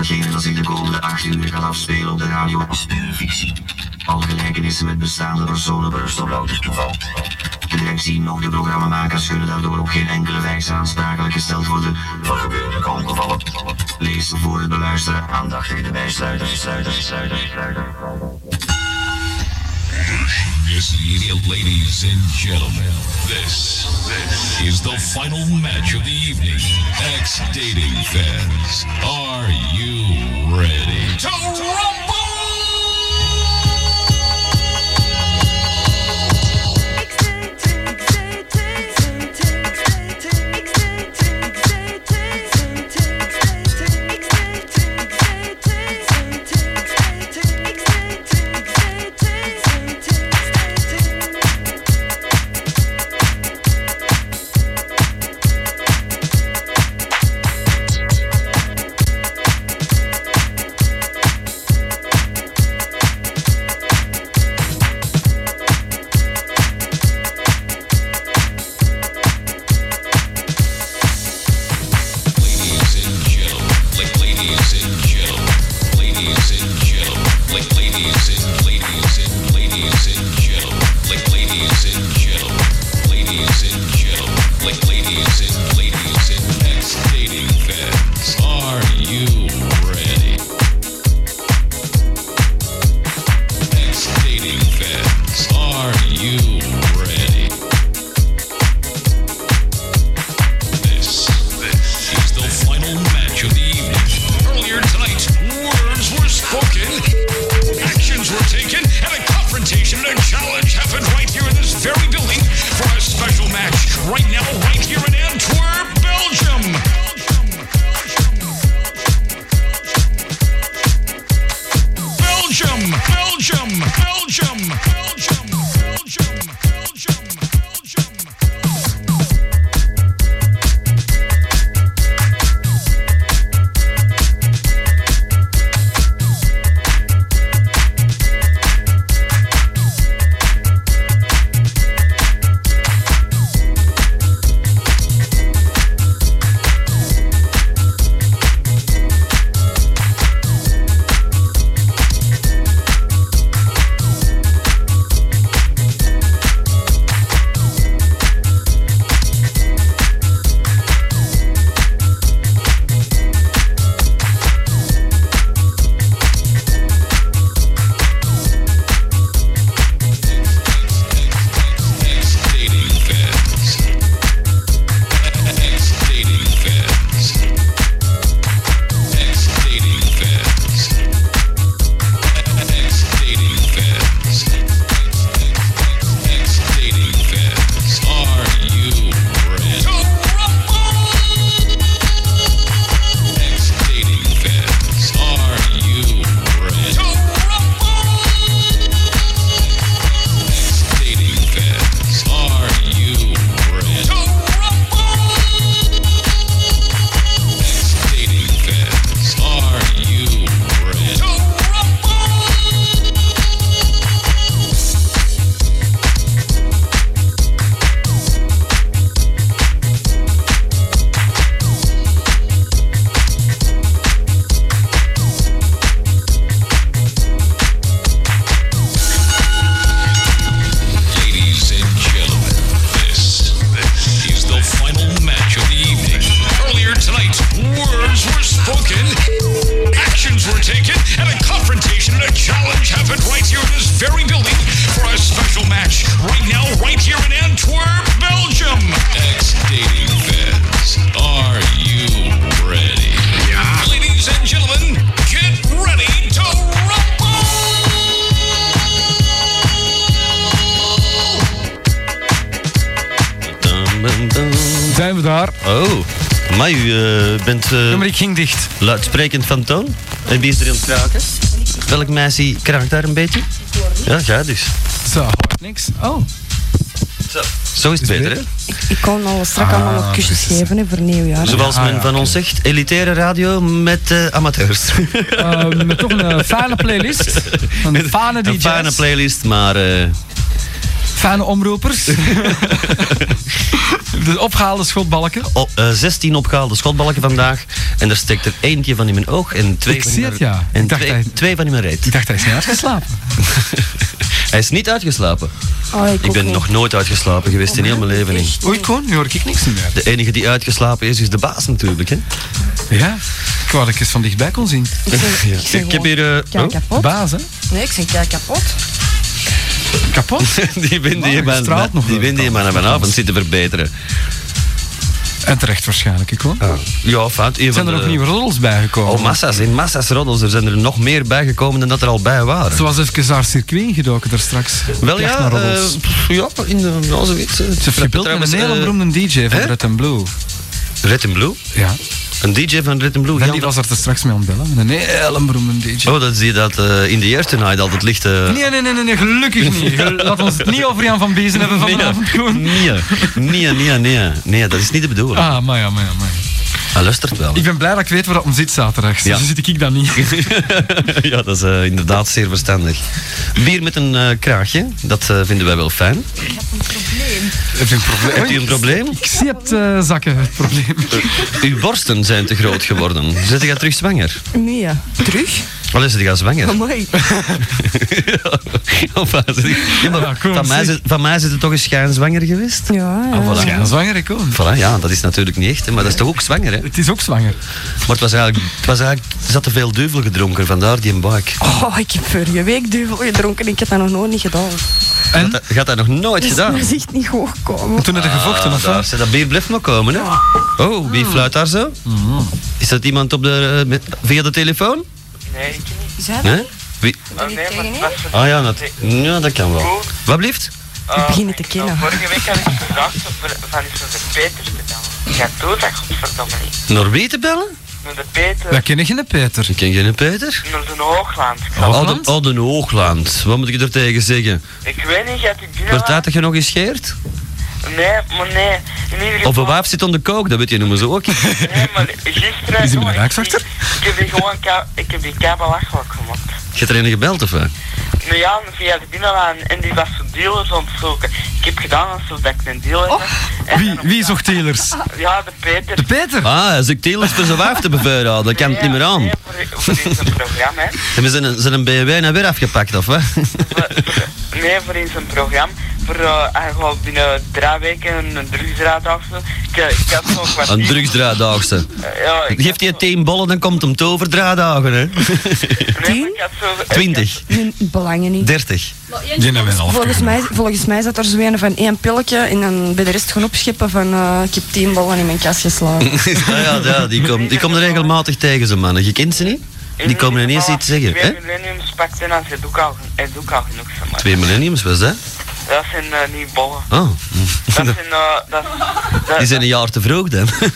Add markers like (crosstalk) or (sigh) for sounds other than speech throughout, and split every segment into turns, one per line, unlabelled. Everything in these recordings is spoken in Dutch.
Geef dat zich de komende 8 uur gaat afspelen op de radio.
Speurvisie.
Al gelijkenissen met bestaande personen berust op louter toeval. De directie nog de programmamakers kunnen daardoor op geen enkele wijze aansprakelijk gesteld worden voor gebeurlijke ongevallen. Lees voor het beluisteren aandachtig de bijsluiter, sluiter, sluiter, sluiter.
Yes, ladies and gentlemen, this, this is the final match of the evening. Ex dating fans, are you ready to rumble? Ladies and gentlemen, la- ladies and gentlemen, ladies and gentlemen, la- ladies and ladies and ladies and gentlemen, la- ladies and gentlemen, ladies and gentlemen, la- ladies and ladies and ex-dating fans, are you ready? Ex-dating fans, are you ready? This, this is the final match of the evening. Earlier tonight, words were spoken, actions were taken, and a confrontation and a challenge happened right here in this very building for a special match right now, right here in Antwerp, Belgium. Belgium, Belgium, Belgium, Belgium, Belgium, Belgium, Belgium. Ex-dating fans. Ex-dating fans. Ex-dating fans. Ex-dating fans. Ex-dating fans. Are you ready? Ex-dating fans. Are you ready? Ex-dating fans. Are you ready? Ex-dating fans, are you ready? Ladies and gentlemen, this, this is the final match of the evening. Earlier tonight, words were spoken, actions were taken, and a confrontation and a challenge happened right here in this very building for a special match right now, right here in Antwerp, Belgium. Ex-dating fans, are you ready? Yeah. Ladies and gentlemen, get ready to rumble!
Dum, dum, dum.
Zijn we daar?
Oh, maar u eh, bent eh,
Ja, maar ik ging dicht.
luidsprekend van toon. En wie is er aan het kraken? Welk meisje kraakt daar een beetje? Ja, ga dus.
Zo, hoort niks. Oh,
Zo, Zo is het
het
beter, hè?
beter?
Ik kon al straks allemaal nog kusjes geven hè, voor nieuwjaar. hè.
Zoals
Ah,
men
ja,
van
oké.
ons zegt, elitaire radio met eh, amateurs.
(laughs) eh, met
(laughs)
toch een eh, fijne playlist. Een fijne
Een
DJ's.
fijne playlist, maar eh,
Fijne omropers. (laughs) de opgehaalde schotbalken.
Op, eh, 16 opgehaalde schotbalken vandaag. En daar steekt er eentje van in mijn oog en twee,
Ik
van, in
zie
mijn-
het, ja.
en
Ik dacht
twee,
hij-
twee van in mijn reet.
Ik dacht, hij is niet uitgeslapen. (laughs)
Hij is niet uitgeslapen.
Oh, ik
Ik
ook
ben
niet.
nog nooit uitgeslapen geweest in heel mijn leven. niet.
Echt.
Oei, Koen, nu hoor ik niks meer.
De enige die uitgeslapen is, is de baas natuurlijk. Hè?
Ja, ik wou dat ik eens van dichtbij kon zien.
Ik, zeg, ik,
(laughs) Ja.
zeg
Ik heb
gewoon,
hier... eh,
Kijk
oh,
De
kapot.
baas, hè?
Nee, ik zeg kijk kapot.
Kapot.
(laughs) die wind die je
Maar, het straalt nog
maar- die
wel.
wind die je maar vanavond zit te verbeteren.
(laughs) En terecht waarschijnlijk, ik hoor.
Ah. Ja, fout. Een van
Zijn er
de-
ook nieuwe roddels bijgekomen?
Oh, massa's. In massa's roddels. Er zijn er nog meer bijgekomen dan dat er al bij waren.
Ze was even haar circuit ingedoken daar straks.
Wel
Op jacht
ja,
naar roddels.
eh, pff, ja, in de ja, zoiets. eh.
Ze verbeeldt met
Trouwens,
een hele
eh,
beroemde DJ van
hè?
Red and Blue.
Red and Blue?
Ja.
Een DJ van Red and Blue.
En
Jan
die
de-
was er er straks mee aan het bellen. Met een hele beroemde DJ.
Oh, dat zie je dat eh, in de eerste night altijd licht... eh,
Nee, nee, nee, nee, nee, gelukkig
(laughs)
niet. Gel- Laat ons het niet over Jan van Bezen hebben vanavond, Koen.
Nee, nee, nee, nee, nee, dat is niet de bedoeling.
Ah, maar ja, maar ja, maar ja.
Hij luistert wel. (laughs)
Ik ben blij dat ik weet waar dat om zit zaterdag.
Ja.
Zo zit ik dan niet.
ja, dat is eh, inderdaad zeer verstandig. Bier met een eh, kraagje, dat eh, vinden wij wel fijn.
Heb je een probleem?
Hebt u een probleem?
Ik zie het eh, zakken, het probleem.
(laughs) Uw borsten zijn te groot geworden. Zit je terug zwanger?
Nee, ja. Terug?
Wel, zit je zwanger?
Amai.
(laughs) Of waar zit je- Ja, maar
Ja, kom,
van, mij
zeg.
zit, van mij zit er toch een schijn zwanger geweest?
Ja, ja.
Ah, voilà.
Ja, zwanger, ik hoor.
Voilà, ja, dat is natuurlijk niet echt, hè, maar dat is toch ook zwanger, hè?
Het is ook zwanger.
Maar het was eigenlijk, het was eigenlijk, er zat te veel duivel gedronken, vandaar die buik.
Oh, ik heb vorige week duivel gedronken en ik heb dat nog nooit niet gedaan.
En?
Dat gaat dat nog nooit
Dus
gedaan?
dat is echt niet goed gekomen.
Toen heb je gevochten, of
Ah, daar,
wat?
zeg, dat bier blijft maar komen, hè? Oh, wie fluit daar zo?
Mm-hmm.
Is dat iemand op de, eh, met- via de telefoon?
Nee, ik niet.
Zijn
Hè? Wie?
Oh, nee, maar het was
Ah ja, dat, ja, dat kan wel. Wat blieft?
eh,
beginnen te kennen.
Vorige week had ik gevraagd om voor- van iets van de Peter te bellen. Ja, doe dat, godverdomme niet.
Naar wie te bellen?
Naar de Peter,
Wij kennen geen Peter.
Ik ken geen Peter.
naar de Hoogland. Ik, zal-
Oude,
Hoogland?
Oude Hoogland. Wat moet ik er tegen zeggen?
ik weet niet, gaat die binnen?
Wordt tijd dat je nog eens scheert?
Nee, maar nee. In ieder geval...
Of een waaf zit onder kook, dat weet je noemen ze ook.
Nee,
(laughs)
maar gisteren...
Is die
jongen,
met een
ik-
raakvlachter?
Ik heb die gewoon ka- ik heb die kabel achterlijk gemaakt.
Je hebt er een gebeld of wat?
Nou ja, via de binnenlaan. En die was voor dealers aan het zoeken. Ik heb gedaan alsof dat ik een dealer was. En
Wie,
dan op-
wie zocht telers?
Ja, de Peter.
De Peter?
Ah, als ik telers voor zijn waaf te bevuilen dat kan het niet meer aan.
Nee, voor, voor in zijn programma, hè.
Hebben ze een, ze een BMW nou weer afgepakt of wat?
Voor- voor- Nee, voor in zijn programma. Voor, eh, hij gaat binnen drie weken een drugsraad afdoen. Ik, eh, ik had nog wat...
Een
niet-
drugsdraaddaagse.
Eh, ja, ik
Geeft hij
had
tien bollen, dan komt hem te over draaddagen, hè?
zo- nee, maar ik had zo- ik
Twintig,
Nee, belangen niet.
dertig.
Die hebben we al.
Volgens mij, volgens mij zat er zo een van één pilletje en dan bij de rest gaan opschippen van eh, ik heb tien ballen in mijn kast
(laughs)
geslagen.
Ah (laughs) ja, ja, die komt die komt er regelmatig tegen, zo'n mannen. Je kent ze niet?
had-
Die komen ineens iets zeggen, hè?
Twee millenniums pakt in als je doek al, je doek al genoeg zeg maar.
Twee millenniums was dat?
Dat zijn eh, niet bollen.
Oh,
Dat zijn... eh, dat, dat,
die zijn een jaar te vroeg dan.
Ah,
Nee,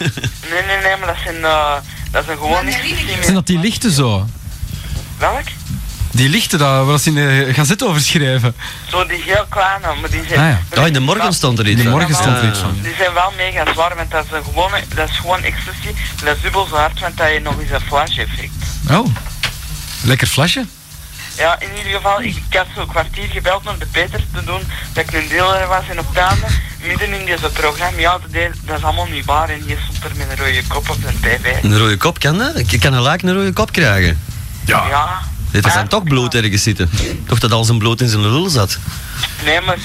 nee, nee, maar dat zijn... eh, dat zijn gewoon niet...
Zijn dat die lichten zo?
Welk?
Die lichten daar, waar ze in de gazet over schrijven.
Zo die heel kleine, maar die zijn...
Ah, ja.
(laughs) Oh, in de morgen stond er iets
In de
van.
morgen stond er iets
Ah.
van.
Die zijn wel mega zwaar, want dat is een gewone, dat is gewoon ecstasy. En Dat is dubbel zo hard, want dat je nog eens een flash effect.
Oh, lekker flasje.
Ja, in ieder geval, ik, ik had zo'n kwartier gebeld om de Peters te doen, dat ik een dealer was in Optane. Midden in deze programma, ja, dat, deed- dat is allemaal niet waar. En die stond er met een rode kop op zijn tv.
Een rode kop kan dat? Je kan een laak een rode kop krijgen.
Ja.
Dit is dan toch bloot ergens zitten. Toch dat al zijn bloot in zijn lul zat. (laughs)
Nee, maar...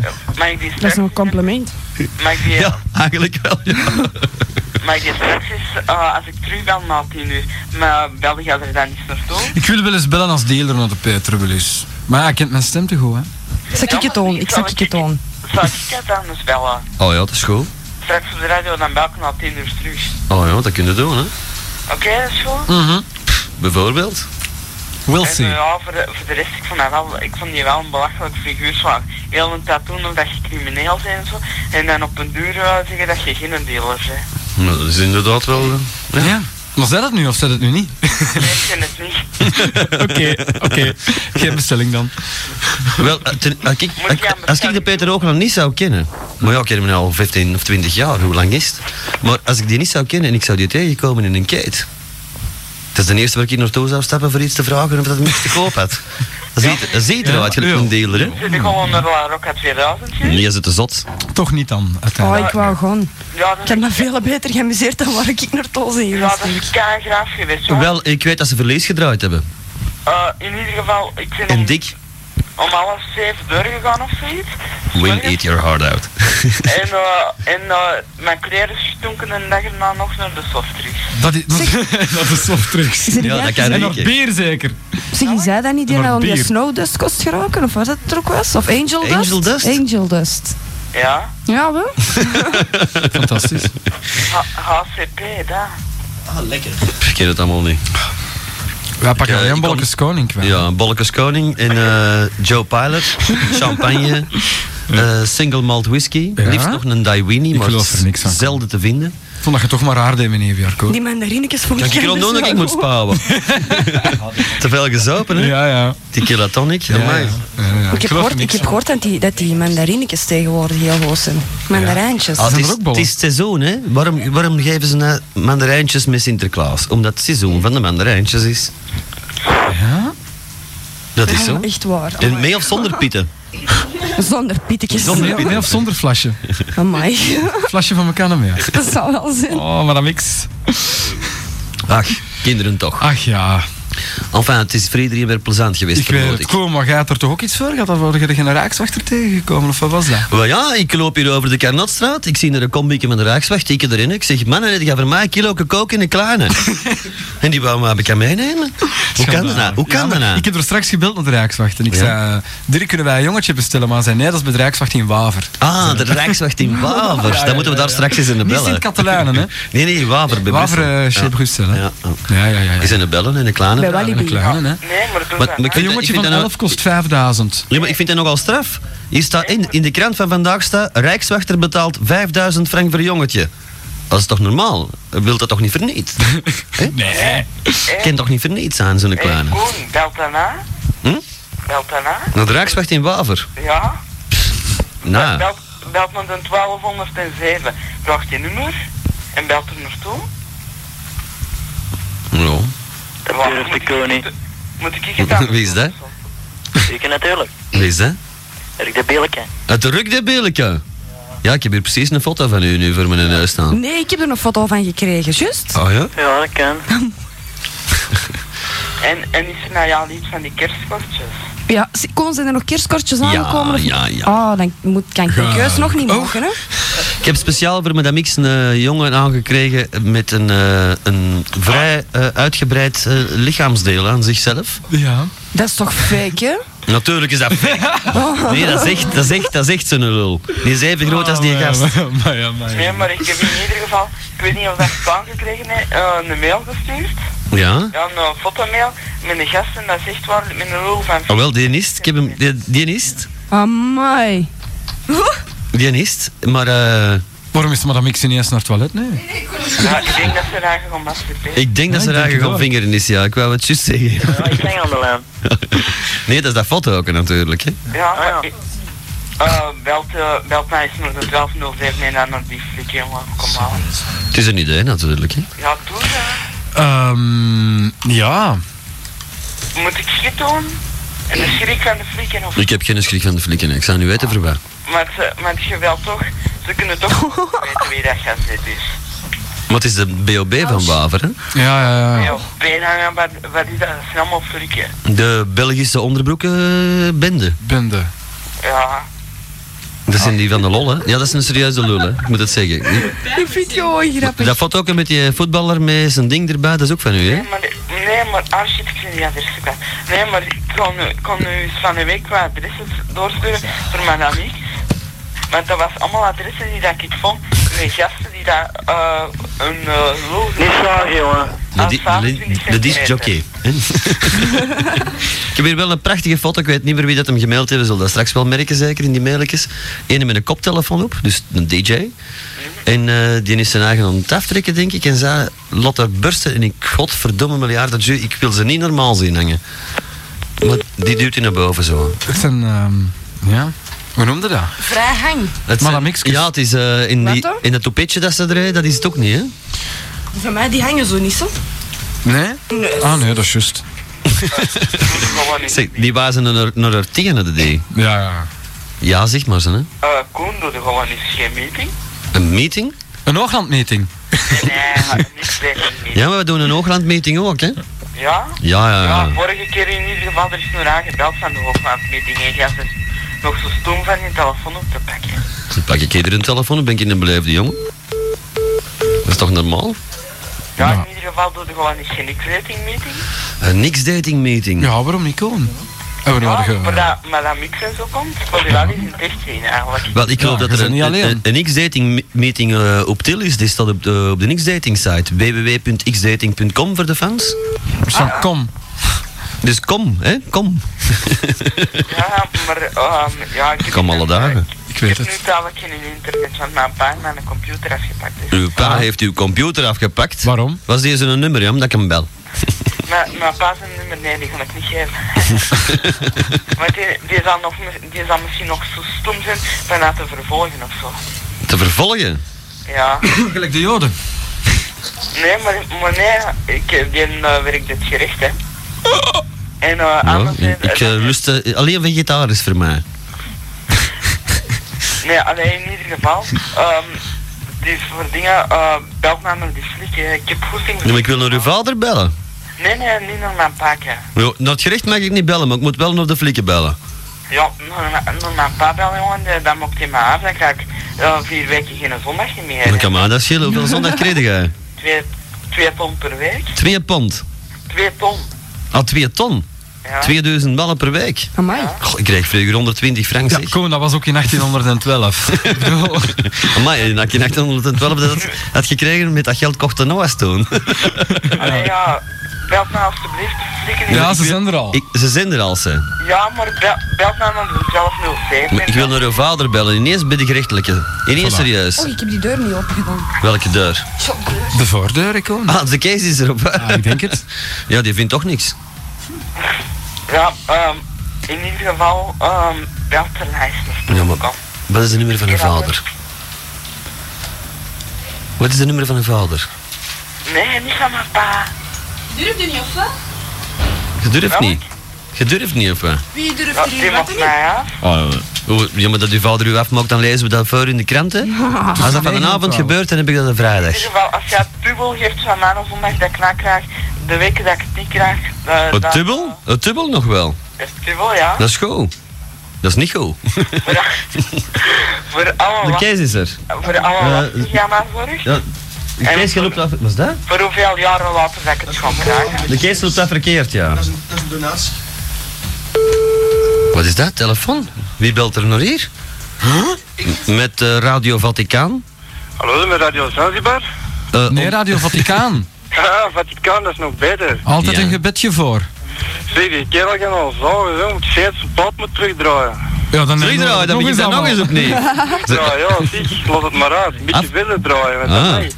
eh, mag ik die
Dat
straks...
is nog een compliment.
Mag ik die,
Ja, eigenlijk wel. Ja.
mag ik die straks eens, eh, als ik terug ben na tien uur, maar bel gaat er dan iets naartoe?
Ik wil wel eens bellen als dealer naar de Peter, wel eens. Maar hij kent mijn stem te goed, hè.
Zak ik het aan, ik zak ik het aan.
Zou ik het anders bellen?
Oh ja, dat is goed.
Straks op de radio, dan bel ik na tien uur terug.
Oh ja, dat kunnen we doen, hè?
Oké, dat is goed.
Bijvoorbeeld.
Mhm. We'll
En eh,
see.
ja, voor de, voor de rest, ik vond, dat wel, ik vond die wel een belachelijk figuur van heel een tattoo omdat je crimineel bent en zo. En dan op een duur eh, zeggen dat je geen dealer bent.
Nou, dat is inderdaad wel. eh,
Ja. Maar zei dat nu of zei dat nu niet?
Nee, ik vind het niet.
Oké, (laughs) oké. Geen bestelling dan.
Wel, eh, ten- als ik,
Moet je aan
als ik de
bestelling
Peter Oogland niet zou kennen, maar ja, ik ken hem nu al 15 of 20 jaar, hoe lang is het? Maar als ik die niet zou kennen en ik zou die tegenkomen in een kate, dat is de eerste waar ik hier naartoe zou stappen voor iets te vragen of dat hem iets te koop had. Dat ziet, dat ziet eruit, gelijk
Ja.
een dealer, hè?
Zit ik gewoon naar La Rocca 2000 hier?
Nee, je zit te zot.
Toch niet dan,
Oh,
uiteindelijk.
ik wou gewoon.
Ja, dat
Ik
is,
heb me veel beter geamuseerd dan waar ik naartoe zin
ja,
geweest
dat is kei graaf geweest. hoor.
Wel, ik weet dat ze verlees gedraaid hebben.
Eh, in ieder geval, ik ben
En
om,
dik,
om half zeven doorgegaan of
(laughs)
zoiets.
win
Morgens.
eat your heart out.
En, eh, en eh, mijn kleren stonken en dag erna nog naar de softdrinks.
Dat is, dat, (laughs) dat is softdrugs.
Zeg,
Ja,
jij-
dat kan
En nog
ik.
beer zeker.
zeg, is zij dat niet die
Maar
nou om die
bier.
Snowdust kost geroken? Of wat dat er ook was? Of Angel Dust?
Angel Dust?
Angel Dust.
Ja,
Ja, wel.
Fantastisch.
H- HCP, daar.
Ik ken het allemaal niet.
Wij pakken
Ja,
alleen
ik
bolletjes koning kwijt.
Ja, Bolkes Koning en eh, Joe
(laughs)
Pilot, champagne, eh, single malt whisky,
Ja.
liefst nog een Daiwini, maar
geloof er niks van.
zelden te vinden.
Ik vond dat je toch maar raar deed, meneer
(laughs)
Bjarko.
Die mandarinekjes vond
Kan ik er al
dus
doen dat ik moet spouwen?
(laughs)
te veel gezopen, hè?
Ja, ja.
Die keratonic,
Ja,
amai.
ja. Ja, ja.
Ik heb
geloof
gehoord,
niks
ik heb
van.
gehoord dat, die, dat die mandarinekjes tegenwoordig heel hoog zijn. Mandarijntjes.
Ah, het,
Zijn
is,
er ook bollen?
het is seizoen, hè? Waarom, waarom geven ze nou mandarijntjes met Sinterklaas? Omdat het seizoen van de mandarijntjes is.
Ja?
Dat is zo.
Ja, echt waar.
En mee of zonder pieten?
Zonder pietetjes.
Zonder-
Nee, nee, of zonder
(laughs)
flasje.
Amai.
Flasje van elkaar hem, ja.
(laughs) Dat zou wel zijn.
Oh, maar dat mix.
Ach, kinderen toch.
Ach ja,
Enfin, het is voor iedereen weer plezant geweest,
ik weet
vermoed
het.
ik.
Kom, maar jij had er toch ook iets voor gehad? Dan word je de generaakswachter tegengekomen, of wat was dat?
Wel ja, ik loop hier over de Karnatstraat. Ik zie er een kombieke met een raakswacht. Ik erin. Ik zeg, mannen, heb jij voor mij een kilo kook in een
(laughs)
kleine? en die wou me heb ik aan meenemen. Hoe kan dat nou? Hoe
Ja,
kan
maar
dat nou?
Ik heb er straks gebeld naar de Rijkswacht en ik
Ja.
zei, eh, Dirk, kunnen wij een jongetje bestellen? Maar hij zei, nee, dat is bij de Rijkswacht in Waver.
Ah, de Rijkswacht in Waver.
Ja, ja,
Dan moeten we
ja,
daar
ja.
straks eens in de
Niet
bellen.
Sint-Katelijnen, hè?
(laughs) Nee, nee, Waver bij
Waver,
Brussel.
eh, Sint Brussel, hè?
Ja. ja.
Ja, ja, ja. ja.
Is in de bellen en de kleine.
Bij
Ja,
En een
Walibi.
kleine, hè?
Nee, maar doe
Maar- maar
dat maar.
ik
Een
vind-
jongetje van
vind dat-
11 kost 5000.
Ja, maar ik vind dat nogal straf. Hier staat in, in de krant van vandaag staat... Rijkswachter betaalt 5000 frank voor jongetje. Dat is toch normaal? Wil dat toch niet
(laughs)
verniet?
Nee.
Kan toch niet verniet zijn, zo'n
Hey,
kleine?
Koen, belt daarna.
Hm?
Belt daarna.
Nou, de Rijkswacht in Waver.
Ja.
Nou...
Belt, belt naar de 1207. Vraagt je nummer en belt er naartoe.
Ja.
Waarom
Durf de
moet ik-
koning.
moet- Moet ik je dan?
(laughs) Wie is dat?
Zeker natuurlijk.
Wees dat?
Erik de Beelke.
Het ruk de billijke. Ja, ik heb hier precies een foto van u nu voor mijn neus staan.
Nee, ik heb er een foto van gekregen, juist.
Ah,
Oh ja?
Ja, dat kan.
(laughs) En, en is er nou ja iets van die kerstkortjes?
Ja, z- kon zijn er nog kerstkortjes
Ja,
aankomen? of-
ja, Oh. ja.
Oh, dan moet, kan ik mijn keus nog niet maken, hè?
Ik heb speciaal voor Madame X een eh, jongen aangekregen met een, eh, een vrij eh, uitgebreid eh, lichaamsdeel aan zichzelf.
(laughs) Ja.
Dat is toch fake, hè?
Natuurlijk is dat
(laughs)
fake. (laughs) Nee, dat is echt, dat is echt, dat is echt zo'n lul. Die is even groot als die
Ah, maar
gast.
ja, maar ja, maar ja.
Nee, maar ik heb in ieder geval, ik weet niet of dat spaan gekregen heeft, eh, een mail gestuurd.
Ja?
Ja, een eh, fotomail met een gast en dat is echt waar, met een rol van...
Oh wel, die is het. Ik heb hem, die, die is het.
Amai.
Die is het. Maar eh,
Waarom is Madame X ineens naar het toilet? Nee.
Ja, ik denk dat ze daar gewoon masturberen.
ik denk dat ze
ik denk
er
het
eigenlijk
ook.
gaan vingeren is, ja. Ik wou het juist zeggen.
Ja, ik ben aan de lijn.
Nee, dat is dat foto ook natuurlijk, hè.
Ja, maar
Ah, ja.
ik- eh, belt, eh, belt mij eens naar de 1207 en dan naar die flik, jongen. Kom aan.
Het is een idee natuurlijk, hè.
Ja, doe dat.
Ehm, ja.
Moet ik shit doen? En de schrik van de flikken of...
Ik heb geen schrik van de flikken, ik zou nu weten voor wat.
Maar, ze, maar je wel toch... Ze kunnen (laughs) toch weten wie dat gaat dus. zitten is.
Maar het is de BOB van Waver, hè?
Ja, ja, ja.
Ja, bijna, wat, wat is dat? Dat zijn allemaal flikken.
De Belgische eh, onderbroekenbende.
Bende. Ah.
Ja.
Dat zijn die van de lol, hè? Ja, dat is een serieuze lul, hè? Ik moet het zeggen.
(laughs)
Die video is grappig.
Dat foto ook met die voetballer met zijn ding erbij, dat is ook van u, hè?
Nee, maar, nee, maar als je het ik ben die adressen kwijt. Nee, maar ik kon, nu- ik kon nu eens van de week wat adressen doorsturen voor mijn amie. Want dat was allemaal adressen die dat ik vond. Met gasten die daar eh een eh lood
Niet zagen, jongen.
De, di- de, de discjockey. hè? ik heb hier wel een prachtige foto, ik weet niet meer wie dat hem gemaild heeft, we zullen dat straks wel merken zeker in die mailtjes. Eén met een koptelefoon op, dus een DJ. En eh, die is zijn eigen aan het aftrekken, denk ik. En zij laat haar bursten. En ik, godverdomme miljard, dat ju- ik wil ze niet normaal zien hangen. Maar die duwt hij naar boven zo.
Het zijn, ehm, ja. Hoe noemde dat?
Vrij hang.
Het
Madame
zijn-
X'kes.
Ja, het is eh, in,
Wat
die,
dan?
in dat toepetje dat ze draaien, dat is het ook niet, hè?
Van mij, die hangen zo niet zo.
Nee? Ah, nee, dat is juist.
Doe het gewoon niet.
Zeg, die waren ze naar, naar haar tegen de day.
Ja, ja.
Ja, zeg maar ze, hè.
Eh, Koen, doe er gewoon niet. Geen meeting?
Een meeting?
Een Hoogland-meeting.
Nee, maar niet zeker niet.
Ja, maar we doen een Hoogland-meeting ook, hè.
Ja?
Ja, ja,
Ja,
ja.
vorige keer in ieder geval, er is nog aangebeld van de hoofdmaatmeeting. En jij bent nog zo stom van je telefoon op te pakken.
Dan pak ik eerder een telefoon, dan ben ik in een beleefde jongen. Dat is toch normaal?
Ja, in ieder geval doe er gewoon niet geen X-rating-meeting.
Een niks-dating-meeting.
Ja, waarom niet komen? En we
Ja,
nodigen...
maar dat Madame Mix en zo komt, voor die wel is een techie eigenlijk.
Wel, ik geloof
Ja, je
dat er
bent
een,
niet
een,
alleen.
een, X-dating meeting eh, op til is. Die staat op de, op de X-dating site. www.xdating.com voor de fans.
Van, kom.
Dus kom, hè, kom.
Ja, maar ehm, ja, ik heb
Kom
nu-
alle dagen.
Ik weet
heb
het.
nu dadelijk geen internet, want mijn pa en mijn computer afgepakt is. dus.
Uw pa heeft uw computer afgepakt.
Ah. Waarom?
Was deze een nummer, ja, omdat ik
(laughs)
hem bel.
Mijn, mijn pa zijn nummer, nee, die ga ik niet geven. maar die, die, zal nog, die zal misschien nog zo stom zijn van haar te vervolgen of zo.
Te vervolgen?
Ja.
Gelijk de Joden.
Nee, maar, maar nee, ik, die eh, werkt het gerecht, hè. En eh
Ja,
anders...
ik ik eh, lust eh, alleen vegetarisch voor mij.
Nee, alleen in ieder geval. Ehm dus voor dingen, eh belt naar mijn dysfliek, hè. ik heb goesting...
Ja, maar ik wil naar uw vader bellen.
Nee, nee, niet naar mijn pa, hè.
Ja, Naar het gerecht mag ik niet bellen, maar ik moet wel naar de flikken bellen.
Ja, naar, naar mijn pa bellen, jongen, eh, dan mocht hij me af, dan ga ik eh, vier weken geen zondag niet meer.
Dan
hè.
kan mij dat schelen. Hoeveel zondag kreeg jij?
Twee, twee ton per week.
Twee pond.
Twee ton.
Ah, twee ton.
Ja.
2000 ballen per week.
Amai.
Goh, ik krijg vroeger 120 frank,
Ja,
zeg. (laughs)
kom, dat was ook in 1812. Ik bedoel,
Amai, en als je 812 dat had gekregen, met dat geld kocht een OAS toen.
(laughs) Allee, ja, belt me alstublieft, flikken.
ja, ze zijn er al.
Ik- ze zijn er al, ze.
Ja, maar bel, belt me dan zelf 07.
Maar Ik wil naar uw vader bellen, ineens bij de gerechtelijke. Ineens
Voilà.
serieus.
Oh, ik heb die deur niet opgedaan.
Welke deur?
De voordeur, ik kom.
Ah, de kees is erop.
Ah, ik denk het.
(laughs) Ja, die vindt toch niks.
Ja, ehm, in ieder geval, ehm, belt de lijst nog.
Ja, maar- Wat is de nummer van uw vader? Wat is de nummer van uw vader?
Nee, niet van mijn pa.
Durfde niet of wat?
Je durft
Welk?
niet. Je durft niet, of wat?
Wie durft
Ja,
er hier
die
wat
mag
in?
mij af.
Oh, Ja, maar dat uw vader u afmaakt, dan lezen we dat voor in de kranten. Als dat van een avond gebeurt, dan heb ik dat een
In
vrijdag.
ieder geval, als jij het dubbel geeft van mij of zondag dat ik na krijg, de weken dat ik het niet krijg... eh,
Een
dan-
dubbel? Een dubbel Oh, nog wel.
Het dubbel, ja.
Dat is goed. Dat is niet goed.
Voor, voor
De
alle Oh, wat,
kees is er.
voor alle wat
Eh,
die jij mij zorgt.
Ja, de
En-
kees loopt af... Was dat?
Voor hoeveel jaren later dat ik het ga krijgen.
De kees loopt af verkeerd, ja.
Dat is een, dat is een donatie.
Wat is dat? Telefoon? Wie belt er nog hier? M- Met eh, Radio Vaticaan?
Hallo, met Radio Zanzibar.
Eh,
Nee,
om-
Radio
(laughs)
Vaticaan.
Ah, Vaticaan, dat is nog beter.
Altijd
Ja.
een gebedje voor.
Zie, die kerel kan al zagen, zo. Moet steeds zijn pad moet terugdraaien.
Ja, dan
Terug draaien, dan begint dat nog eens opnieuw.
(laughs) Terugdraaien, ja, zie, los het maar uit. Een beetje
Af-
verder draaien. Met
Ah.
dat mee.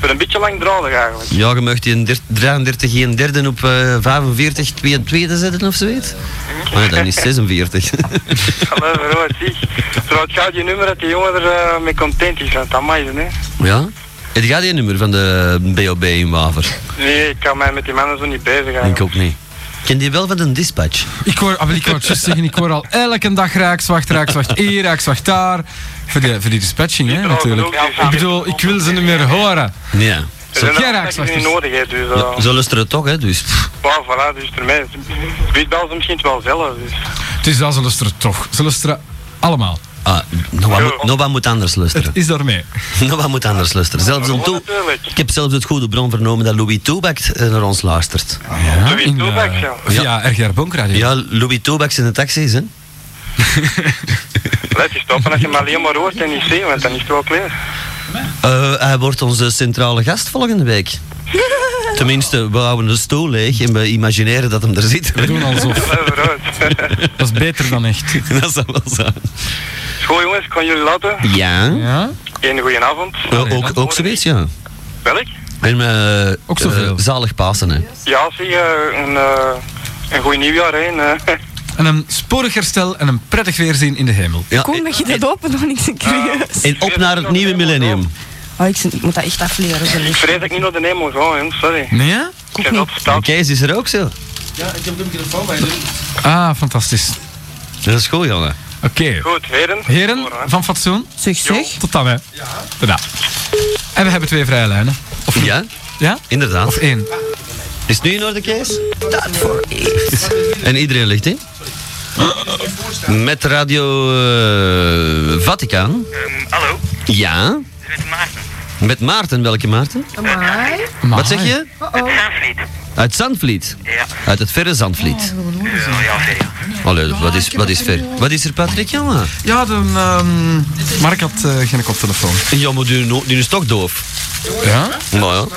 Voor een beetje langdradig eigenlijk.
(laughs) Ja, je mag die een der- 33 een derde op eh 45 2 tweede zetten of zoiets. Maar dan is
(laughs)
46.
Hallo, verhoor, zie. Trouwens, gaat je nummer dat die jongen er eh, mee content is. want Dat mag je, hè.
(laughs) ja? Het gaat die nummer van de BOB in Waver.
Nee, ik kan mij met die mannen zo niet bezig
Ik
eigenlijk.
ook niet. Ken die wel van een dispatch?
Ik hoor, ah, wel, ik hoor, het juist zeggen, ik hoor al elke dag rijkswacht, rijkswacht hier, rijkswacht daar. Voor die, voor die dispatching, hè, natuurlijk. Ik bedoel, ik wil ze niet meer horen.
Ja.
Er
Zo,
zijn
geen
afspraken
rijkswachters.
die niet nodig, hè, dus... eh,
Ja, Zo lust er het toch, hè? Dus. pff.
Ja, voilà, dus voor mij. Wie belt ze misschien wel zelf. Dus.
Het is dat, ze luisteren toch. Ze luisteren allemaal.
Ah, nog wat, moet-
Ja.
nog wat moet anders lusteren.
Het is
(laughs)
daarmee.
nog wat moet anders lusteren. Zelfs een
Ja,
toe.
natuurlijk.
Ik heb zelfs het goede bron vernomen dat Louis Toebak eh, naar ons luistert.
Ja,
Louis
in, eh,
Toebak, ja.
Via RGR Bonkradio.
Ja, Louis Toebak is in de taxis, hè?
Let je stoppen als je maar alleen maar hoort en niet ziet, want dan is het wel klaar.
Eh, hij wordt onze centrale gast volgende
(laughs)
week. Tenminste, we houden de stoel leeg en we imagineren dat hem er zit.
We doen
(laughs)
alsof.
Allee, vooruit.
(laughs) Dat is beter dan echt.
(laughs) dat zou wel zijn.
Goed jongens, ik kan jullie laten.
Ja,
Ja?
Een goeie avond.
Eh, ook, ook zoiets, ja.
Welk?
En eh,
Ook zoveel.
eh, zalig Pasen, hè.
Ja, zie je, een, eh, een goed nieuwjaar eh, heen. (laughs)
En een sporig herstel en een prettig weerzien in de hemel.
Ja, eh, Ah.
Kom
en,
dat je dat open nog niks in krijgt.
en op naar het nieuwe millennium.
(laughs) Oh, ik, zin- ik moet dat echt afleren. zo.
Ik vrees dat ik niet naar de hemel ga, hè, sorry.
Nee? hè?
Ik heb dat
De
verteld.
Kees is er ook zo.
Ja, ik heb de microfoon bij de...
Ah, fantastisch.
Dat is goed, jongen.
Oké.
Goed, heren.
Heren van fatsoen.
Zeg, zeg.
Tot dan, hè. Ja. En we hebben twee vrije lijnen. Of
Ja?
Ja?
Inderdaad.
Of één.
Is het nu in orde, Kees?
Dat voor eerst.
En iedereen ligt in? Met Radio eh, Vaticaan.
Ehm, hallo,
Ja.
dit is Maarten.
Met Maarten, welke Maarten?
Amai. Oh,
Wat zeg je?
Het Zandvliet.
Uit Zandvliet.
Ja.
Uit het verre Zandvliet.
Ja, ja, ver, ja.
Allee, wat is, wat is ver? Wat is er, Patrick, jongen?
Ja, de, ehm, Mark had eh, geen koptelefoon.
Ja, maar die, no- die is toch doof.
Ja?
Nou ja.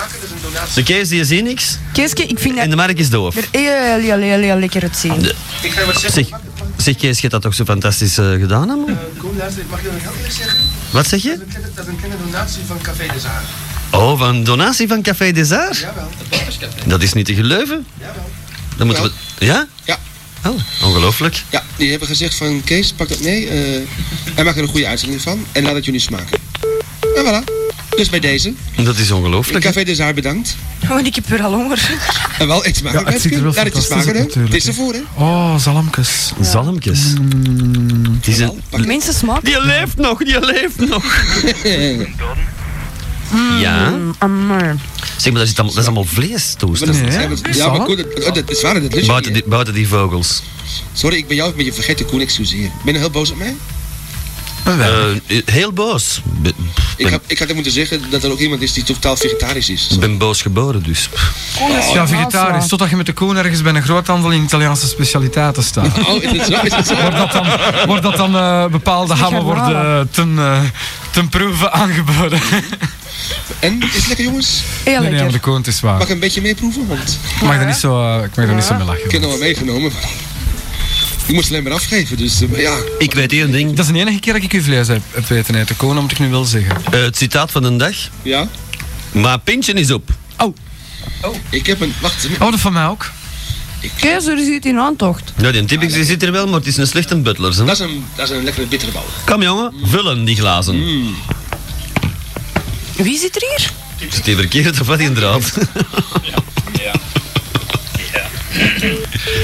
De Kees, die ziet niks.
Keeske, ik vind
En de
dat
Mark is doof.
er heel, heel, heel, heel lekker uitzien.
De-
Ik ga wat zeggen.
Zeg, zeg Kees, je hebt dat toch zo fantastisch eh, gedaan, hè, man?
Kom, luister, mag je nog heel eerlijk zeggen?
Wat
Dat
zeg je?
is een kleine- dat is een kleine donatie van Café de Zaar.
Oh, van donatie van Café des Arts?
Jawel, het Waterscafé.
Dat is niet te geloven.
Jawel.
Dan moeten we... Ja?
Ja.
Oh, ongelooflijk.
Ja, die hebben gezegd van Kees, pak dat mee eh, en maak er een goede uitzending van en laat het jullie smaken. En voilà. Dus bij deze,
Dat is ongelooflijk. hè?
Café de Zaar bedankt.
Oh, ik heb weer al honger.
En wel eet smaken.
Ja, het ziet er wel
Laat het je
fantastisch
smaken,
uit
hè. Het
natuurlijk.
is ervoor, hè.
Oh, zalmkes. Mm.
Zalmkes. Het is een...
Mensen smaken.
Die leeft nog, die leeft
(laughs)
nog. Ja.
Mm, Amai.
Zeg maar, dat is allemaal, dat is allemaal vlees, toestand.
Nee.
Ja, maar- Ja, maar
Zal?
Koen, het- het- het is waar, dat ligt
Buiten, die, buiten die vogels.
Sorry, ik ben jou een beetje vergeten, Koen, excuseer. Ben je nou heel boos op mij?
Ah,
Eh, heel boos. Ik
Ik
ben,
had, ik had hem moeten zeggen dat er ook iemand is die totaal vegetarisch is.
ben boos geboren, dus.
Ja, vegetarisch. Totdat je met de koen ergens bij een groothandel in Italiaanse specialiteiten staat.
Oh, is het zo? Is het zo?
Wordt dat dan, wordt dat dan eh, bepaalde hammen worden eh, ten, eh, ten proeve aangeboden?
(laughs) En, is het lekker, jongens?
Heel
nee, nee, maar
lekker.
de koen het is waar.
Mag ik een beetje meeproeven? Want
Ik mag daar niet zo, eh, ik mag daar niet zo mee
ik heb
lachen.
nog wel meegenomen. maar Ik moest het alleen maar afgeven, dus eh, maar ja.
Ik weet één ding.
Dat is de enige keer dat ik uw vlees heb, heb weten uit de koen, moet ik nu wel zeggen.
Eh, het citaat van de dag.
Ja? Oh.
Maar pintje is op.
Ik heb een... Wacht,
Oh, dat van mij ook.
Kees, er zit in aantocht.
Nou, die Tibbix die zit er wel, maar het is een slechte butler. hè.
dat is een, dat is een lekkere bittere Mm. bal.
Kom jongen, vullen die glazen.
Wie zit er hier?
Zit die verkeerd of wat
(laughs)
in draad?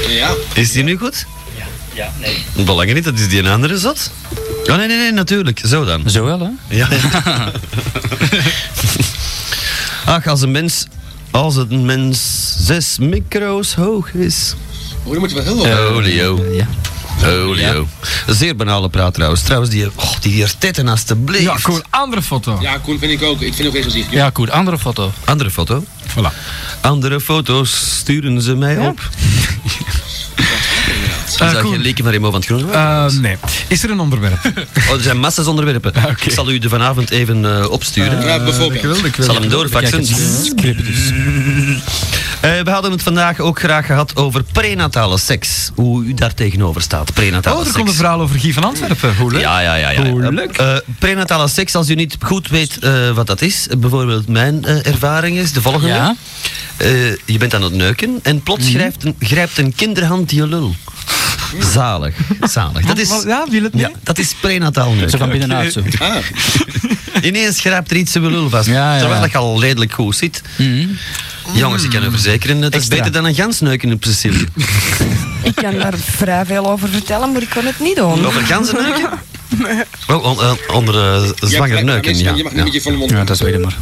Ja.
Is die nu goed?
Ja, nee.
Belangrijk niet, dat is die een andere zat. Oh nee, nee, nee, natuurlijk. Zo dan.
Zo wel, hè? (laughs)
Ja. Ach, als een mens. Als een mens zes micro's hoog is.
Oh, dan moet je wel heel lang.
Olio.
Ja.
Olio. oh. Zeer banale praat trouwens. Trouwens, die, oh, die hier tetten alstublieft.
Ja, cool. Andere foto.
Ja, Koen vind ik ook. Ik vind ook geen gezicht. joh.
Ja, goed. Andere foto.
Andere foto.
Voilà.
Andere foto's sturen ze mij
(laughs)
op. Zou je
Eh,
Koen.
geen leken van Remo van het Groen?
Eh, nee. Is er een onderwerp?
Oh, er zijn massa's onderwerpen. Ik zal u de vanavond even eh, opsturen.
Ja, bijvoorbeeld.
Ah, ik
Ik zal hem doorfaxen.
dus.
Eh, we hadden het vandaag ook graag gehad over prenatale seks. Hoe u daar tegenover staat, prenatale
Oh, er komt een
seks.
verhaal over Guy van Antwerpen. Hoe leuk.
Ja, ja, ja. ja.
Hoe leuk.
Eh, prenatale seks, als u niet goed weet eh, wat dat is, eh, bijvoorbeeld mijn eh, ervaring is de volgende.
Ja.
Eh, je bent aan het neuken en
Mhm.
plots grijpt, een, grijpt een kinderhand je lul. Zalig, zalig. Dat is,
Ja, wil het niet?
ja, dat is prenataal
Zo
neuken.
van binnenuit
(laughs)
zo.
Ah,
(laughs) Ineens grijpt er iets in mijn lul vast.
Ja, ja.
Terwijl dat je al redelijk goed zit.
Mhm. Mm.
Jongens, ik kan u verzekeren, dat is
Extra.
beter dan een gansneuken
(laughs)
op Sicilië.
Ik kan daar vrij veel over vertellen, maar ik kan het niet doen.
Over ganzeneuken? Wel, on, eh, onder eh, zwanger neuken, ja.
Je mag niet
Ja.
met je volle mond.
Ja, dat weet ik maar.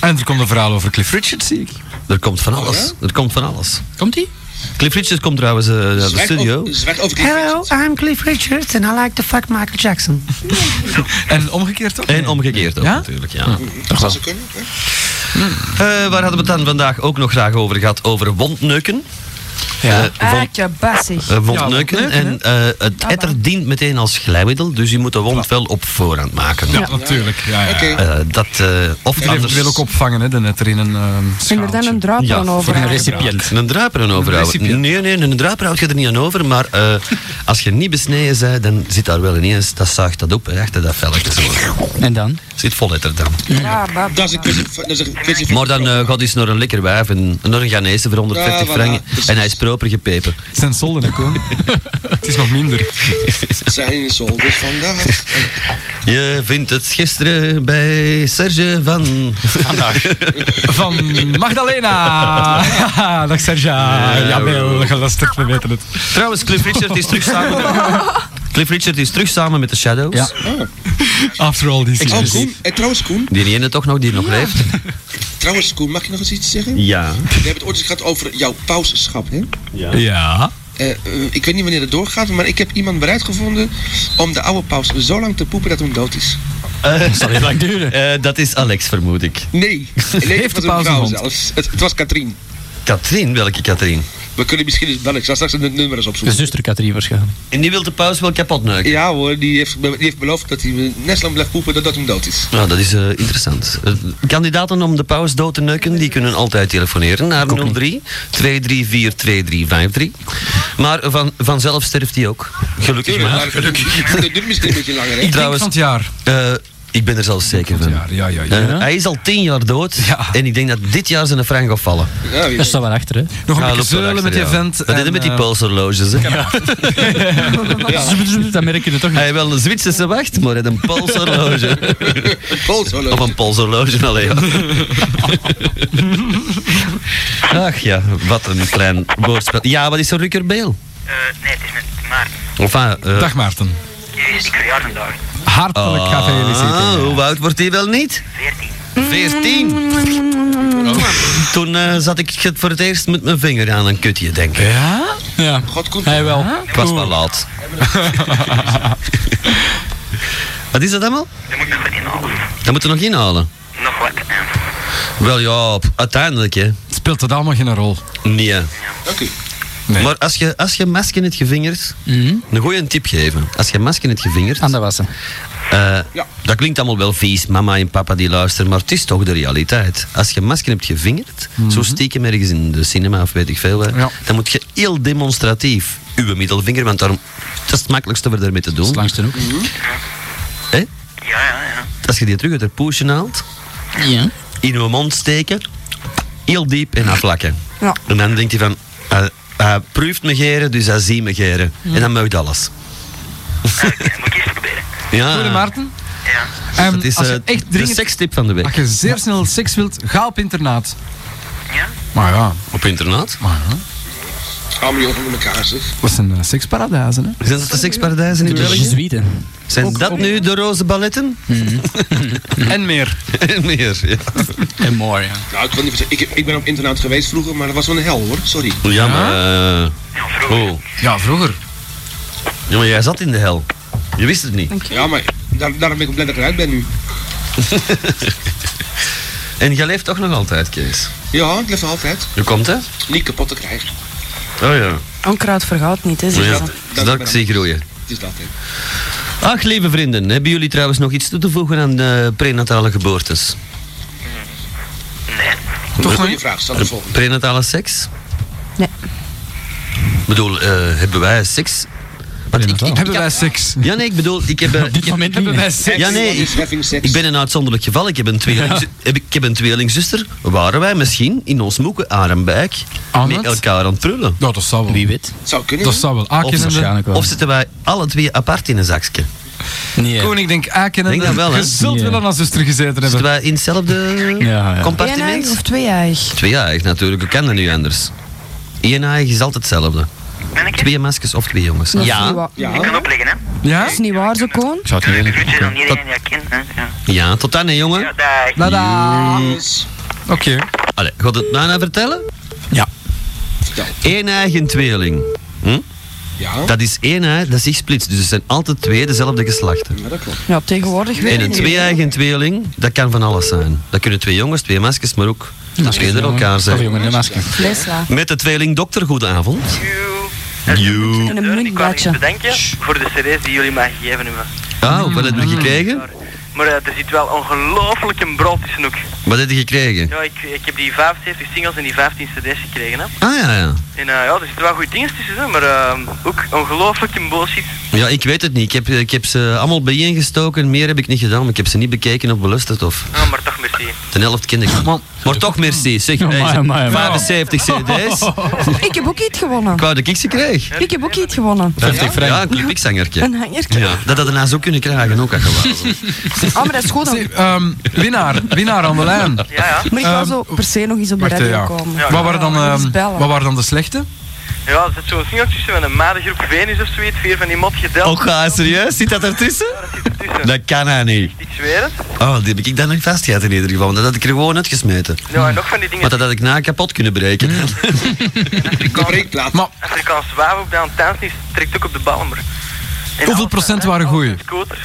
En er komt een verhaal over Cliff Richard, zie ik.
Er komt van alles. Er komt van alles.
Komt die?
Cliff Richards komt trouwens eh, naar de
Zwijg
studio.
over- Zwijg over Hello.
I'm Cliff Richards and I like to fuck Michael Jackson.
(laughs) En omgekeerd ook?
En omgekeerd ook
Ja?
natuurlijk, ja.
Dat zou ze kunnen. hè?
Eh, waar hadden we het dan vandaag ook nog graag over gehad? Over wondneuken.
Ja.
Eh, wond-
Akje, Ah, bassig.
eh, wondneuken.
Ja,
en
wondneuken,
eh, het etter dient meteen als glijmiddel, dus je moet de wond wel op voorhand maken.
Ja, natuurlijk. Ja, ja.
Oké.
Eh, dat, eh, of
En
anders...
eventueel ook opvangen, hè, de net erin een ehm
En er dan
schaaltje.
een draad
Ja,
aan over.
Voor een
hangen.
recipient.
Een druiper aan overhouden.
recipient.
Nee, nee, een druiper houd je er niet aan over, maar eh, als je niet besneden bent, dan zit daar wel ineens, dat zuigt dat op, hè, achter dat velletje. Zo.
En dan?
Zit vol letter dan.
Ja, bab.
Dat is een kwestie van- dat is een kwestie van-
Maar dan eh, gaat eens naar een lekker wijf, en, naar een Ghanese voor 150
Ja, voilà.
franken, en hij is proper gepeper.
Het zijn solden, hè, Koen? Het is nog minder.
Zijn zolders vandaag.
Je vindt het gisteren bij Serge van... Vandaag.
Van
(laughs)
Magdalena. Dag Serge. Jawel, gelastig, we weten het.
Trouwens, Cliff Richard is terug samen...
(laughs)
Cliff Richard is terug samen met de Shadows.
Ja. After all these
Oh,
years.
Ah. Koen. En trouwens, Koen.
Die ene toch nog, die nog
(laughs)
leeft.
Trouwens, Koen, mag je nog eens iets zeggen?
Ja.
We hebben het ooit eens gehad over jouw pausenschap, hè?
Ja.
Ja.
Eh, eh, ik weet niet wanneer het doorgaat, maar ik heb iemand bereid gevonden om de oude paus zo lang te poepen dat hij dood is.
Dat
zal niet lang duren.
Eh, dat is Alex, vermoed ik.
Nee, nee het
de
was een
paus
vrouw
een hond?
zelfs. Het, het was Katrien.
Katrien, welke Katrien?
We kunnen misschien eens bellen. Ik zal straks het nummer eens
De
opzoeken.
zuster Katrien waarschijnlijk.
En die wil de paus wel kapot neuken.
Ja hoor, die heeft, be- die heeft beloofd dat hij eh, net zo lang blijft poepen totdat hij dood is.
Nou, dat is eh, interessant. Eh, kandidaten om de paus dood te neuken, die kunnen altijd telefoneren naar 03 234 2353. Maar van, vanzelf sterft hij ook. Gelukkig maar.
Maar (laughs) gelukkig. Dat duurt misschien een beetje langer, hè?
Ik Trouwens,
van het jaar.
Eh, ik ben er zelfs zeker van.
Ja, ja, ja.
Eh, hij is al tien jaar dood en ik denk dat dit jaar zijn frank gaat vallen.
Ja, wie
(laughs) Daar
weet.
staan we achter, hè?
Nog een
Ja, loopt
beetje
wel
zeulen
achter,
met die
ja.
vent. eh,
Wat is er met die polshorloges? hè?
Dan merk je het toch niet.
Hij heeft wel een Zwitserse wacht, maar hij heeft een polshorloge.
Polshorloge.
Of een polshorloge alleen. ja. Ach ja, wat een klein woordspel. Ja, wat is een rukkerbeel?
Eh, nee, het is met Maarten.
Enfin, eh,
Dag Maarten.
Die is ik verjaar vandaag.
Hartelijk
ah,
gefeliciteerd.
Hoe oud wordt hij wel niet?
Veertien.
14. (laughs) Toen eh, zat ik het voor het eerst met mijn vinger aan een kutje, denk ik.
Ja? Ja,
God komt
hij wel.
Ik was wel laat. Wat is dat allemaal?
Je moet nog wat inhalen.
Dat moeten we nog inhalen.
Nog wat. En
Wel ja, p- uiteindelijk hè.
Speelt het allemaal geen rol?
Nee.
Dank u.
Nee.
Maar als je, als je masken het gevingerd, een goeie tip geven. Als je masken het gevingerd,
Mhm. Aan de wassen.
eh,
Ja.
dat klinkt allemaal wel vies, mama en papa die luisteren, maar het is toch de realiteit. Als je masken hebt gevingerd,
Mhm.
zo stiekem ergens in de cinema of weet ik veel, hè,
Ja.
dan moet je heel demonstratief uw middelvinger, want daarom, dat is het makkelijkste om ermee te
Dat is
doen.
langs de hoek.
Mm-hmm.
Hè?
ja, ja, ja.
Als je die terug uit het poesje haalt,
Ja.
in uw mond steken, heel diep en aflakken.
Ja.
En dan denkt hij van, hij, hij proeft me geren, dus hij ziet me geren. En dan meugt alles.
Moet ik eens proberen.
Ja.
Goede Maarten.
Ja.
En
Dat is
als
eh,
je echt
de
dringend...
sekstip van de
Als
week.
je zeer snel seks wilt, ga op internaat.
Ja?
Maar ja,
Op internaat.
maar ja.
Allemaal jongen met elkaar, zeg.
Dat zijn eh, seksparadijzen, hè?
Zijn dat de seksparadijzen in
De
België?
Jezuïeten.
Zijn dat nu de roze balletten?
En meer.
(laughs) (laughs) En meer, ja.
En mooi, ja.
Nou, ik, wil niet vertellen, ik, ik ben op internaat geweest vroeger, maar dat was wel een hel, hoor. Sorry.
Ja, maar... eh,
Ja, vroeger.
oh.
Ja, vroeger.
Ja, maar jij zat in de hel. Je wist het niet.
Ja, maar daar, daarom ben ik blij dat ik eruit ben nu.
(laughs) En jij leeft toch nog altijd, Kees?
Ja, ik leef altijd.
Je komt, hè?
Niet kapot te krijgen.
Oh ja.
Onkruid vergaat niet, hè? zeggen
ja.
ze.
Dat ik zie groeien.
Het is dat, hè.
Ach, lieve vrienden, hebben jullie trouwens nog iets toe te voegen aan de prenatale geboortes?
Nee.
Toch een goede vraag, stel de volgende.
Prenatale seks?
Nee.
Ik bedoel, eh, hebben wij seks? Want ik, ik,
Hebben wij seks?
ja, nee, ik bedoel, ik heb... eh,
Op dit moment hebben wij seks.
Ja, nee,
Wat is
ik,
having sex?
ik ben een uitzonderlijk geval. Ik heb een, tweeling, heb, ik ik heb een tweelingzuster. Waren wij misschien in ons moeke Arembijk
Aan
met
het?
elkaar aan het prullen?
Ja, dat zou wel.
Wie weet.
Zou kunnen.
Dat
hè?
zou wel.
Of,
A-kennende.
waarschijnlijk wel.
of zitten wij alle twee apart in een zakje?
Nee.
Koning, ik denk A-kennende.
Denk ah, dat wel, hè?
Je zult
Ja.
wel aan haar zuster gezeten
Zitten
hebben.
wij in hetzelfde
Ja, ja.
compartiment?
Eenijig of tweeijig?
Tweejarig natuurlijk, ik kan dat niet anders. E Eenijig is altijd hetzelfde.
Ben ik het?
Twee maskers of twee jongens.
Dat is niet
Ja,
waar.
Ik
Ja,
kan opleggen, hè?
Ja?
Dat is niet waar, zo Koon.
Ik zou het niet
Ik
weten.
groet je dan iedereen die ik ken. hè. Ja.
ja, tot dan hè
Ja,
jongen.
dag.
Dada.
Yes.
Oké.
Allee, gaat het nou vertellen?
Ja.
Eeneigen tweeling. Hm?
Ja,
Dat is één ei dat zich splitst, dus het zijn altijd twee dezelfde geslachten.
ja, dat klopt.
Ja, tegenwoordig weet
En
ik
een
niet.
twee-eigen tweeling, dat kan van alles zijn. Dat kunnen twee jongens, twee meisjes, maar ook twee door elkaar
Of
zijn.
jongen in een masker.
Lesla.
Met de tweeling dokter, goedenavond.
Joe.
You.
En
Ik
een
kan
muntbadje.
niet bedenken voor de cd's die jullie mij gegeven hebben.
Ah, wat heb
Mm.
je gekregen?
Maar eh, er zit wel ongelooflijk een brood tussen ook.
Wat heb je gekregen?
Ja, ik, ik heb die 75 singles en die 15 cd's gekregen. Hè.
Ah ja, ja.
En eh, ja, er zitten wel goede dingen tussen, hè, maar eh,
ehm,
ook ongelooflijk een bullshit.
Ja, ik weet het niet. Ik heb, ik heb ze allemaal bijeengestoken. Meer heb ik niet gedaan, maar ik heb ze niet bekeken of beluisterd. Of...
Ah, maar toch merci.
Het de helft kende ik. Maar, toch merci. Zeg,
Amai,
hey,
amai, amai.
75
(laughs)
cd's.
Ik heb ook iets gewonnen.
Ik wou dat ik ze kreeg.
Ik heb ook iets gewonnen.
Ja, een klipikzangertje.
Een hangertje.
Ja, dat hadden ze ook kunnen krijgen, ook als je wou.
Ah, maar dat is goed. Dan.
Ehm, winnaar, winnaar aan de lijn.
Maar ik
Ehm,
ga zo per se nog eens op de
Wacht,
eh,
radio
ja.
komen.
Wat, waren dan,
Nog
ehm,
eens bellen.
wat waren dan de slechte?
Ja, er zit zo'n singeltje tussen met een madengroep Venus of zoiets. Vier van die mot gedeld.
Ook Oh, ga serieus? Zit dat ertussen? Dat kan hij niet.
Ik zweer het.
Oh, die heb ik dan nog vastgehad in ieder geval, want dat had ik er gewoon uitgesmeten.
Ja, en nog van die dingen.
Maar dat had ik na kapot kunnen
Mm.
(laughs) breken.
Maar
Afrikaans wapen op de Antaans die trekt ook op de ballen, maar.
hoeveel procent waren goeie?
Scooter.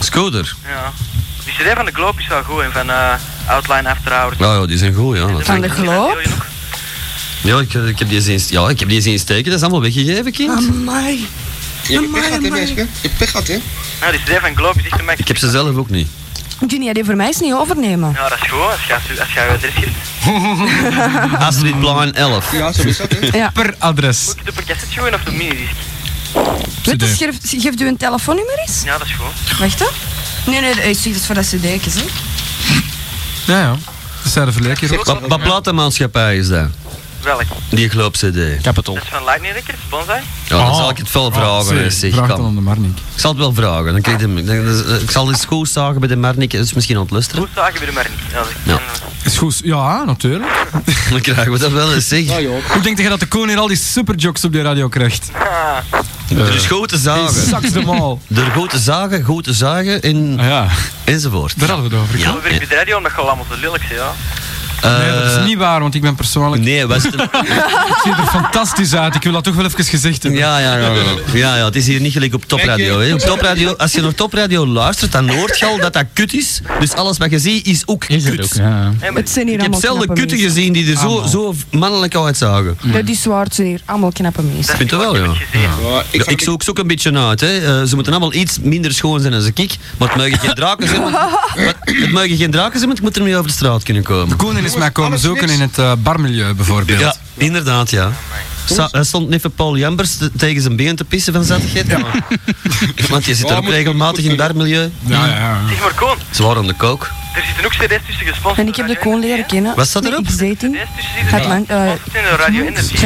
Scooter.
Ja. Die CD van de Globe is wel goed en van eh, Outline After Hours.
Nou ja, die zijn goed, ja.
Van de
Globe?
Ja, ik, ik heb die zien, ja, ik heb die zien steken, dat is allemaal weggegeven, kind.
Amai.
Je hebt pech gehad, hè, meisje? Je hebt pech gehad, hè?
Nou, die CD van Globe is echt een max.
Ik heb ze zelf ook niet.
Junior, die voor mij is niet overnemen.
Ja, dat is goed als je als je adres geeft.
(laughs)
(laughs)
Astrid Blauwen 11.
Ja, zo is dat,
hè. Ja.
Per adres.
De per cassette gewoon of de minidisc?
Weet je, dus geef, geeft u een telefoonnummer eens?
Ja, dat is goed.
Wacht, hè? Nee, nee, ik zeg dat is voor dat cd'tjes, hè.
Ja, ja. Dat zijn de verleker
Wat, wat platenmaatschappij is dat?
Welk?
Die Globe CD. Capital.
Dat is van Lightning Records, Bonsai.
Ja, dan zal ik het wel vragen. hè, zeg,
Oh. Vraag
kan.
dan aan de Marnik.
Ik zal het wel vragen. Dan krijg je hem- dan- dan- ik zal eens goed zagen bij de Marnik. Dat is misschien ontlusteren.
Goed eh, zagen we er maar niet. Ja, dat is-
Ja.
Is goed, ja, natuurlijk.
(laughs) Dan krijgen we dat wel eens, zeg.
Hoe denk je dat de koning al die superjokes op de radio krijgt?
Ah.
Eh,
Er is goed te zagen.
Hij zakt hem
(laughs)
al. Ah,
Er goed te zagen, goed te zagen en, enzovoort.
Daar hadden we het over.
Ja. Eh,
We werken bij de radio omdat je al allemaal zo lelijk bent, ja.
Nee, dat is niet waar, want ik ben persoonlijk...
Nee, was het...
(laughs) ik zie er fantastisch uit. Ik wil dat toch wel even gezegd hebben.
Ja, ja, ja, ja. ja, ja, het is hier niet gelijk op topradio. Hè. Op topradio als je naar topradio luistert, dan hoort je al dat dat kut is. Dus alles wat je ziet is ook kut.
Het zijn hier
Ik heb
allemaal
zelden
knappe
kutten
mensen.
gezien die er zo, zo mannelijk uitzagen.
Dat is waar, het zijn hier allemaal knappe mensen.
Ik vind het wel, ja.
Ja,
ik, zoek ze ook een beetje uit. Hè. Eh, ze moeten allemaal iets minder schoon zijn dan ik. Maar het mogen geen draken
(laughs)
zijn. want- maar het mogen geen draken zijn, want ik moet ermee over de straat kunnen komen.
Koning is mij komen zoeken in het eh, barmilieu, bijvoorbeeld.
Ja, inderdaad, ja. Sa- er stond even Paul Jambers te- tegen zijn been te pissen van zattigheid. maar- (laughs) Want je zit er ook regelmatig in het darmilieu.
Ja, ja, ja.
Zeg maar, Koon,
Ze waren aan de kook.
er zitten ook CD's tussen gesponsord.
En ik heb de koon leren kennen.
Wat staat erop?
Met X-dating. Gaat lang... eh,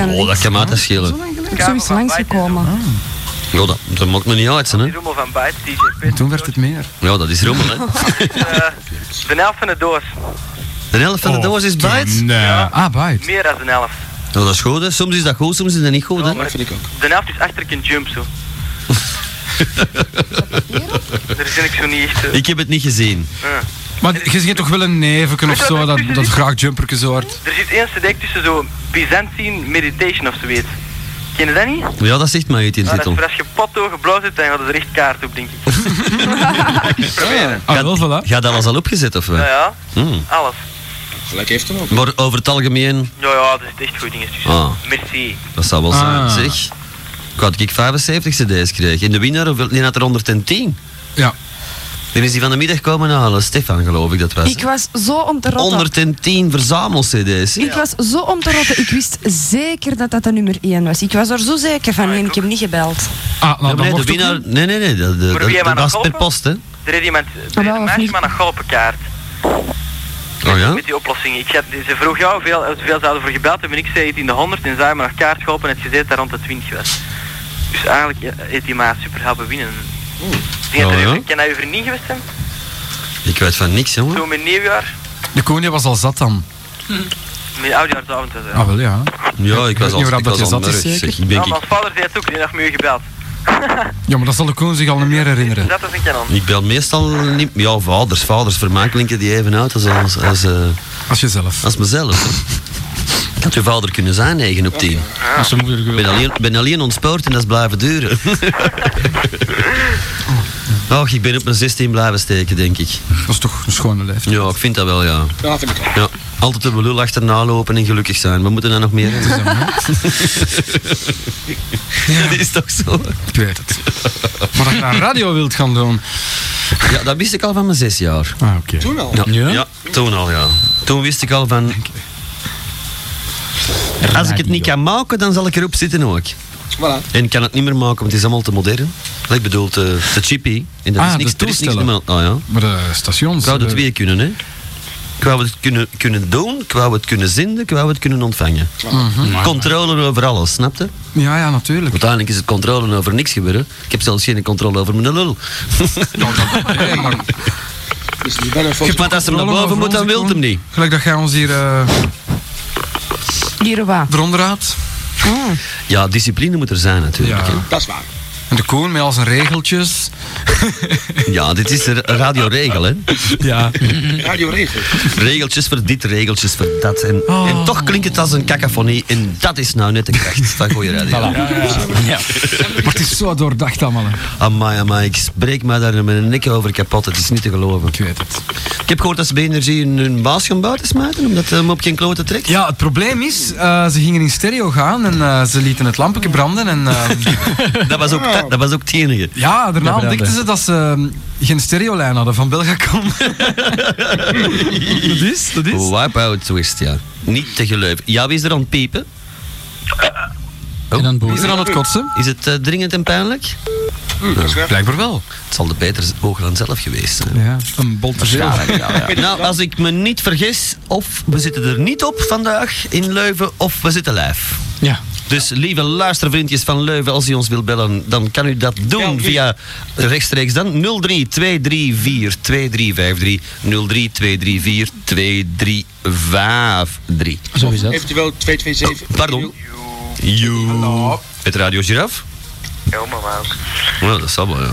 Oh, dat kan mij dat schelen.
ik zo eens langsgekomen.
Ah, Ja, dat, dat maakt me niet uit, hè.
Rommel van Byte, DJ Pit.
Toen werd het meer.
Ja, dat is rommel, hè.
(laughs) eh, de helft van de doos.
De helft van de doos is bijt.
Oh, Ah, bijt.
Meer dan de helft.
Ja, dat is goed, hè. Soms is dat goed, soms is dat niet goed, hè.
Dat vind ik ook.
De helft is achter in jump zo. (laughs) Daar zit ik zo niet echt. eh,
(laughs) Ik heb het niet gezien.
eh.
Maar je ziet toch wel een neven of zo, dat, dat graag jumpertjes hoort.
Er zit één CD tussen zo Byzantine Meditation of zoiets. Ken je dat niet?
Ja, dat zegt mij uit in
Nou, dat is
titel.
voor als je potto geblazen hebt, dan gaat het er echt kaart op, denk ik.
Ah, wel, voilà.
Gaat alles al opgezet, of
Ja,
wat?
Nou ja,
Hmm.
alles.
Gelijk heeft hem ook.
Maar over het algemeen,
Ja, ja, er zitten echt goede dingen tussen.
Ah.
Merci.
dat zou wel zijn,
Ah.
zeg. Ik had ik 75 cd's gekregen. En de winnaar, hoeveel- die had er 110.
Ja.
Dan is die van de middag komen halen. Stefan, geloof ik dat was.
Ik was zo om te rotten.
110 verzamel-cd's.
Ik was zo om te rotten. Ik wist zeker dat dat de nummer 1 was. Ik was er zo zeker van. Nee, Ah, ik heb niet gebeld.
Ah,
Ja, maar
nou, dan
nee, de
mocht
winnaar...
ook
Nee, nee, nee. Dat, dat,
Voor
dat,
wie hebben we
was
nog
per
open?
post, hè.
Er is iemand,
Ah,
er is een meisje met een galpenkaart.
Oh, ja?
Met die oplossing. Ik had, ze vroeg jou hoeveel, hoeveel zouden voor gebeld hebben. En ik zei het in de 100 en zij me nog kaart geholpen en het gezet daar rond de 20 was. Dus eigenlijk ja, heeft die maar super helpen winnen. Ik denk dat
Oh,
er
ja?
even- Kan hij over niet geweest zijn?
Ik weet van niks, jongen.
Zo met nieuwjaar,
niet. De koning was al zat dan.
met oudjaarsavond was dat.
Ah, wel ja.
Ja, ik was
weet niet
al,
waar
ik
dat
was
je
al
zat is,
nerveus,
zeker?
zeg. Ik
Ja,
denk,
maar als vader zei het ook, die heeft me gebeld.
Ja, maar dat zal de koning zich al niet meer herinneren.
Dat is een kanon.
ik, ik bel meestal niet... Ja, vaders, vaders, vermaak klinken die even uit als... als, als eh,
Als jezelf.
Als mezelf. Ik had je vader kunnen zijn, 9 op 10.
Ah.
Als zijn moeder
Ik ben alleen, ben alleen ontspoord en dat is blijven
(laughs)
duren. Och, ik ben op mijn 16 blijven steken, denk ik.
Dat is toch een schone leeftijd.
Ja, ik vind dat wel, ja.
Ja, vind ik ook.
ja. Altijd de lul achterna lopen en gelukkig zijn. We moeten daar nog meer hebben. (laughs) Dat is toch zo?
Ik weet het. Maar dat je naar radio wilt gaan doen.
Ja, dat wist ik al van mijn zes jaar.
Ah, oké.
Toen al.
Ja,
Ja?
ja toen al, ja. Toen wist ik al van... Als ik het niet kan maken, dan zal ik erop zitten ook.
Voilà.
En ik kan het niet meer maken, want het is allemaal te modern. Ik bedoel, te, te chippy. En dat
Ah,
is niks,
de
er is niks
toestellen.
normaal. Ah ja.
Maar de stations...
Ik zou de
eh,
twee kunnen, hè. Ik wou het kunnen, kunnen doen, ik wou het kunnen zenden, ik wou het kunnen ontvangen.
Mhm.
Controle over alles, snapte?
Ja, ja, natuurlijk.
Uiteindelijk is het controle over niks gebeuren. Ik heb zelfs geen controle over mijn lul. Want als er naar boven moet, dan wil hem niet.
Gelijk dat jij ons hier eh
Hier waar.
eronder houdt.
Ja, discipline moet er zijn natuurlijk. hè.
Dat is waar.
En de koen met al zijn regeltjes.
Ja, dit is de radioregel, hè?
Ja.
Radio regel.
Regeltjes voor dit, regeltjes voor dat. En,
Oh.
en toch klinkt het als een cacophonie. En dat is nou net de kracht van goede radio.
Voilà. Ja, ja, Maar het is zo doordacht allemaal. hè.
Amai, amai, ik spreek mij daar met een nek over kapot. Het is niet te geloven. Ik
weet het.
Ik heb gehoord dat ze bij Energie hun, hun baas gaan buiten smijten, omdat hem op geen klote trekt.
Ja, het probleem is, eh, ze gingen in stereo gaan en eh, ze lieten het lampje branden. En, eh,
Dat was ook, dat, dat was ook het enige.
ja, daarna
Dat
ontdekten ze
brandde.
dat ze eh, geen stereolijn hadden van Belgacom. dat is, dat is.
Wipeout twist, ja. Niet te geloven. Ja, wie is er aan het piepen? Oh.
boeren. Is er aan het kotsen?
Is het eh, dringend en pijnlijk?
Nou, blijkbaar wel.
Het zal de beter Hoogland zelf geweest zijn.
Ja, een bol te veel.
Nou, als ik me niet vergis, of we zitten er niet op vandaag in Leuven, of we zitten live.
Ja.
Dus lieve luistervriendjes van Leuven, als u ons wil bellen, dan kan u dat doen via rechtstreeks dan 03234 2353 03234 2353.
Zo is dat. Eventueel 227.
Pardon. Joe. Het Radio Giraf?
Ja, mama ook.
Nou, dat zal wel, ja.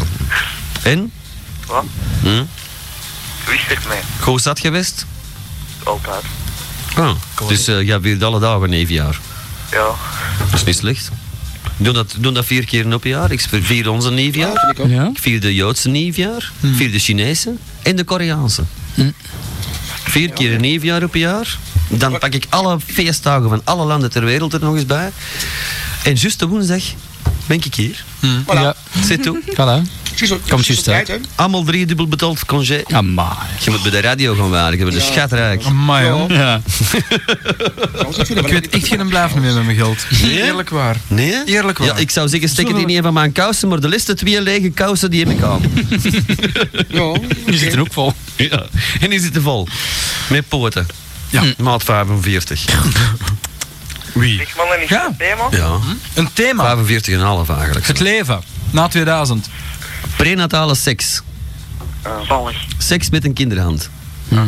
En?
Wat?
Hm?
Wie is er mee?
Goed is dat geweest?
Altijd.
Ah, dus eh, jij viert alle dagen een jaar.
Ja.
Dat is niet slecht. Doe dat, doe dat vier keer op een jaar. Ik vier onze nieuwjaar.
ik,
vier de Joodse nieuwjaar. Ik vier de Chinese en de Koreaanse. Vier keer een nieuwjaar op een jaar. Dan pak ik alle feestdagen van alle landen ter wereld er nog eens bij. En juist de woensdag ben ik hier.
Voilà. Ja.
Zit toe.
Voilà. Komt juist uit.
Allemaal drie dubbel betaald congé.
Amai.
Je moet bij de radio gaan werken, bij de
Ja.
schatrijk.
Amai, joh.
Ja.
Ik weet echt geen blijven meer met mijn geld.
Nee?
Eerlijk waar.
Nee?
Eerlijk waar.
Ja, ik zou zeggen, steek het
Zullen
in
we-
een van mijn kousen, maar de laatste twee lege kousen die heb ik
(laughs)
aan.
Ja.
Die zitten ook vol.
Ja. En die zitten vol. Met poten. Ja.
Hm.
Maat 45. Wie?
Zeg mannen, is
Ja.
het een thema?
Ja.
Een thema.
45,5 eigenlijk.
Het leven. Na 2000.
Prenatale seks.
Vallig.
Seks met een kinderhand. ehm,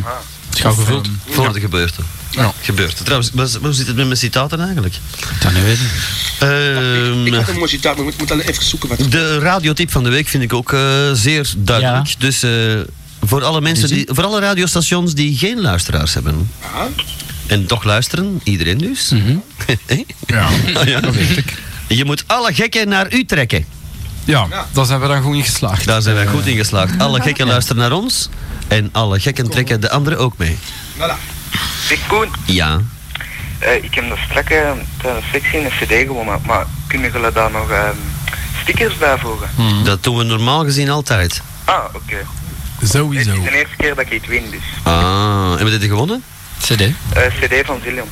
Schouw gevuld.
Voor de gebeurte.
Ja.
Gebeurte. Trouwens, waar- hoe zit het met mijn citaten eigenlijk?
Dat nu weten.
Ehm,
Ik had een mooi citaat, maar ik moet- moet alleen even zoeken wat.
de radiotip van de week vind ik ook eh, zeer duidelijk. Dus eh, voor alle mensen, die, voor alle radiostations die geen luisteraars hebben.
Ah,
En toch luisteren, iedereen dus. (laughs) Hé?
Mhm.
(laughs)
Ja.
Ah, ja. Je moet alle gekken naar u trekken.
Ja, daar zijn we dan goed in geslaagd.
Daar zijn wij goed in geslaagd. Alle gekken luisteren naar ons. En alle gekken trekken de anderen ook mee.
voilà.
Zeg Koen,
Ja.
eh, ik heb dat strak eh, tijdens sectie in een cd gewonnen, maar kunnen jullie daar nog eh, stickers bij voegen?
Mhm.
Dat doen we normaal gezien altijd.
Ah, oké. Het
Sowieso.
is de eerste keer dat ik iets win, dus.
Ah, en wat heb je gewonnen?
CD.
Eh, cd van Zillium.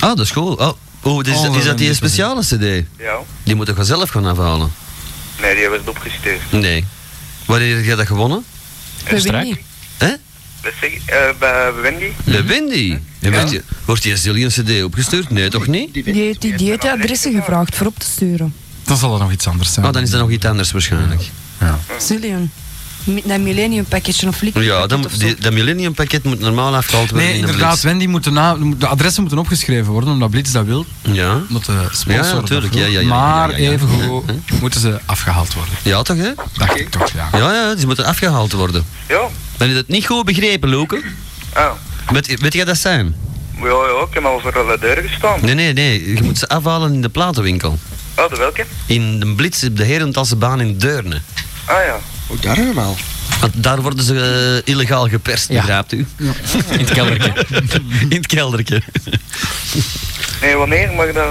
Ah, dat is cool. Oh, oh, is, is dat die speciale cd?
Ja.
Die moet ik wel zelf gaan afhalen.
Nee, die werd opgestuurd.
Nee. Wanneer heb je dat gewonnen?
We winnen niet.
Dat zeg ik, eh, bij Wendy.
De Wendy. En Wordt, die, wordt die Zillion cd opgestuurd? Nee, toch niet?
Die
Die
wint.
heeft die dieetadressen gevraagd voor op te sturen.
Dan zal dat nog iets anders zijn.
Oh, dan is dat nog iets anders waarschijnlijk.
Ah. Zillion. Mi- Dat millennium pakketje of liquid
Ja,
pakket
dan,
of zo.
die, dat millennium pakket moet normaal afgehaald worden
Nee,
in de
inderdaad,
blitz.
Wendy moet de, na- de adressen moeten opgeschreven worden, omdat Blitz dat wil.
Ja.
Omdat de sponsor
Ja,
dat
natuurlijk.
wil.
Ja, ja, ja,
maar
ja, ja, ja.
even goed moeten ze afgehaald worden.
Ja, toch hè?
Dacht ik toch, ja.
Ja, ja, die moeten afgehaald worden.
Ja.
Ben je dat niet goed begrepen, Loke?
Oh.
Weet, weet jij dat zijn?
Ja, ja, ik heb al voor alle deuren gestaan.
Nee, nee, nee. Je moet ze afhalen in de platenwinkel.
Oh, de welke?
In de Blitz op de Herentassenbaan in Deurne.
Ah ja.
Oh, daar helemaal.
Want daar worden ze eh, illegaal geperst, begrijpt
(laughs)
u?
In het keldertje.
(laughs) In het keldertje.
Nee, wanneer mag dat?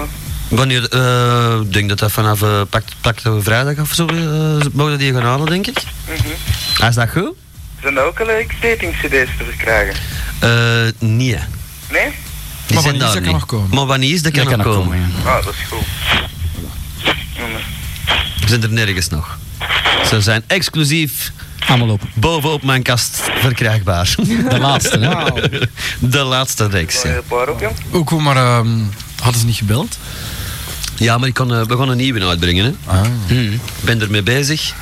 Wanneer, eh, ik denk dat dat vanaf eh, pakt, pakt we vrijdag of zo, eh, mogen die gaan halen, denk ik. Is dat goed?
Mhm. Zijn er ook alle dating-cd's te verkrijgen?
Eh, nee.
Nee?
Die
Maar wanneer
zijn
is
daar
dat kan
niet.
nog komen?
Maar wanneer is dat kan,
Dat kan
nog
ook
komen?
komen, ja.
Ah, dat is goed. Ja, maar- Mm.
Ze zijn er nergens nog. Ze zijn exclusief Allemaal op. Bovenop mijn kast verkrijgbaar.
De laatste, hè? Wauw.
De laatste reeks, ja.
Ook goed, maar ehm, hadden ze niet gebeld?
Ja, maar ik kan, eh, we gaan een nieuwe uitbrengen. Hè.
Ah.
Hmm. Ik ben ermee bezig.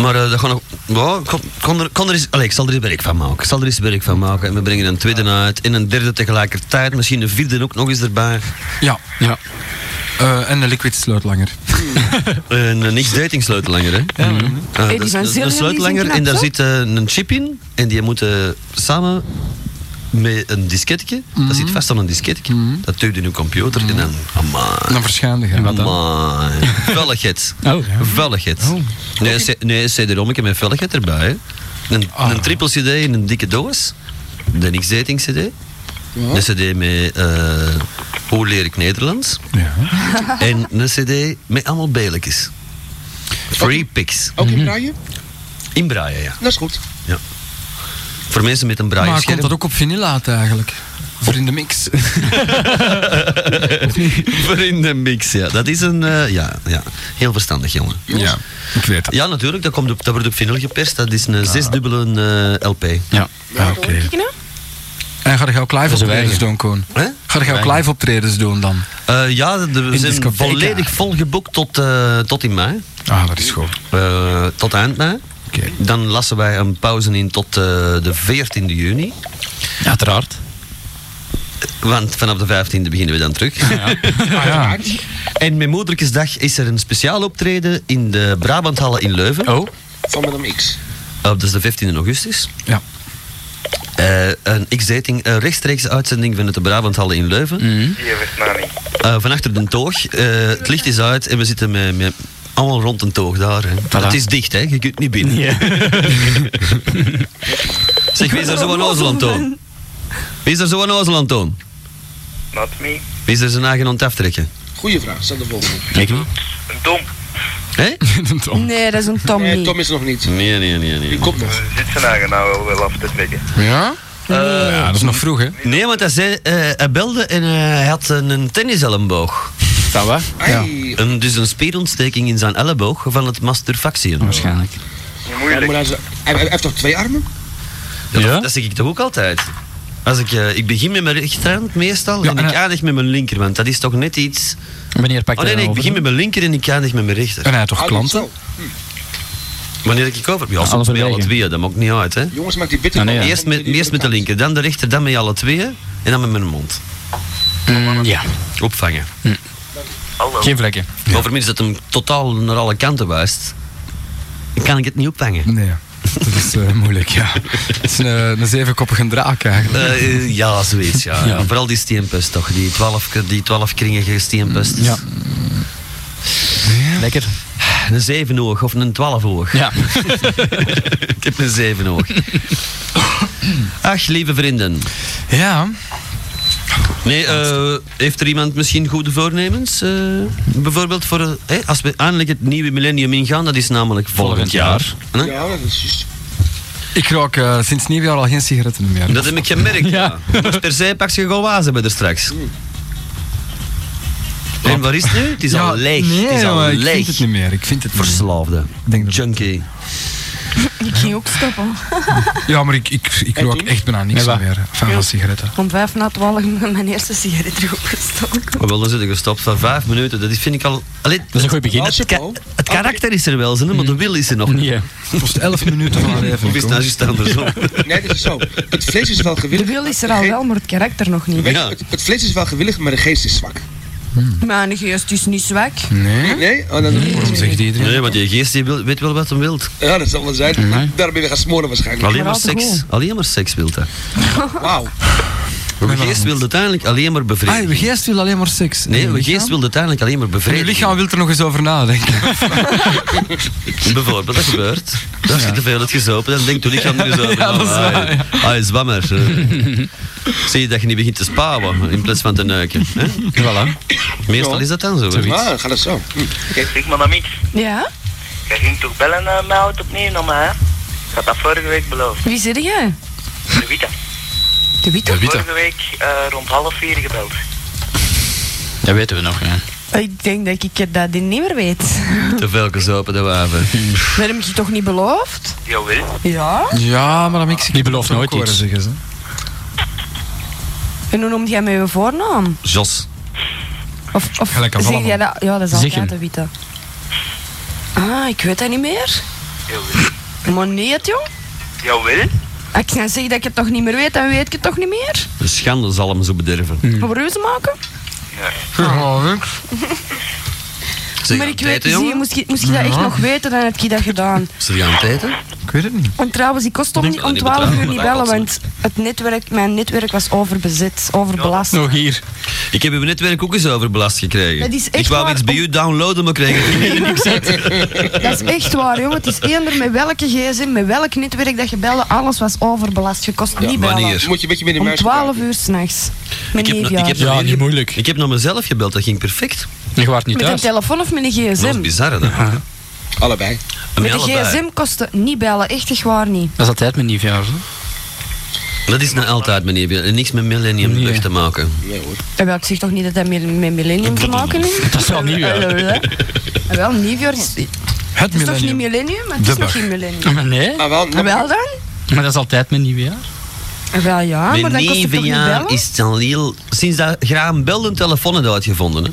Maar eh, dat gaan nog... Ja, ik kan- kan er, kan er eens, allez, ik zal er eens werk van maken. Ik zal er eens werk van maken. En we brengen een tweede uit en een derde tegelijkertijd. Misschien een vierde ook nog eens erbij.
Ja. ja. Eh, en de liquid sleutelanger.
Een eh, niks-dating sleutelanger, hè? Ja,
Hey, die
dat is
van
dat is
Zillion,
een
die
sleutelanger
zijn knap,
en daar
zo.
zit eh, een chip in. En die moet eh, samen met een disketje, dat zit vast aan een disketje, dat duwt in uw computer en dan... Amai.
Dan verschaande gaan.
Mhm. Wat Velligheid. (laughs) Oh, Velligheid. Nee, c- nee, een CD-ROMje met velligheid erbij. Hè. Een, een triple CD in een dikke doos. De X-Dating CD. Een CD met eh, Hoe leer ik Nederlands? En een CD met allemaal beelletjes. Free pics. Mhm.
Ook in Braaien?
Inbraaien, ja.
Dat is goed.
ja. Voor mensen met een braai
maar komt dat ook op vinyl uit eigenlijk? Voor in de mix.
(laughs) Voor in de mix, ja. Dat is een, eh, ja, ja. Heel verstandig, jongen.
Ja, ik weet het.
Ja, natuurlijk. Dat, komt op, dat wordt op vinyl geperst. Dat is een zesdubbele eh, LP.
Ja, oké. En ga je ook live
Dat is
optredens
weinig.
doen, Koen?
Hè?
Ga je ook
Weinig.
live optredens doen dan?
Eh, ja, de- we
In
zijn
discotheek,
volledig volgeboekt tot, eh, tot in mei.
Ah, dat is goed.
Eh, tot eind mei. Dan lassen wij een pauze in tot eh, de 14e juni. Uiteraard. Want vanaf de 15e beginnen we dan terug. (laughs)
Ah,
en met Moederkesdag is er een speciaal optreden in de Brabanthallen in Leuven. Oh.
Van Madame X.
dat is Ah, dus de 15e augustus.
Ja.
Eh, een X-dating, eh, rechtstreeks uitzending vanuit de Brabanthallen in Leuven.
Die wist maar niet.
Eh, van achter de toog. eh, het licht is uit en we zitten met, met allemaal rond een toog daar. Hè.
Voilà.
Het is dicht, hè? je kunt niet binnen. (laughs) zeg, wie is er zo een ozel aan toon? Wie is er zo een ozel aan toon?
Not me.
Wie is er zijn eigen aan het aftrekken?
Goeie vraag, stel de volgende.
Ik wel.
Een dom.
Hé?
(laughs) Nee, dat is een Tom
Nee,
niet.
Eh, Tom is er nog niet.
Nee, nee, nee. nee.
Komt nog.
Zit zijn eigen nou wel af te trekken.
Ja? ja, dat is nog vroeg, hè?
Eh, Nee, want hij, zei, eh, hij belde en eh, hij had een, een tenniselmboog.
Dat wat?
Ja. Een, dus een spierontsteking in zijn elleboog van het masturbactie. Waarschijnlijk.
Ja, maar hij, is- hij- hij heeft toch twee armen?
Ja, Dat, dat zeg ik toch ook altijd. Als ik, eh, ik begin met mijn rechterhand meestal en ik eindig met mijn linker, want dat is toch net iets...
Wanneer pakt
Oh nee,
hij
nee, ik
over?
begin met mijn linker en ik eindig met mijn rechter.
En hij
Ah,
had toch
dus
Oh,
klanten?
Wanneer ik over... Ja, soms met
Halverwege.
alle tweeën, dat maakt niet uit, hè.
Jongens, maak die bitter.
Eerst, met, eerst met de linker, dan de rechter, dan met alle tweeën en dan met mijn mond.
Mm, ja.
Opvangen.
Geen vlekken.
Overigens dat hem totaal naar alle kanten wijst, dan kan ik het niet opvangen.
Nee. Dat is eh, moeilijk, ja. Het is een, eh, een zevenkoppige draak eigenlijk.
Eh, eh, ja, zoiets, ja.
Ja.
Vooral die steenpest toch, die twaalf, die twaalf kringige steenpest. Ja.
Lekker.
Een zevenoog of een twaalfoog.
Ja.
(laughs) ik heb een zevenoog. Ach, lieve vrienden.
Ja.
Nee, eh, heeft er iemand misschien goede voornemens? Eh, bijvoorbeeld voor, eh, hè, als we eindelijk het nieuwe millennium ingaan, dat is namelijk volgend,
Volgend
jaar. Hè?
Ja, dat is juist.
Ik rook eh, sinds nieuwjaar al geen sigaretten meer.
Dat heb ik gemerkt, ja. Dus per se pak je gewoon waas hebben er straks.
Hmm.
En waar is het nu? Het is
Ja,
al leeg.
nee,
het is al
maar ik
leeg.
vind het niet meer. Ik vind het niet meer.
Verslaafde. Junkie.
(laughs) Ik ging ook stoppen. (laughs)
Ja, maar ik, ik, ik rook echt bijna niks
Met wat?
meer van
Ja.
van sigaretten.
Om vijf na twaalf met mijn eerste sigaret erop gestoken.
Maar wel, dan zit ik gestopt van vijf minuten. Dat is- vind ik al... Allee, dat
is een goed begin.
Het, ka- het karakter is er wel, zin, hè, maar de wil is er nog niet.
Het kost 11 minuten van haar leven.
Of is het nou juist andersom?
Nee, dat is
(laughs)
zo. Het vlees is wel
De
gewillig.
wil is er al Ah, wel, maar het karakter nog niet.
Weet je, het, het vlees is wel gewillig, maar de geest is zwak.
Mijn geest is niet zwak.
Nee?
Nee? Oh, dan,
zegt iedereen?
Nee, want die geest die wil- weet wel wat hem wilt.
Ja, dat zal wel zijn. Daarom ben je gaan smoren waarschijnlijk.
Alleen maar seks. Alleen maar seks wil dat.
Wauw.
Uw geest wil uiteindelijk alleen maar
Ah,
bevredigen.
uw geest wil alleen maar seks.
Nee,
En
uw geest wil uiteindelijk alleen maar
En uw
bevredigen.
lichaam wil er nog eens over nadenken.
Bijvoorbeeld, dat
(laughs)
gebeurt. Als je te veel hebt gezopen, dan denkt je lichaam er eens over.
Ja, dat is
Ah,
waar,
hij- Hij is zwammer. (laughs) Zie je dat je niet begint te spouwen in plaats van te neuken. Hè? Voilà. Meestal is dat dan zo. hè?
Ah, gaat dat zo. Hm.
Zeg maar dan niet.
Ja?
Jij ging toch bellen naar
eh,
mij uit opnieuw naar mij, hè? Ik had dat vorige week beloofd.
Wie zit jij?
De Vita.
De Witte?
Vorige week eh, rond half vier gebeld.
Dat weten we nog, ja.
Ik denk dat ik het dat niet meer weet.
Te veel gezopen, de wapen.
Maar heb ik je toch niet beloofd?
Jawel.
Ja.
Ja, maar dat mix ik
Die belooft
ook
nooit
horen
iets.
Zeggen, ze.
En hoe noemt jij mij je voornaam?
Jos.
Of, of
Gelijk aan
zeg
allemaal.
jij dat? Ja, dat is
Zeg
altijd
hem.
de witte. Ah, ik weet dat niet meer. Maar nee, het, jong.
Jawel.
Als ik dan zeg dat ik het toch niet meer weet, dan weet ik het toch niet meer?
De schande zal hem zo bederven.
Gaan we ruzie maken?
Hm. Ja,
Zeg,
maar ik weet
tijden,
het niet,
jongen?
moest je, moest je dat echt
Ja.
nog weten, dan heb je dat gedaan.
Is er gaan tijden?
Ik weet het niet.
En trouwens, ik kost om,
Ik denk dat
om
niet
12 uur
betrouwbaar,
niet
maar
bellen,
dat
want het netwerk, mijn netwerk was overbezet, overbelast.
Nog hier. Ik heb uw netwerk ook eens overbelast gekregen.
Dat is echt
ik wou
waar,
iets bij u downloaden, maar kreeg ik (laughs) niet niks uit.
Dat is echt waar, jongen. Het is eender met welke gsm, met welk netwerk dat je belde, alles was overbelast. Je kost niet bellen.
wanneer? Moet je een beetje met de
Om
muis
12 uur s'nachts. Met
Ik heb,
neefjaar.
ik heb nog niet moeilijk. Ik heb naar mezelf gebeld, dat ging perfect. Ik was
Met een telefoon of met een
Dat is
gsm?
bizar, hè, dat.
Allebei.
Met een gsm kostte niet bellen, echt, echt waar niet.
Dat is altijd mijn nieuwjaar. Dat is nou altijd mijn nieuwjaar. En niks met millennium terug te maken.
Nee hoor.
En Eh, wel, ik zeg toch niet dat dat met, met millennium te maken heeft?
Dat is wel nieuwjaar.
Hallo, hè?
(laughs)
En wel, nieuwjaar is... Het is toch niet
millennium.
millennium, maar het is
De
nog
bug.
geen millennium.
Maar nee.
Ah, wel,
En wel dan?
Maar dat is altijd mijn nieuwjaar.
En wel ja, Ah, maar dan
mijn
kost het toch niet
nieuwjaar
bellen?
is het al heel... Sinds dat Graham Bell een telefoon had uitgevonden, hè.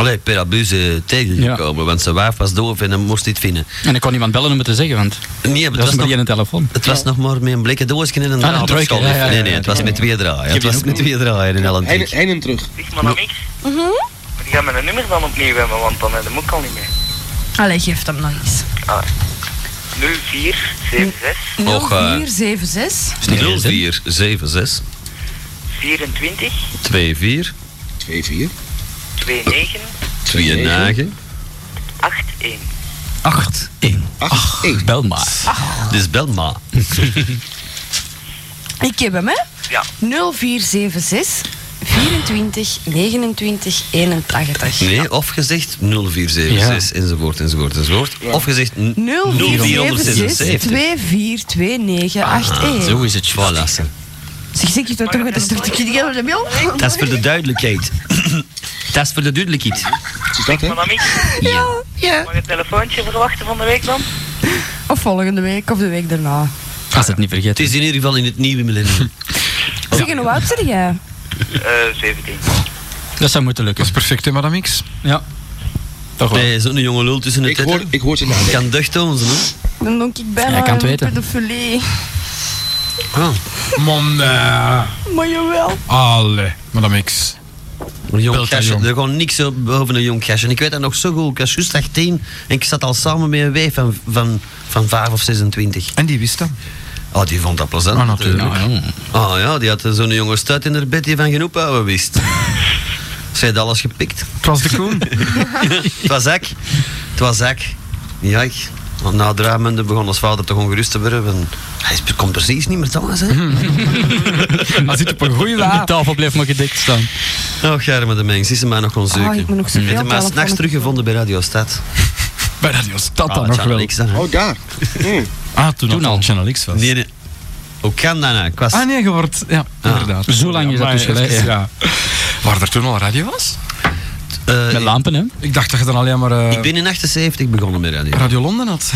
Allee, per abuse tegengekomen, want zijn wijf was doof en hij moest dit vinden.
En ik kon niemand bellen om het te zeggen, want
Nee,
dat
maar
was
het was
maar
nog,
geen telefoon.
het was nog maar met een blikken doosje en een
Ah, een
draad.
trojke, ja, ja,
nee,
ja,
nee,
ja,
het was met twee draaien. Het
die
was
ook
met twee draaien in Ellen
Heen, heen en terug.
Zeg maar dan niks.
Mhm.
Maar die gaan mijn nummer dan opnieuw hebben, want dan heb ik ook al niet meer.
Allee, geef hem nog eens.
Ah. 0476
Och, eh,
0476
0476
24
24
24
29
29
81.
8 1 8 Bel maar. Dus
(laughs)
bel maar.
Ik heb hem, hè?
Ja.
0476 24 29 81.
Nee, of gezegd 0476 enzovoort enzovoort enzovoort. Of gezegd
0476
0476.
242981.
Ah, Zo is het. Voilà.
Zeg, zeg je toch toch dat is toch de kinderen de mail?
Dat is voor de duidelijkheid. (clears throat) Dat is voor de duidelijkheid.
Is dat, hè?
(laughs) Ja, ja.
Mag een telefoontje verwachten van de week dan?
Of volgende week of de week daarna.
Als het niet vergeten. Het is in ieder geval in het nieuwe millennium.
Zeg, en hoe oud ben jij?
Eh 17.
Dat zou moeten lukken.
Dat is perfect, hè, Madame X?
Ja. Toch wel.
Nee, zo'n jonge lul tussen de ik hoor,
ik hoor ze
Kan ducht ons, hè?
Dan denk ik bijna
Ja, ik kan het
een
weten.
pedofilie.
Oh.
Man, eh,
Maar jawel.
Allee, Madame X.
Een jong
Belt dat
gastje.
jong.
Er gewoon niks op boven een jong gastje. En ik weet dat nog zo goed. Ik was juist 18 en ik zat al samen met een wijf van, van, van 5 of 26.
En die wist dat?
Oh, die vond dat plezant.
Ah, natuurlijk.
Ah ja, die had eh, zo'n jonge stuit in haar bed die van genoeg houden wist. (laughs) Ze had alles gepikt.
Het was de Koen.
Het was ik. Het was ik. Ja, ik. Want na drie maanden begon ons vader toch ongerust te worden. En Hij is- komt precies niet meer thuis,
(laughs)
hè?
Als het op een goede
Ja.
die tafel blijft maar gedikt staan.
Oh, germe de mens. Is ze mij nog gewoon zeuken.
Ah, ik moet nog zoveel
Heeft ze mij
telefoon-
s'nachts teruggevonden bij Radio Stad.
Bij Radio Stad
Ah, Channel X dan, hè.
Oh, daar. Mm.
Ah, toen,
Toen
het
al.
Channel X was.
Nee, nee. Hoe kan dat nou? Ik was...
Ah nee, je wordt... Ja, inderdaad.
Zo lang is dat
maar
dus geleden.
Ja. Waar er toen al radio was?
Eh,
Met lampen, hè?
Ik dacht dat je dan alleen maar eh,
Ik ben in 78 begonnen met radio.
Radio Londen had.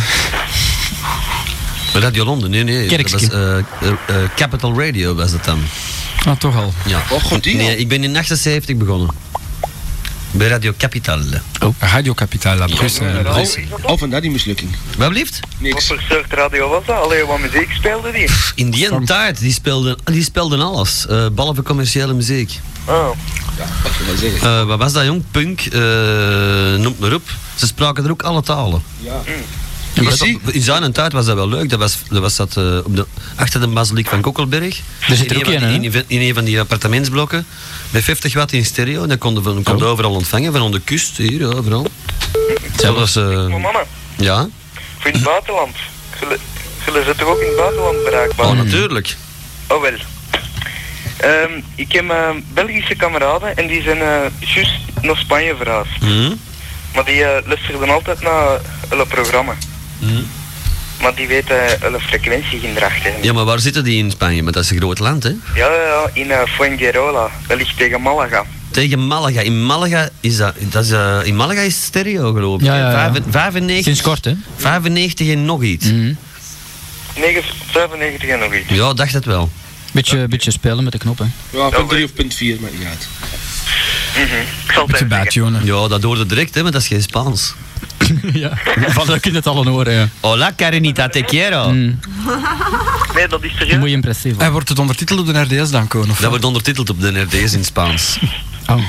Radio Londen, nee, nee.
Kerkske.
Dat was, eh, eh, eh, Capital Radio was dat dan.
Ah, toch al.
Ja.
Oh, goed, die
Nee, ik ben in 78 begonnen. Bij Radio Capital.
Oh, Radio Capitaal, dat is
Oh, vandaar die mislukking.
Wat blieft?
Niks.
Wat voor soort radio was dat? Allee, wat muziek speelde die?
In die ene tijd, die speelden, ah, die speelden alles. eh behalve commerciële muziek.
Oh.
Ja, wat je wel zeggen.
Eh, wat was dat jong? Punk, eh noem het maar op. Ze spraken er ook alle talen.
Ja.
Mm.
En dat- in zijn tijd was dat wel leuk. Dat was dat, was dat eh, op de, achter de basiliek van Kokkelberg.
Er zit er
in
ook
een
een,
van,
hè?
in, een- in een van die appartementsblokken. Met 50 watt in stereo. En dat konden we konden we overal ontvangen. Van onder de kust, hier, overal. Dat was... eh,
Maar mannen,
ja.
voor in het buitenland. Zullen- Zullen ze toch ook in het buitenland bereikbaar?
Oh, natuurlijk.
Oh wel. Ehm, ik heb eh, Belgische kameraden en die zijn eh juist naar Spanje verhuisd.
Hm?
Maar die eh, luisteren altijd naar hun programma.
Hm.
Maar die weten hun frequentie geen erachter.
Ja, maar waar zitten die in Spanje? Want dat is een groot land, hè?
Ja, ja, ja, in eh, Fuengirola. Dat ligt tegen Malaga.
Tegen Malaga. In Malaga is dat, dat is, eh, in Malaga is stereo geloof ik.
Ja, ja, ja.
Vijf- 95,
Sinds kort, hè? Mhm.
95 en nog iets.
9,
(laughs)
95 en nog iets.
Ja, dacht het wel.
Beetje, beetje spelen met de knoppen.
Ja, punt 3 of punt 4, maakt niet uit.
Ik zal het even zeggen.
Ja, dat hoorde direct, hè, maar dat is geen Spaans.
ja, (laughs) van ook in het allen horen, ja. Mm.
Hola, Karenita, te quiero.
Nee, dat is serieus.
Mooi impressief.
En wordt het ondertiteld op de RDS dan, Koon? Of
Dat wordt ondertiteld op de RD's in Spaans.
(laughs) Oh.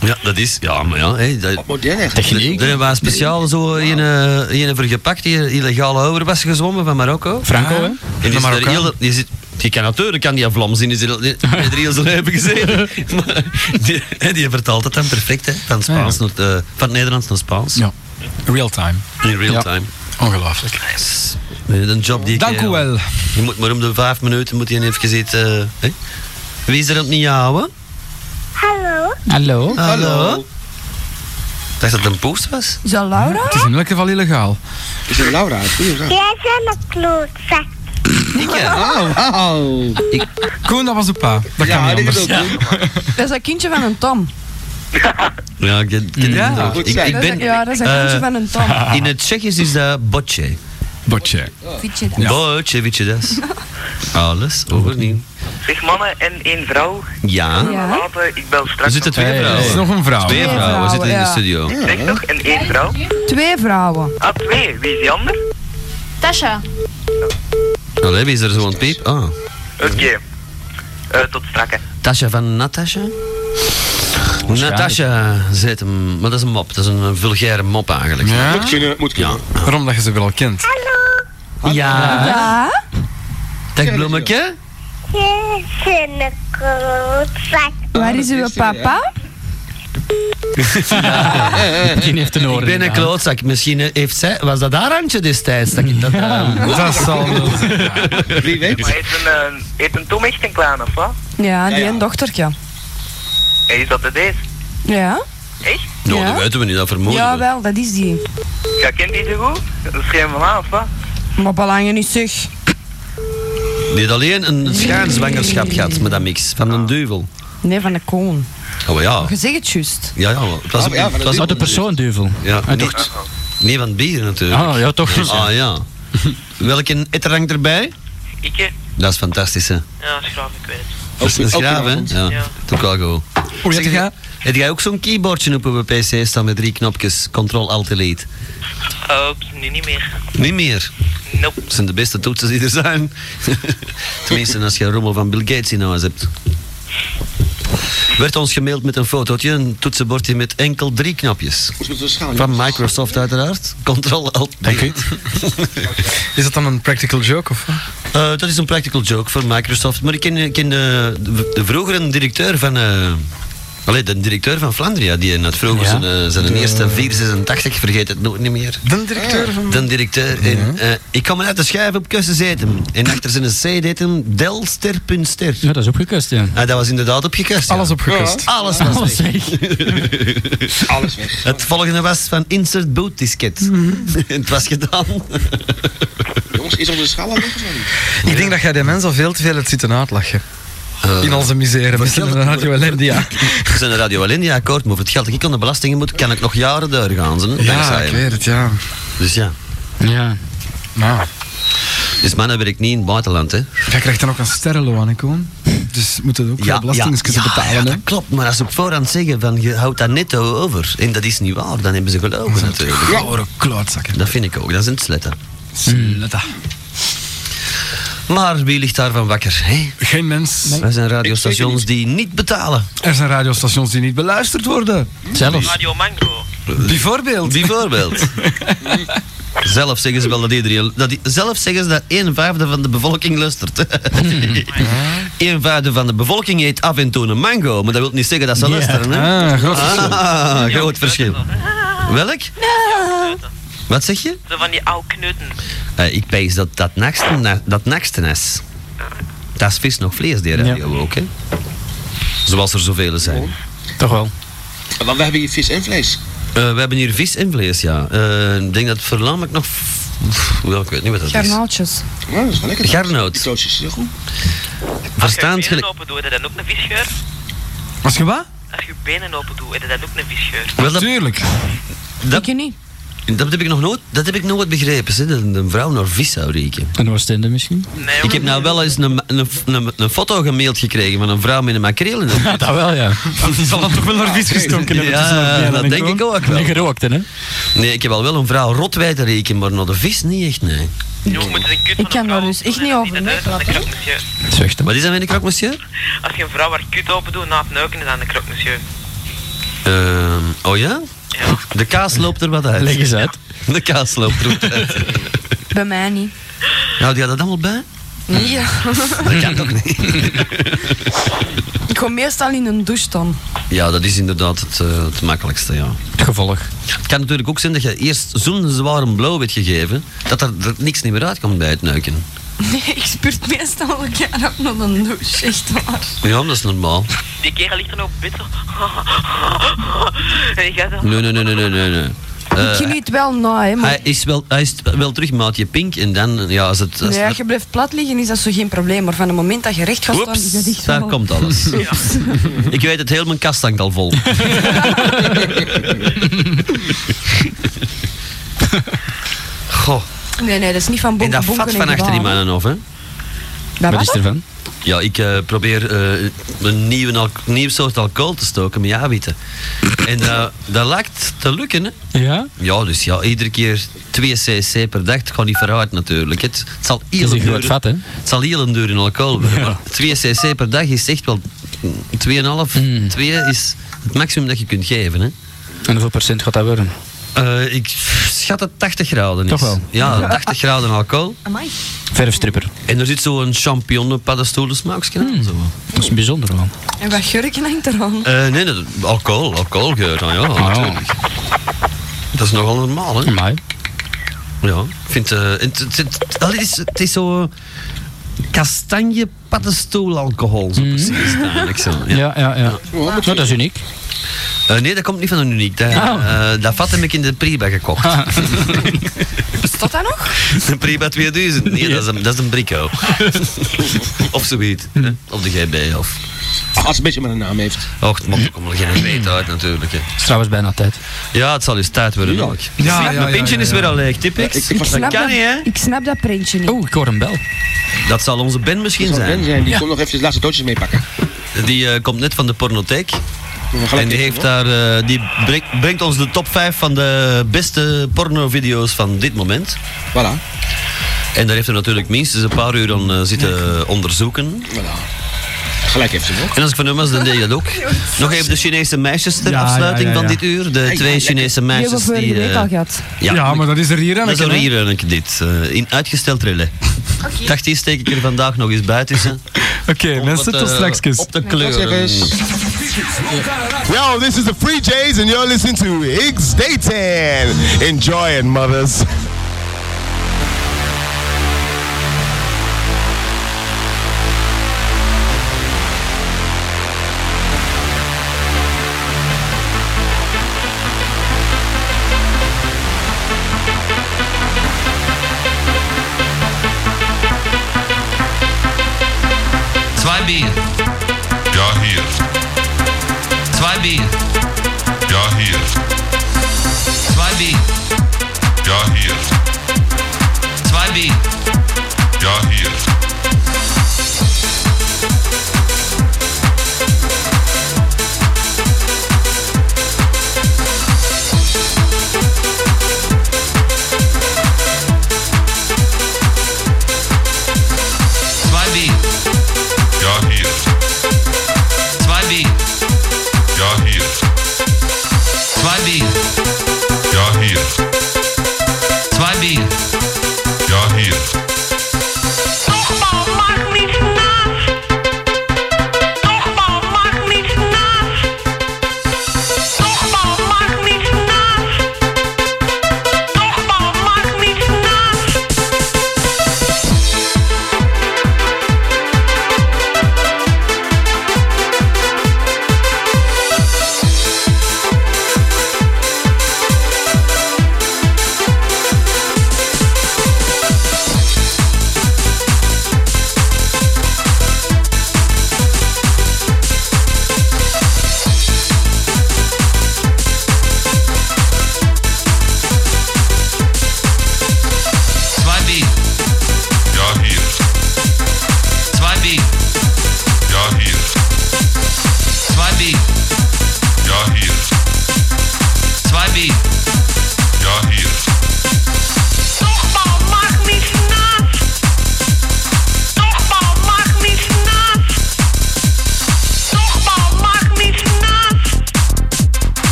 Ja, dat is. Ja, maar ja. Hey, dat,
Modern eigenlijk.
Techniek.
Er was speciaal zo in, een voor gepakt, die illegale over was gezwommen van Marokko. Ah.
Franco, hè?
En die, is er
Marokkaan.
heel, die, zit, die kan natuurlijk kan die Vlaams zien, die zit al- die- die heeft er heel zijn hebben
(laughs)
gezeten. Maar die, hè, die vertaalt het dan perfect, hè? Van, Spaans
Ah,
naar, eh, van het Nederlands naar Spaans.
Ja. Real time.
In real
Ja.
time.
Ongelooflijk.
Yes. Eh, Een job die ik...
Dank u wel.
Je moet maar om de vijf minuten moet je even zitten... eh, hè? Wie is er aan het miauwen?
Hallo?
Dacht dat het een post was?
Is dat Laura?
Het is in elk geval illegaal.
Is het Laura? Goeie vraag.
Jij bent een klootzak.
Ik ja.
Au, au.
Koen, dat was de pa. Dat
Ah, Ja,
kan niet
dit is
anders.
ook goed.
Dat is dat kindje van een Tom.
Ja, ik ken, ken
Ja.
het ook.
Goed
Ik,
zijn.
ik
Dat is-
ben...
ja, dat is een
eh,
kindje van een Tom.
In het Tsjechisch is dat botje.
Botje.
Vind je dat?
Ja. Botje, weet je
(laughs)
dat? Alles, overnieuw.
Zeg mannen en één vrouw.
Ja.
Ja.
Later, ik bel
Er
straks.
zitten twee
Hey,
vrouwen.
er is nog een vrouw.
Twee
Twee
vrouwen
vrouwen,
zitten in de
ja.
studio.
Zeg nog, en één vrouw.
Twee vrouwen.
Ah, twee. Wie is die ander?
Tasha.
Allee, wie is er zo'n piep? Ah.
Oké. Eh, tot straks. hè.
Tasha van Natasha? Natasha zet hem. Maar dat is een mop. Dat is een eh, vulgaire mop eigenlijk.
Ja?
Moet kunnen, moet kunnen.
Ja.
Waarom dat je ze wel al kent?
Ja.
Ja?
Dag bloemetje.
Jij bent een klootzak.
Waar is uw papa?
(laughs)
Misschien heeft een
Ik
oren.
ben een klootzak. Misschien eh, heeft zij... Was dat haar handje destijds? Dat ik dat, eh,
(laughs) Dat zal wel zijn.
Wie weet.
Maar heeft een, eh, heeft een Tom echt een klaan of wat?
Ja, die
ja.
een dochtertje.
Hey, is dat de deze?
Ja?
Echt?
Nou,
Ja.
dat weten we niet. Dat vermoeden we.
Jawel, dat is die.
Ja, kent die zo goed? Dat is geen van mij of wat?
Maar belangen niet zeg.
Die had alleen een schijnzwangerschap gehad met dat mix. Van een duivel.
Nee, van de koon.
Oh ja.
Je zegt het juist.
Ja, ja. Het was,
Ah, ja, van de
het was
duivel.
Oh, de persoon, duivel.
Ja,
Ah,
nee,
toch.
nee, van het bier natuurlijk.
Ah, ja, toch.
Ah ja. Welke etterang erbij?
Ik? hè?
Dat is fantastisch, hè?
Ja, schraap, ik weet het.
Dus Dat is
Ook-
een
ook
graaf,
vanavond.
hè? Ja.
Ja.
Dat is ook wel goed.
Hoe
Zeg,
heet jij?
Heb jij ook zo'n keyboardje op uw PC staan met drie knopjes? Control, Alt, Delete.
Oh, nu niet meer.
Niet meer.
Nope.
Dat zijn de beste toetsen die er zijn. (laughs) Tenminste, als je rommel van Bill Gates in huis hebt. Werd ons gemaild met een fotootje, een toetsenbordje met enkel drie knopjes.
Ons moet wel
(laughs)
schalen.
Van Microsoft uiteraard. Control, Alt, Delete.
Is dat dan een practical joke of wat?
Eh, dat is een practical joke voor Microsoft. Maar ik ken, ik ken de, de, de vroegere directeur van... eh allee, de directeur van Flandria, die had vroeger
Ja.
zijn, eh, zijn eerste 486, ik vergeet het nooit niet meer.
De directeur van...
De directeur. En, eh, ik kwam uit de schuif op kussen zitten. En achter zijn C deed hem delster.ster.
Ja, dat is opgekust, ja.
Ah, dat was inderdaad opgekust. ja.
Alles opgekust.
Alles was
Alles
weg.
weg.
(laughs)
Alles weg.
(laughs) Het volgende was van insert boot disket. (laughs) het was
(laughs)
gedaan.
Jongens, is onze schaal al weg of zo niet?
Ik denk dat jij die mensen al veel te veel hebt zitten uitlachen.
Eh,
In onze misère. We
vertel
zijn
het
een radio Lendia.
We zijn een Radio Alindia akkoord, maar voor het geld dat ik aan de belastingen moet, kan ik nog jaren doorgaan. Zo,
Ja,
dankzij
ik
hem.
weet het, ja.
Dus ja.
Ja.
Nou,
Dus mannen werkt niet in het buitenland, hè?
jij krijgt dan ook een sterrenlo aan, hè, Koen? Dus moet dat ook wel belastingskiezen
ja, ja,
betalen, hè?
dat klopt. Maar als ze op voorhand zeggen van je houdt dat netto over, en dat is niet waar, dan hebben ze gelogen natuurlijk.
Ja, hoor, klootzakken.
Dat vind ik ook, dat zijn sletten.
Sletta.
Maar wie ligt daarvan wakker? Hè?
Geen mens.
Er zijn radiostations die niet betalen.
Er zijn radiostations die niet beluisterd worden.
Zelfs.
Radio Mango.
Bijvoorbeeld. (laughs)
Bijvoorbeeld. zelf zeggen ze wel dat iedereen. Dat die- zelf zeggen ze dat een vijfde van de bevolking
(laughs)
luistert. (laughs) een vijfde van de bevolking eet af en toe een mango, maar dat wil niet zeggen dat ze
Ja.
luisteren. Hè?
Ah, groot verschil.
Ah, groot verschil. Welk? Wat zeg je?
Zo van die oude knutten.
Eh, ik pees dat dat nachtsten, na- dat nachtsten is. Dat is vis nog vlees, die radio ook, hè? Zoals er zoveel zijn.
Toch wel.
Want we hebben hier vis en vlees.
Eh, we hebben hier vis en vlees, ja. Eh, Ik denk dat voornamelijk nog... pff, wel, ik weet niet wat dat is.
Garnaaltjes.
Ja, dat is wel lekker.
Garnoot.
Die toosjes is heel goed.
Als je
Verstaans
benen
gelijk...
open doet, dan ook een visgeur.
Was je wat?
Eh,
als je je benen open doet, is dat ook een visgeur.
Natuurlijk. Dat,
niet.
dat heb ik nog nooit, dat heb ik nooit begrepen, hè, dat een vrouw naar vis zou rieken.
Een oostende misschien?
ik heb nou wel eens een, een, een, een foto gemaild gekregen van een vrouw met een makreel in de mond.
(laughs) Dat wel,
(laughs)
ja.
Die zal dan toch wel naar vis
gestonken hebben tussen de
Ja,
piano en
dat denk ik
gewoon.
ook wel.
En gerookt, hè?
Nee, ik heb al wel een vrouw rot weten rekenen, maar naar de vis niet echt, nee.
Ik kan daar dus echt niet over meepraten.
Zuchten. Wat is dat met een krok, monsieur?
Als je een vrouw haar kut open doet na het neuken, is dat een krok, monsieur.
Ehm, oh ja? De kaas loopt er wat uit.
Leg eens uit.
(laughs) De kaas loopt er wat uit.
Bij mij niet.
Nou, die had dat allemaal bij?
Nee, ja.
Hm. Dat kan toch niet?
ik ga meestal in een douche dan.
Ja, dat is inderdaad het, eh, het makkelijkste, ja. Het gevolg. Het kan natuurlijk ook zijn dat je eerst zo'n zware blow werd gegeven, dat er, er niks niet meer uitkomt bij het neuken.
Nee, ik spurt meestal elkaar op naar een douche, echt waar.
(laughs) Ja, dat is normaal.
Die kerel ligt dan op bed zo. en jij zo.
Nee, nee, nee, nee, nee, nee. nee. Eh,
ik geniet wel na, hè, maar
hij is wel, hij is wel terug maatje pink en dan, ja, als het... Als
nee, als je blijft plat liggen is dat zo geen probleem. Maar van het moment dat je recht gaat staan, is dat echt
daar
wel-
komt alles. (laughs) Ik weet het, heel mijn kast hangt al vol. Goh,
(laughs) Nee, nee, dat is niet van
en
bonken.
dat vat van achter die mannen af, hè?
Dat wat?
ervan? Ja, ik eh, probeer eh, een nieuwe al- nieuw soort alcohol te stoken met jawieten. En eh, dat lijkt te lukken, hè?
Ja?
Ja, dus ja, iedere keer 2 cc per dag, het gaat niet vooruit natuurlijk. Het, het zal heel
is een
duur-
groot vat, hè?
Het zal heel een duur in alcohol worden, maar 2 cc per dag is echt wel 2,5.
Mm.
2 is het maximum dat je kunt geven, hè?
En hoeveel procent gaat dat worden?
Eh, ik schat het 80 graden is.
Toch wel?
Ja, 80 graden alcohol.
Amai.
Verfstripper. Hmm.
En er zit zo'n champignon paddenstoelen smaaksje aan. Zo.
Dat is bijzonder wel.
En wat gurken hangt er aan?
Eh, nee, dat, alcohol, alcoholgeur. Ah, ja, natuurlijk. Dat is nogal normaal, hè?
Maar.
Ja, ik vind eh, het, het, het, allee, het is, het is zo. eh, Kastanje paddenstoel alcohol, zo precies. Eigenlijk
(laughs)
zo. Ja,
Hmm. ja, ja. Oh, Nou, dat is uniek. Ah.
Eh, nee, dat komt niet van een uniek. Dat, eh, dat vat heb ik in de Priba gekocht.
(laughs)
Bestaat dat nog?
(laughs) De Priba 2000. Nee, dat is een, dat is een brico. (laughs) of zoiets. hè. Of de GB. Of...
Als het een beetje maar een naam heeft.
Och, het mag ook wel geen weet uit natuurlijk. Hè.
is trouwens bijna tijd.
Ja, het zal eens tijd worden
Ja.
ook.
Ja, ja,
Mijn
ja,
pintje
ja,
is
ja.
weer al leeg. Tipix.
Ja, ik- ik was-
dat kan niet, hè?
Ik snap dat printje niet.
Oh, ik hoor een bel.
Dat zal onze Ben misschien
Dat zal
zijn.
Ben zijn, die komt nog even de laatste doodjes meepakken.
Die eh, komt net van de pornotheek.
gelijk
En die, heeft daar, eh, die brengt, brengt ons de top 5 van de beste pornovideo's van dit moment.
Voilà.
En daar heeft hij natuurlijk minstens een paar uur aan eh, zitten onderzoeken.
Gelijk heeft ze nog.
En als ik van hem was, dan deed je dat
(laughs)
ook. Nog even de Chinese meisjes ter
Ja,
afsluiting
ja, ja, ja.
van dit uur. De twee Chinese
Die
meisjes
hebben we vorige
die...
week
eh,
al gehad.
ja,
Ja, maar dat is er hier aan.
dat is een hier eigenlijk dit. eh, in
(laughs)
uitgesteld rillen. Ik dacht, die steek ik er vandaag nog eens buiten. ze.
(laughs) Oké, mensen,
wat,
tot
eh,
straks.
Op de kleuren.
Yo, this is the Free Jays, and you're listening to Higgs Dayton. Enjoy it, mothers.
Zwei Bier.
Ja, hier.
Zwei Bier.
Ja, hier.
Zwei Bier.
Ja, hier.
Zwei Bier.
Ja, hier.
Zwei Bier.
Ja, hier.
Zwei Bier.
Ja, hier.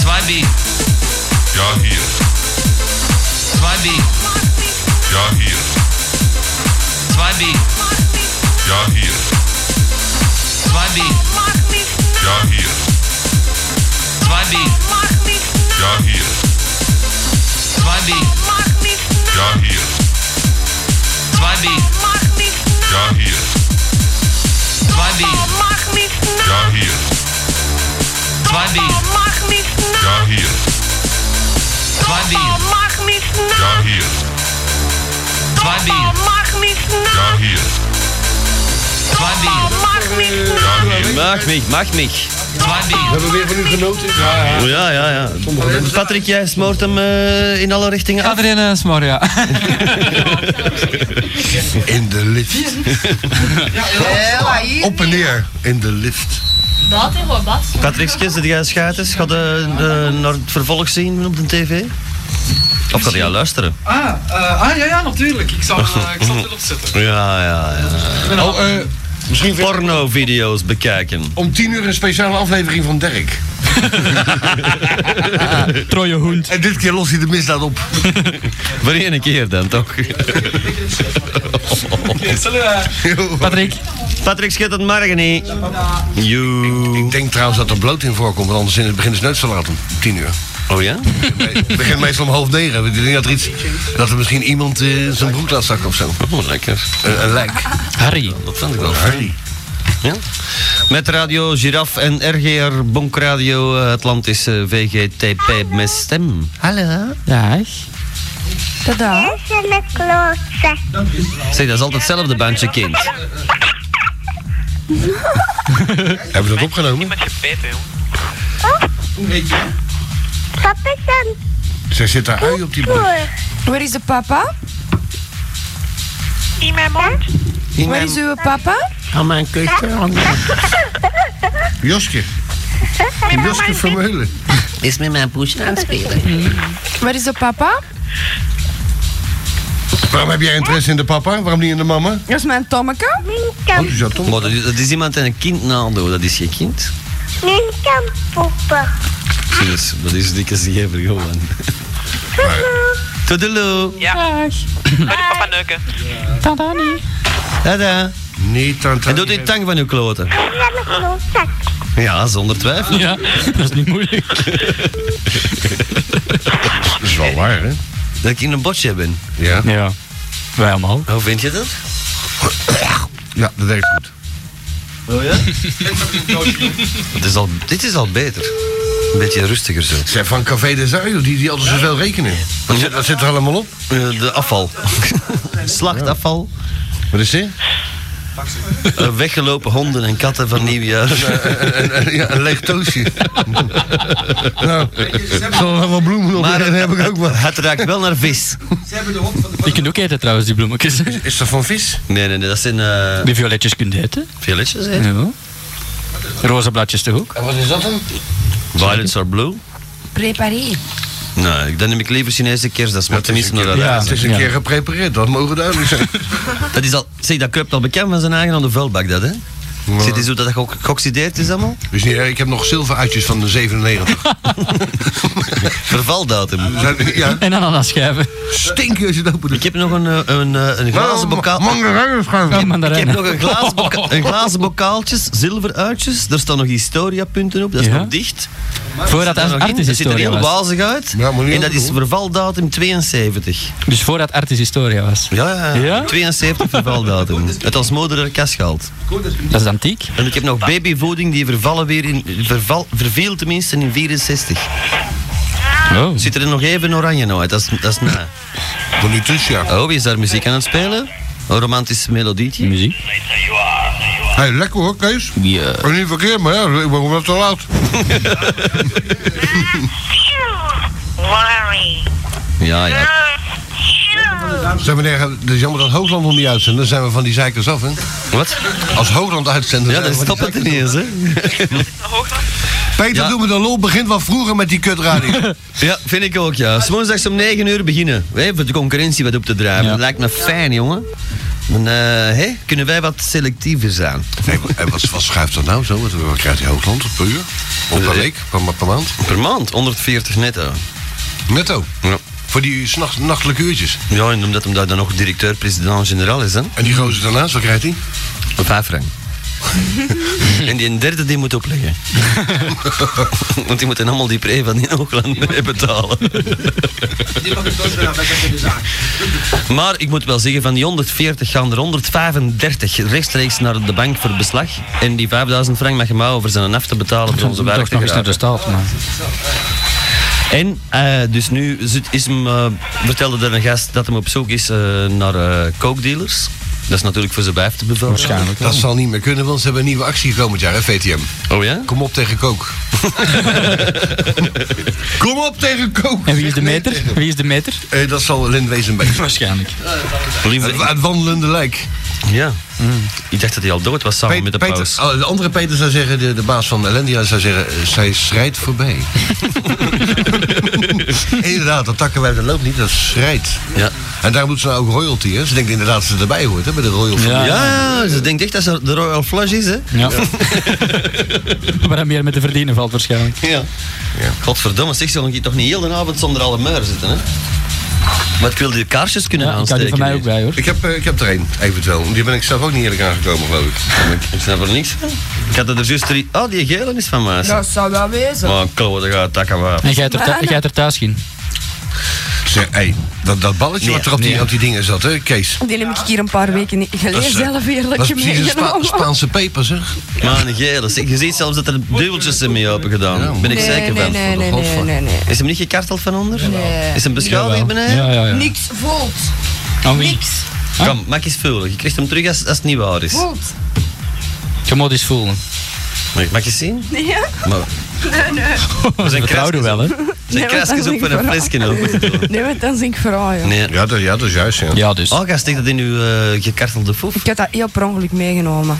Swabby. Ja, hier. Swabby. Ja, hier. Swabby. Ja, hier. Swabby. Ja, hier. Swabby. Ja, hier. Swabby. Ja, hier. Swabby. Ja, hier. Swabby. Ja, hier. Swabby. Ja, hier. Swabby. Ja, hier. Swabby. Ja, hier. Swabby.
Mag mich, mag mich.
We
hebben weer van u genoten. Ja, Oh, ja, ja. ja. Patrick, jij smoort hem eh, in alle richtingen af.
Adrien eh, Smor,
(laughs)
ja.
(laughs) In de lift.
Hela, hier.
Op en neer in de lift.
Dat en wat, dat.
Patrick, zit jij schuiters? Gaat de, de, eh, naar het vervolg zien op de tv? Of gaat jij luisteren?
Ah, eh, ah, ja, ja, natuurlijk. Ik zal,
(laughs)
eh, ik zal het erop zetten.
Ja, ja, ja.
Oh, eh,
Misschien porno-video's bekijken.
Om tien uur een speciale aflevering van Dirk.
Trooie hoend.
En dit keer lost hij de misdaad op.
(laughs)
Voor één keer
(laughs)
dan, toch?
Patrick.
Patrick schittert morgen niet.
Ik, ik denk trouwens dat er bloot in voorkomt, want anders in het begin is noodverlaat om tien uur.
Oh ja?
Het begint meestal om half negen. Ik denk dat er, iets, dat er misschien iemand eh, zijn broek laat zakken of zo.
Oh, lekker.
Een, een lijk.
Harry.
Dat vind ik wel Harry.
Ja? Met Radio Giraf en RGR Bonk Radio eh, Atlantis eh, VGTP met stem.
Hallo.
Dag.
Tada.
Zeg, dat is altijd hetzelfde bandje, kind.
Hebben we dat opgenomen?
Peter, jongen.
Oh, Papa is een
Zij zit daar ui op die broek.
boer.
Waar is de papa?
In mijn mond?
Waar is uw papa?
Aan mijn
eh,
keuken. Josje. Josje Vermeulen.
Is met mijn poesje aan het spelen.
Waar is de papa?
Waarom heb jij interesse in de papa? Waarom niet in de mama?
Dat is mijn Tommeke.
Dat is dat toch?
Maar dat, is, dat is iemand en een kind nadoen, dat is je kind.
Oh.
Nu kan poepen.
Dus, dat is dikke zeven gewoon. Toedeloe.
Ja. Maar die papa neuken.
Tada niet.
Tada.
Nee, tante.
En doe die tang van uw kloten. Ja, zonder twijfel.
Ja, dat is niet moeilijk.
Dat is wel waar, hè?
Dat ik in een botje ben.
Ja.
Ja, wij allemaal.
Hoe vind je dat?
Ja, dat werkt goed.
Oh ja? Het is al, dit is al beter. Een beetje rustiger zo.
Zij van Café de Zuil, die, die altijd zoveel rekenen. Wat zit, wat zit er allemaal op?
Eh, De afval. Slachtafval.
Wat is dit?
Eh, weggelopen honden en katten van nieuwjaar.
(laughs) Een, een, een- ja, een leeg
(laughs)
toosje. nou, zal er wel bloemen op (laughs)
Maar
en heb ik ook wat.
Het ruikt wel naar vis.
Je kunt ook eten trouwens, die bloemetjes.
Is dat van vis?
Nee, nee, nee, dat zijn eh
Die violetjes kunt eten.
villetjes, hè?
Ja. Roze blaadjes toch ook?
En wat is dat dan?
Violets are blue.
Prepareer.
Nee, dan neem ik liever Chinese kerst, dat smaakt tenminste naar dat
ja.
Het is een keer geprepareerd, dat mogen duidelijk zijn.
Dat is al, zeg, dat kruipt al bekend van zijn eigen aan de vuilbak, dat, hè? Zit die zo dat dat ge- geoxideerd is allemaal?
Dus niet, erg, ik heb nog zilveruitjes van de 97.
(laughs) Vervaldatum.
Zijn- ja,
En ananas schijven.
stinken als je het open
Ik heb nog een, eh, een, eh, een glazen bokaal...
En
Ik heb
mandarijnen.
nog een glazen,
(laughs) Oh.
boka- een glazen bokaaltjes, zilveruitjes. Er staan nog historiapunten op, dat is
Ja?
nog dicht.
Voordat
Daar nog in.
Artis
Dat ziet er
Historia
heel
was.
wazig uit.
Ja, maar niet
en dat is
overdoen.
vervaldatum 72.
Dus voordat Artis Historia was.
Ja, ja, ja.
Ja?
72
(laughs)
vervaldatum. Het als moeder haar kast gehaald.
Dat is antiek.
En ik heb nog babyvoeding die vervallen weer in, verval, verviel tenminste in 64.
Oh.
Zit er nog even oranje nou uit, dat is, dat is na.
Van nu tussen, ja.
Oh, wie is daar muziek aan het spelen? Een romantisch melodietje?
Muziek.
Hey, lekker hoor, Kees.
Ja.
Maar niet verkeerd, maar ja, ik ben wel te laat.
Worry.
Ja, ja.
Zeg meneer, het is dus jammer dat Hoogland nog niet uitzendt. Dan zijn we van die zeikers af, hè?
Wat?
Als Hoogland uitzendt,
Ja,
zijn
dan
we van die
stopt het
zeikers
ineens, hè?
af. Peter,
Ja.
doe me de lol. Begint wat vroeger met die kutradio.
(laughs) Ja, vind ik ook, ja. 's Woensdags om 9 uur beginnen. Hè, voor de concurrentie wat op te draven.
Ja.
Dat lijkt me fijn, jongen. Dan, eh, hè, kunnen wij wat selectiever zijn?
Nee, maar, eh, wat, wat schuift dat nou zo? Wat, wat krijgt die Hoogland per uur? Of per week? Per, ma- per maand?
Per maand, 140 netto.
Netto? Ja. Voor die s'nacht- nachtelijke uurtjes?
Ja, en omdat hem daar dan nog directeur-president-generaal is. Hè?
En die gozer daarnaast, wat krijgt hij?
(laughs)
Vijf frank. en die derde die moet opleggen. Want die moeten allemaal die pre van die Hoogland mee betalen.
Die mag ik dood gaan, wij zetten de zaak.
Maar ik moet wel zeggen, van die 140 gaan er 135 rechtstreeks naar de bank voor beslag. En die 5000 frank mag je maar over zijn af te betalen voor onze
Toch
werk. te
nog eens naar de
geraken.
staat, man.
En eh, dus nu zit, is hem, eh, vertelde er een gast dat hem op zoek is eh, naar eh coke dealers. Dat is natuurlijk voor zijn wijf te bevelen.
Dat zal niet meer kunnen, want ze hebben een nieuwe actie komend jaar, hè, VTM.
Oh ja?
Kom op tegen
(laughs)
kook. Kom op tegen kook.
En wie is de meter? Wie is de meter?
Eh, dat zal Lin Wezenbeek.
(laughs) Waarschijnlijk.
Het, het wandelende lijk.
Ja. Mm. Ik dacht dat hij al dood was samen met de
Peter-
paus.
oh, de andere Peter zou zeggen, de, de baas van Ellendia zou zeggen, eh, zij schrijdt
(laughs)
voorbij. inderdaad, dat takkenwijf dat loopt niet, dat schrijdt.
Ja.
En daar moet ze nou ook royalty, hè? Ze denkt inderdaad dat ze erbij hoort, hè, bij de royal
Ja,
familie.
ze denkt echt dat ze de Royal Flush is, hè?
Ja.
(laughs)
Waar hij meer met te verdienen valt waarschijnlijk.
Ja. Godverdomme, zeg, zal ik hier toch niet heel de avond zonder alle muur zitten, hè? Maar ik wil die kaarsjes kunnen
Ja, ik
aansteken.
had die van mij ook bij, hoor.
Ik heb, eh, ik heb er één, eventueel. Die ben ik zelf ook niet eerlijk aangekomen, geloof ik.
Ik snap er niks van. Ik had er juist drie... Oh, die gele is van mij.
Dat zou wel wezen.
Maar kloot, dat gaat takken waar.
En jij hebt er, thu- jij hebt er thuis geen?
Zeg, hey, dat, dat balletje
Nee,
wat er op,
nee.
die, op die dingen zat, hè, Kees.
Die heb ik hier een paar weken niet- geleden
Dat is, eh,
zelf
Dat
eerlijk
is precies een Spa-
meegenomen.
Spaanse peper, zeg.
Maar een gele. zeg, Je ziet zelfs dat er dubbeltjes zijn mee open gedaan. ben ik
Nee,
zeker
nee,
van.
nee, nee, nee, nee, nee.
Is hem niet gekarteld van onder?
Nee.
Is hem beschadigd
Jawel.
beneden?
Ja, ja, ja.
Niks voelt.
Aan wie?
Kom, maak eens vullen. Je krijgt hem terug als, als het niet waar is.
Voelt.
Je moet eens voelen.
Mag je zien?
Nee, hè?
(laughs)
Maar,
nee, nee.
we zijn
Vertrouwde wel, hè?
Zijn
Nee, want
krasjes
dan
op voor
denk
een
ik
flesje open te doen.
Nee, want dan zing ik vooral, joh.
Nee.
Ja, dat, ja, dat is juist, ja.
Ja, dus.
Oh, ga steek dat in uw eh, gekartelde foef.
Ik heb dat heel per ongeluk meegenomen.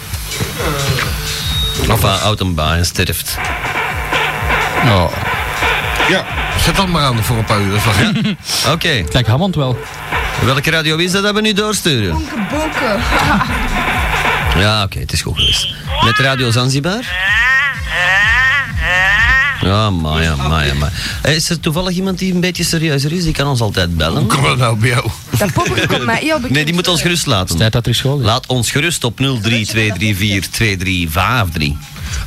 Of hij houdt hem bij en sterft.
Ja, zet dat maar aan voor een paar uur. Dat is wel gek.
(laughs) Oké,
Kijk, Hammond wel.
welke radio is dat dat we nu doorsturen?
Geboeken.
Ja, oké, het is goed geweest. Met Radio Zanzibar? Ja, maar ja, maar ja, maar. Eh, Is er toevallig iemand die een beetje serieuzer is? Die kan ons altijd bellen.
Kom maar nou bij jou.
(laughs) Dat poppen komt mij heel bekend.
Nee, die moet ons gerust laten.
Tijd dat er school is.
Laat ons gerust op 032342353.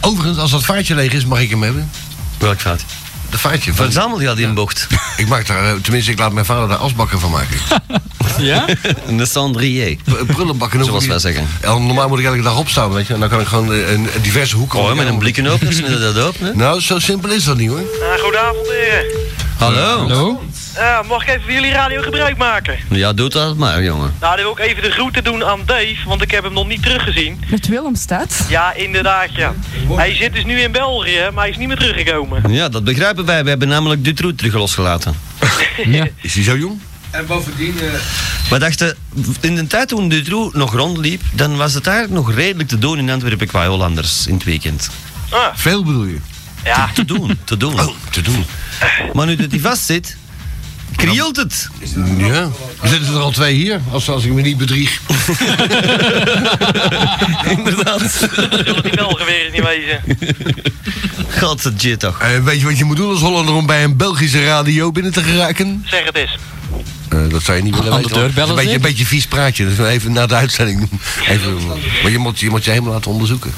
Overigens, als dat vaartje leeg is, mag ik hem hebben.
Welk fout?
Dat vaartje. Van,
Verzamel je al die in bocht?
(laughs) ik maak daar, eh, tenminste, ik laat mijn vader daar asbakken van maken.
(laughs)
(laughs)
Ja?
Een cendrier.
P- Prullenbakken. hoef ik
Zoals
niet-
wij zeggen.
Ja, normaal moet ik elke dag opstaan, weet je. En dan kan ik gewoon eh, een, een diverse hoeken...
Oh, met een blikkenopener snijden dat open, hè?
Nou, zo simpel is dat niet, hoor.
Eh, goedenavond, heren.
Hallo?
Hallo?
Eh, mag ik even van jullie radio gebruik maken?
Ja, doe dat maar, jongen.
Nou, dan wil ik even de groeten doen aan Dave, want ik heb hem nog niet teruggezien.
Met Willem staat.
Ja, inderdaad, ja. Hij zit dus nu in België, maar hij is niet meer teruggekomen.
Ja, dat begrijpen wij. We hebben namelijk Dutroux terug losgelaten.
(laughs) Ja.
Is hij zo jong?
En bovendien... eh,
We dachten, in de tijd toen Dutroux nog rondliep, dan was het eigenlijk nog redelijk te doen in Antwerpen qua Hollanders in het weekend.
Ah,
Veel bedoel je?
ja.
Te doen, te doen.
Oh, te doen.
Maar nu dat hij vast zit, krielt het.
Ja. Er zitten er al twee hier, als, als ik me niet bedrieg.
(laughs)
Inderdaad.
Zullen die Belgen weer eens niet wezen?
(laughs) God, het jit toch.
Eh, weet je wat je moet doen als Hollander om bij een Belgische radio binnen te geraken?
Zeg het eens.
Eh, dat zou je niet willen
Aan de
weten.
deur
hoor.
bellen,
een beetje,
zeg.
een beetje vies praatje. Dus even na de uitzending doen. Even, maar je moet, je moet je helemaal laten onderzoeken.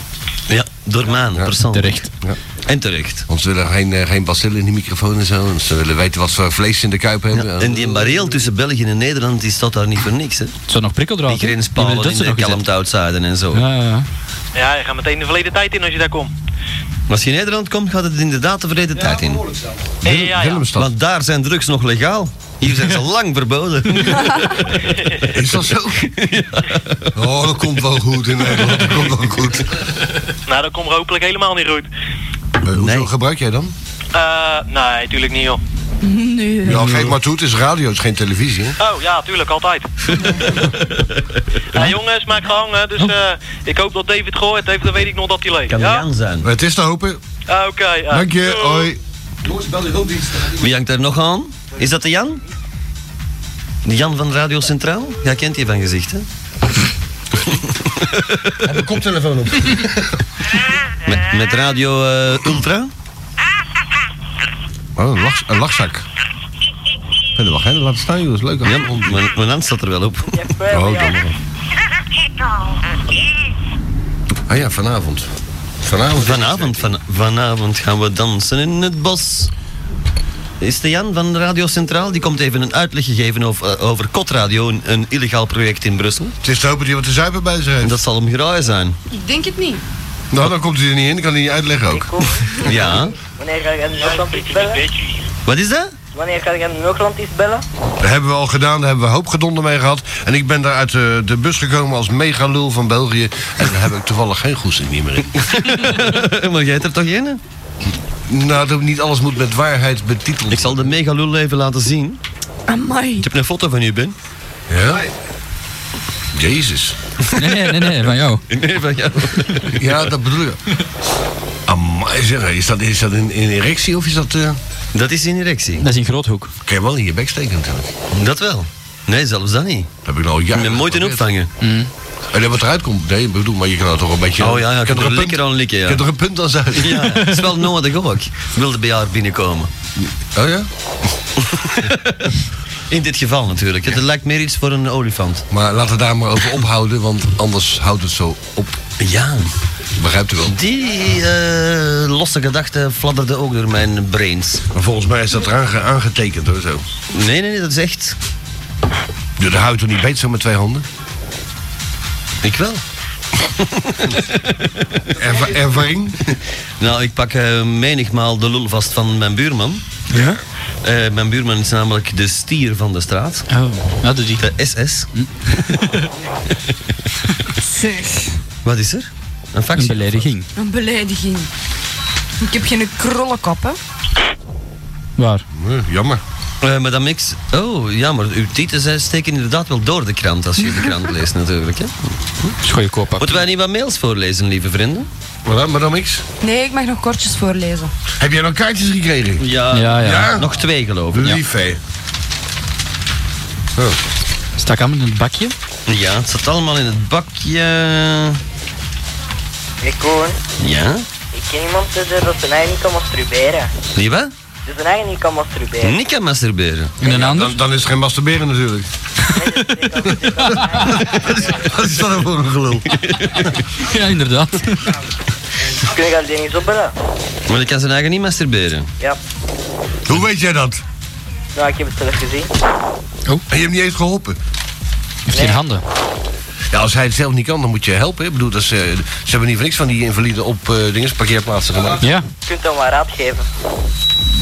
Ja, door maan, persoonlijk.
Terecht.
Ja.
En terecht.
Want ze willen geen, eh, geen bacillen in die microfoon en zo. En ze willen weten wat voor vlees ze in de kuip hebben. Eh,
Ja, en die bareel tussen België en Nederland, die staat daar niet voor niks, hè.
Het zou nog prikkeldraad.
Die
hè?
grenspalen
Die
in
hebben
de
dat ze nog
kalmte outsider en zo.
gezet. Ja, ja, ja.
Ja, je gaat meteen de verleden tijd in als je daar komt.
Als je in Nederland komt, gaat het inderdaad de verleden tijd in.
Eh, ja, ja.
Willemstad.
Want daar zijn drugs nog legaal. Hier
(laughs)
zijn ze lang verboden.
Is dat zo? Oh, dat komt wel goed in Nederland. Dat komt wel
(laughs)
goed.
Nou, dat komt er hopelijk helemaal niet goed.
Eh, hoezo
Nee.
gebruik jij dan?
Eh, nee, tuurlijk niet, joh.
Nee.
Ja, geef maar toe. Het is radio, het is geen televisie. Hè?
Oh, ja, tuurlijk,
(laughs)
altijd. ja, jongens, maak gang, hè.
Oh.
Dus eh, ik hoop dat David gehoord heeft, dan weet ik nog dat hij leeft.
Kan
Ja?
Jan zijn.
Maar Het is te hopen.
Ah, Oké. eh,
Dank je.
doei.
Hoi.
Jongens, bel de hulpdienst. dan gaat die-
Wie hangt daar nog aan? Is dat de Jan? De Jan van Radio Centraal? Jij kent die van gezicht, hè?
Heb een koptelefoon op.
Met, met radio eh, Ultra?
Oh, een, lach- een lachzak. Verder wacht, hè? Laat het staan, joh. Dat is leuk.
Ja, mijn, mijn hand staat er wel op.
Oh, dan. Ah ja, vanavond. Vanavond.
Vanavond, van- vanavond gaan we dansen in het bos. Is de Jan van Radio Centraal? Die komt even een uitleg geven over, eh, over Kotradio, een, een illegaal project in Brussel.
Het is te hopen die wat de zuipen bij zich heeft.
Dat zal hem geraaien zijn.
(laughs) Ik denk het niet.
Nou, dan komt hij er niet in. Dan kan hij niet uitleggen ook.
Ja.
Wanneer ga ik aan Noordland iets bellen?
Wat is dat?
Wanneer ga ik aan Noordland iets bellen?
Dat hebben we al gedaan, daar hebben we een hoop gedonder mee gehad. En ik ben daar uit eh, de, de bus gekomen als megalul van België. En daar heb ik toevallig geen goesting niet meer in.
(laughs) maar jij hebt er toch geen?
Nou, dat niet alles moet met waarheid betiteld
Ik zal de megalul even laten zien.
Amai.
Ik heb een foto van u, Ben.
Ja? Jezus.
Nee, nee, nee, nee, van jou.
Nee, van jou.
Ja, dat bedoel ik. Amai, zeg, is dat, is dat in, in erectie of is dat... eh,
Dat is in erectie.
Dat is in groothoek.
Kan je wel in je bek steken natuurlijk.
Dat wel. Nee, zelfs dat niet.
Dat heb ik nou jaren
Ik ben nooit in
geprobeerd. Mm.
opvangen.
En dat wat eruit komt, nee, ik bedoel, maar je kan er toch een beetje...
Oh ja, ja, ik
kan
heb
er
er
een punt-
lekker aan likken, ja.
Je kan er een punt aan zuigen.
Ja, ja. is wel nodig ook. Wilde bij haar binnenkomen.
Oh ja?
(laughs) In dit geval natuurlijk. Het lijkt meer iets voor een olifant.
Maar laten we daar maar over ophouden, want anders houdt het zo op.
Ja.
Begrijpt u wel?
Die eh, losse gedachte fladderde ook door mijn brains.
Maar volgens mij is dat eraan ge- aangetekend hoor, zo.
Nee, nee, nee, dat is echt.
Je houdt toch niet beet zo met twee handen?
Ik wel.
(laughs) Erva- ervaring?
Nou, ik pak eh, menigmaal de lul vast van mijn buurman.
(laughs) Ja?
Eh, mijn buurman is namelijk de stier van de straat.
Oh, dat doet hij. Hm?
De SS.
Zeg,
Wat is er? Een
Een
factie?
belediging.
een belediging. Ik heb geen krullenkop, hè.
Waar?
Nee, jammer.
Eh, Madame X, oh jammer, uw titels eh, steken inderdaad wel door de krant als je de
(laughs)
krant leest natuurlijk. Hè?
Schoon kop
Moeten wij niet wat mails voorlezen, lieve vrienden?
Wat dan, madame X?
Nee, ik mag nog kortjes voorlezen.
Heb jij nog kaartjes gekregen?
Ja,
Ja, ja.
nog twee geloof ik.
Lief, hè? Oh.
Stak aan in het bakje.
Ja, het zat allemaal in het bakje.
Ik hoor.
Ja?
Ik ken iemand die dat zijn eigen niet kan masturberen.
Niet wat?
Die zijn eigen niet kan masturberen.
Niet kan masturberen.
En een ander?
Dan, dan is het geen masturberen natuurlijk. (laughs) Wat is dat nou voor een
(laughs)
gelul?
Ja, inderdaad.
Kun je alleen eens opbellen?
Maar die kan zijn eigen niet masturberen.
Ja.
Hoe weet jij dat?
Nou, ik heb het zelf gezien.
En Oh. je hebt niet eens geholpen.
Heeft geen handen.
Ja, als hij het zelf niet kan, dan moet je helpen. Hè? Ik bedoel, dat is, eh, ze hebben niet voor niks van die invalide op eh dinges, parkeerplaatsen gemaakt.
Ja.
Je kunt hem maar raad geven.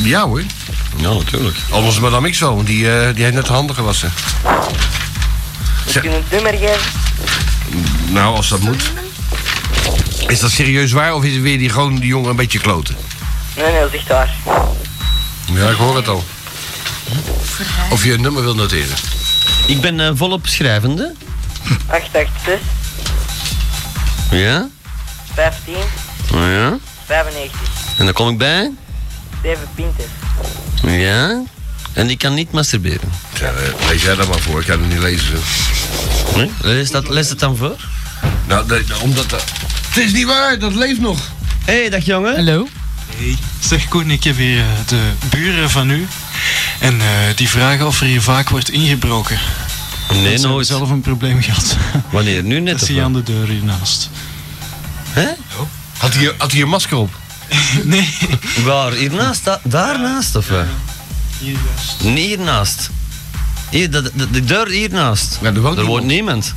Ja hoor.
Ja, natuurlijk.
Anders madame X wel, want die, eh, die heeft net de handen gewassen.
Je kunt het nummer geven.
Nou, als dat moet. Is dat serieus waar of is het weer die, gewoon die jongen een beetje kloten?
Nee, nee, dat is echt waar.
Ja, ik hoor het al. Of je een nummer wil noteren.
Ik ben eh, volop schrijvende.
886,
Ja?
15,
Oh ja?
95.
En dan kom ik bij.
Steven Pinter.
Ja? En die kan niet masturberen.
Ja, eh, lees jij dat maar voor, ik kan het niet lezen. zo.
Nee? Lees, dat, lees dat dan voor?
Nou, de- omdat... dat- het is niet waar, dat leeft nog.
Hé, hey, dag jongen.
Hallo?
Hey, zeg Koen, ik heb hier eh, de buren van u. En eh, die vragen of er hier vaak wordt ingebroken. Want
Nee, nou,
ze hebben
nooit.
zelf een probleem gehad.
Wanneer? Nu net
Dat
of
zie je
wat?
aan de deur hiernaast.
Hè?
Had hij, had hij een masker op?
nee.
Waar? Hiernaast? Da- daarnaast of wat?
Hiernaast.
Nee, hiernaast. Hier, de, de, de deur hiernaast.
Ja, er woont
woont niemand.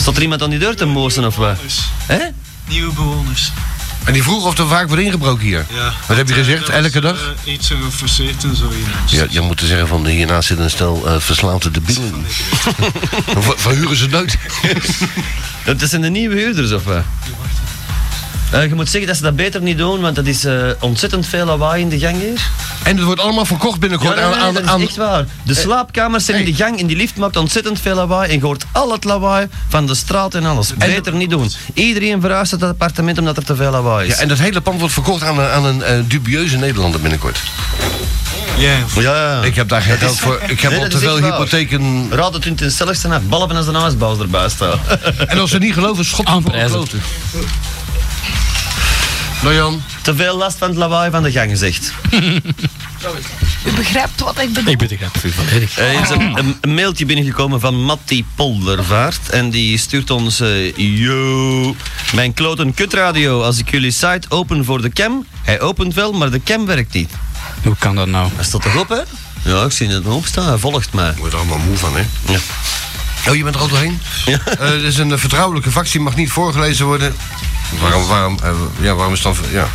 Staat er iemand aan die deur te moosen of wat?
Dus,
Hè?
nieuwe bewoners.
En die vroeg of er vaak wordt ingebroken hier.
Ja. Eh,
Wat heb je gezegd, elke dag?
iets geforceerd en zo hiernaast.
Ja, je moet er zeggen van hiernaast zit een stel eh, verslaafde debielen. (laughs) Ver- Verhuren ze nooit.
(laughs) Dat dat zijn de nieuwe huurders of wat? Eh, je moet zeggen dat ze dat beter niet doen, want dat is eh, ontzettend veel lawaai in de gang hier.
En het wordt allemaal verkocht binnenkort
Ja, nee, nee,
aan,
dat
aan,
is
aan- Eh,
echt waar. De slaapkamers zijn in de gang, in die lift maakt ontzettend veel lawaai en je hoort al het lawaai van de straat en alles. Beter niet doen. Iedereen verhuist uit het appartement omdat er te veel lawaai is.
Ja, en dat hele pand wordt verkocht aan, een- aan een eh, dubieuze Nederlander binnenkort. Ja. Ik heb daar geen geld voor. Ik heb al te veel hypotheken.
Raad het in ten stelligste af. Ballen als de huisbaas erbij staat.
En als ze niet geloven, schot
aan prijzen.
Nou Jan.
Te veel last van het lawaai van de gang gezegd.
U begrijpt wat ik bedoel.
Ik ben de grap
volledig. Eh, Er is een, een- een mailtje binnengekomen van Matti Poldervaart. En die stuurt ons... eh, yo, mijn kloten kutradio. Als ik jullie site open voor de cam... Hij opent wel, maar de cam werkt niet.
Hoe kan dat nou?
Hij staat toch op, hè? Ja, ik zie het erop staan. Hij volgt mij. Ik
word er allemaal moe van, hè?
Ja.
Oh, je bent er al doorheen?
Ja.
het is een eh, vertrouwelijke factie, mag niet voorgelezen worden. Waarom, waarom, eh, ja, waarom is dan... Ja.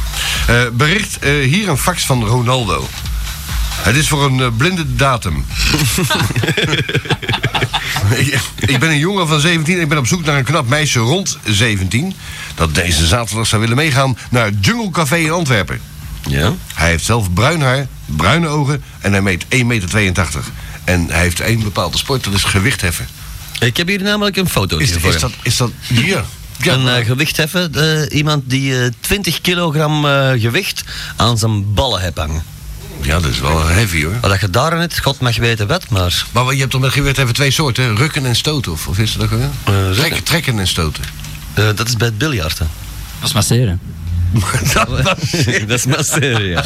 Eh, bericht, eh, hier een fax van Ronaldo. Het is voor een eh, blinde datum. (laughs) ik, ik ben een jongen van 17 en ik ben op zoek naar een knap meisje rond 17... dat deze zaterdag zou willen meegaan naar het Jungle Café in Antwerpen.
Ja?
Hij heeft zelf bruin haar, bruine ogen en hij meet 1,82 meter. En hij heeft één bepaalde sport, dat is gewichtheffen.
Ik heb hier namelijk een foto
Is,
voor
is
je.
dat, is dat hier?
een eh, gewichtheffer, eh, iemand die eh, 20 kilogram eh, gewicht aan zijn ballen heeft hangen.
Ja, dat is wel heavy hoor.
Wat dat je daar net, god mag weten wat, maar...
Maar je hebt toch met gewicht even twee soorten, hè? rukken en stoten? Of, of is dat ook alweer?
Eh, rukken.
trekken, trekken en stoten.
eh, dat is bij het biljarten.
Dat is
(laughs)
masseren.
(laughs) dat is masseren, ja.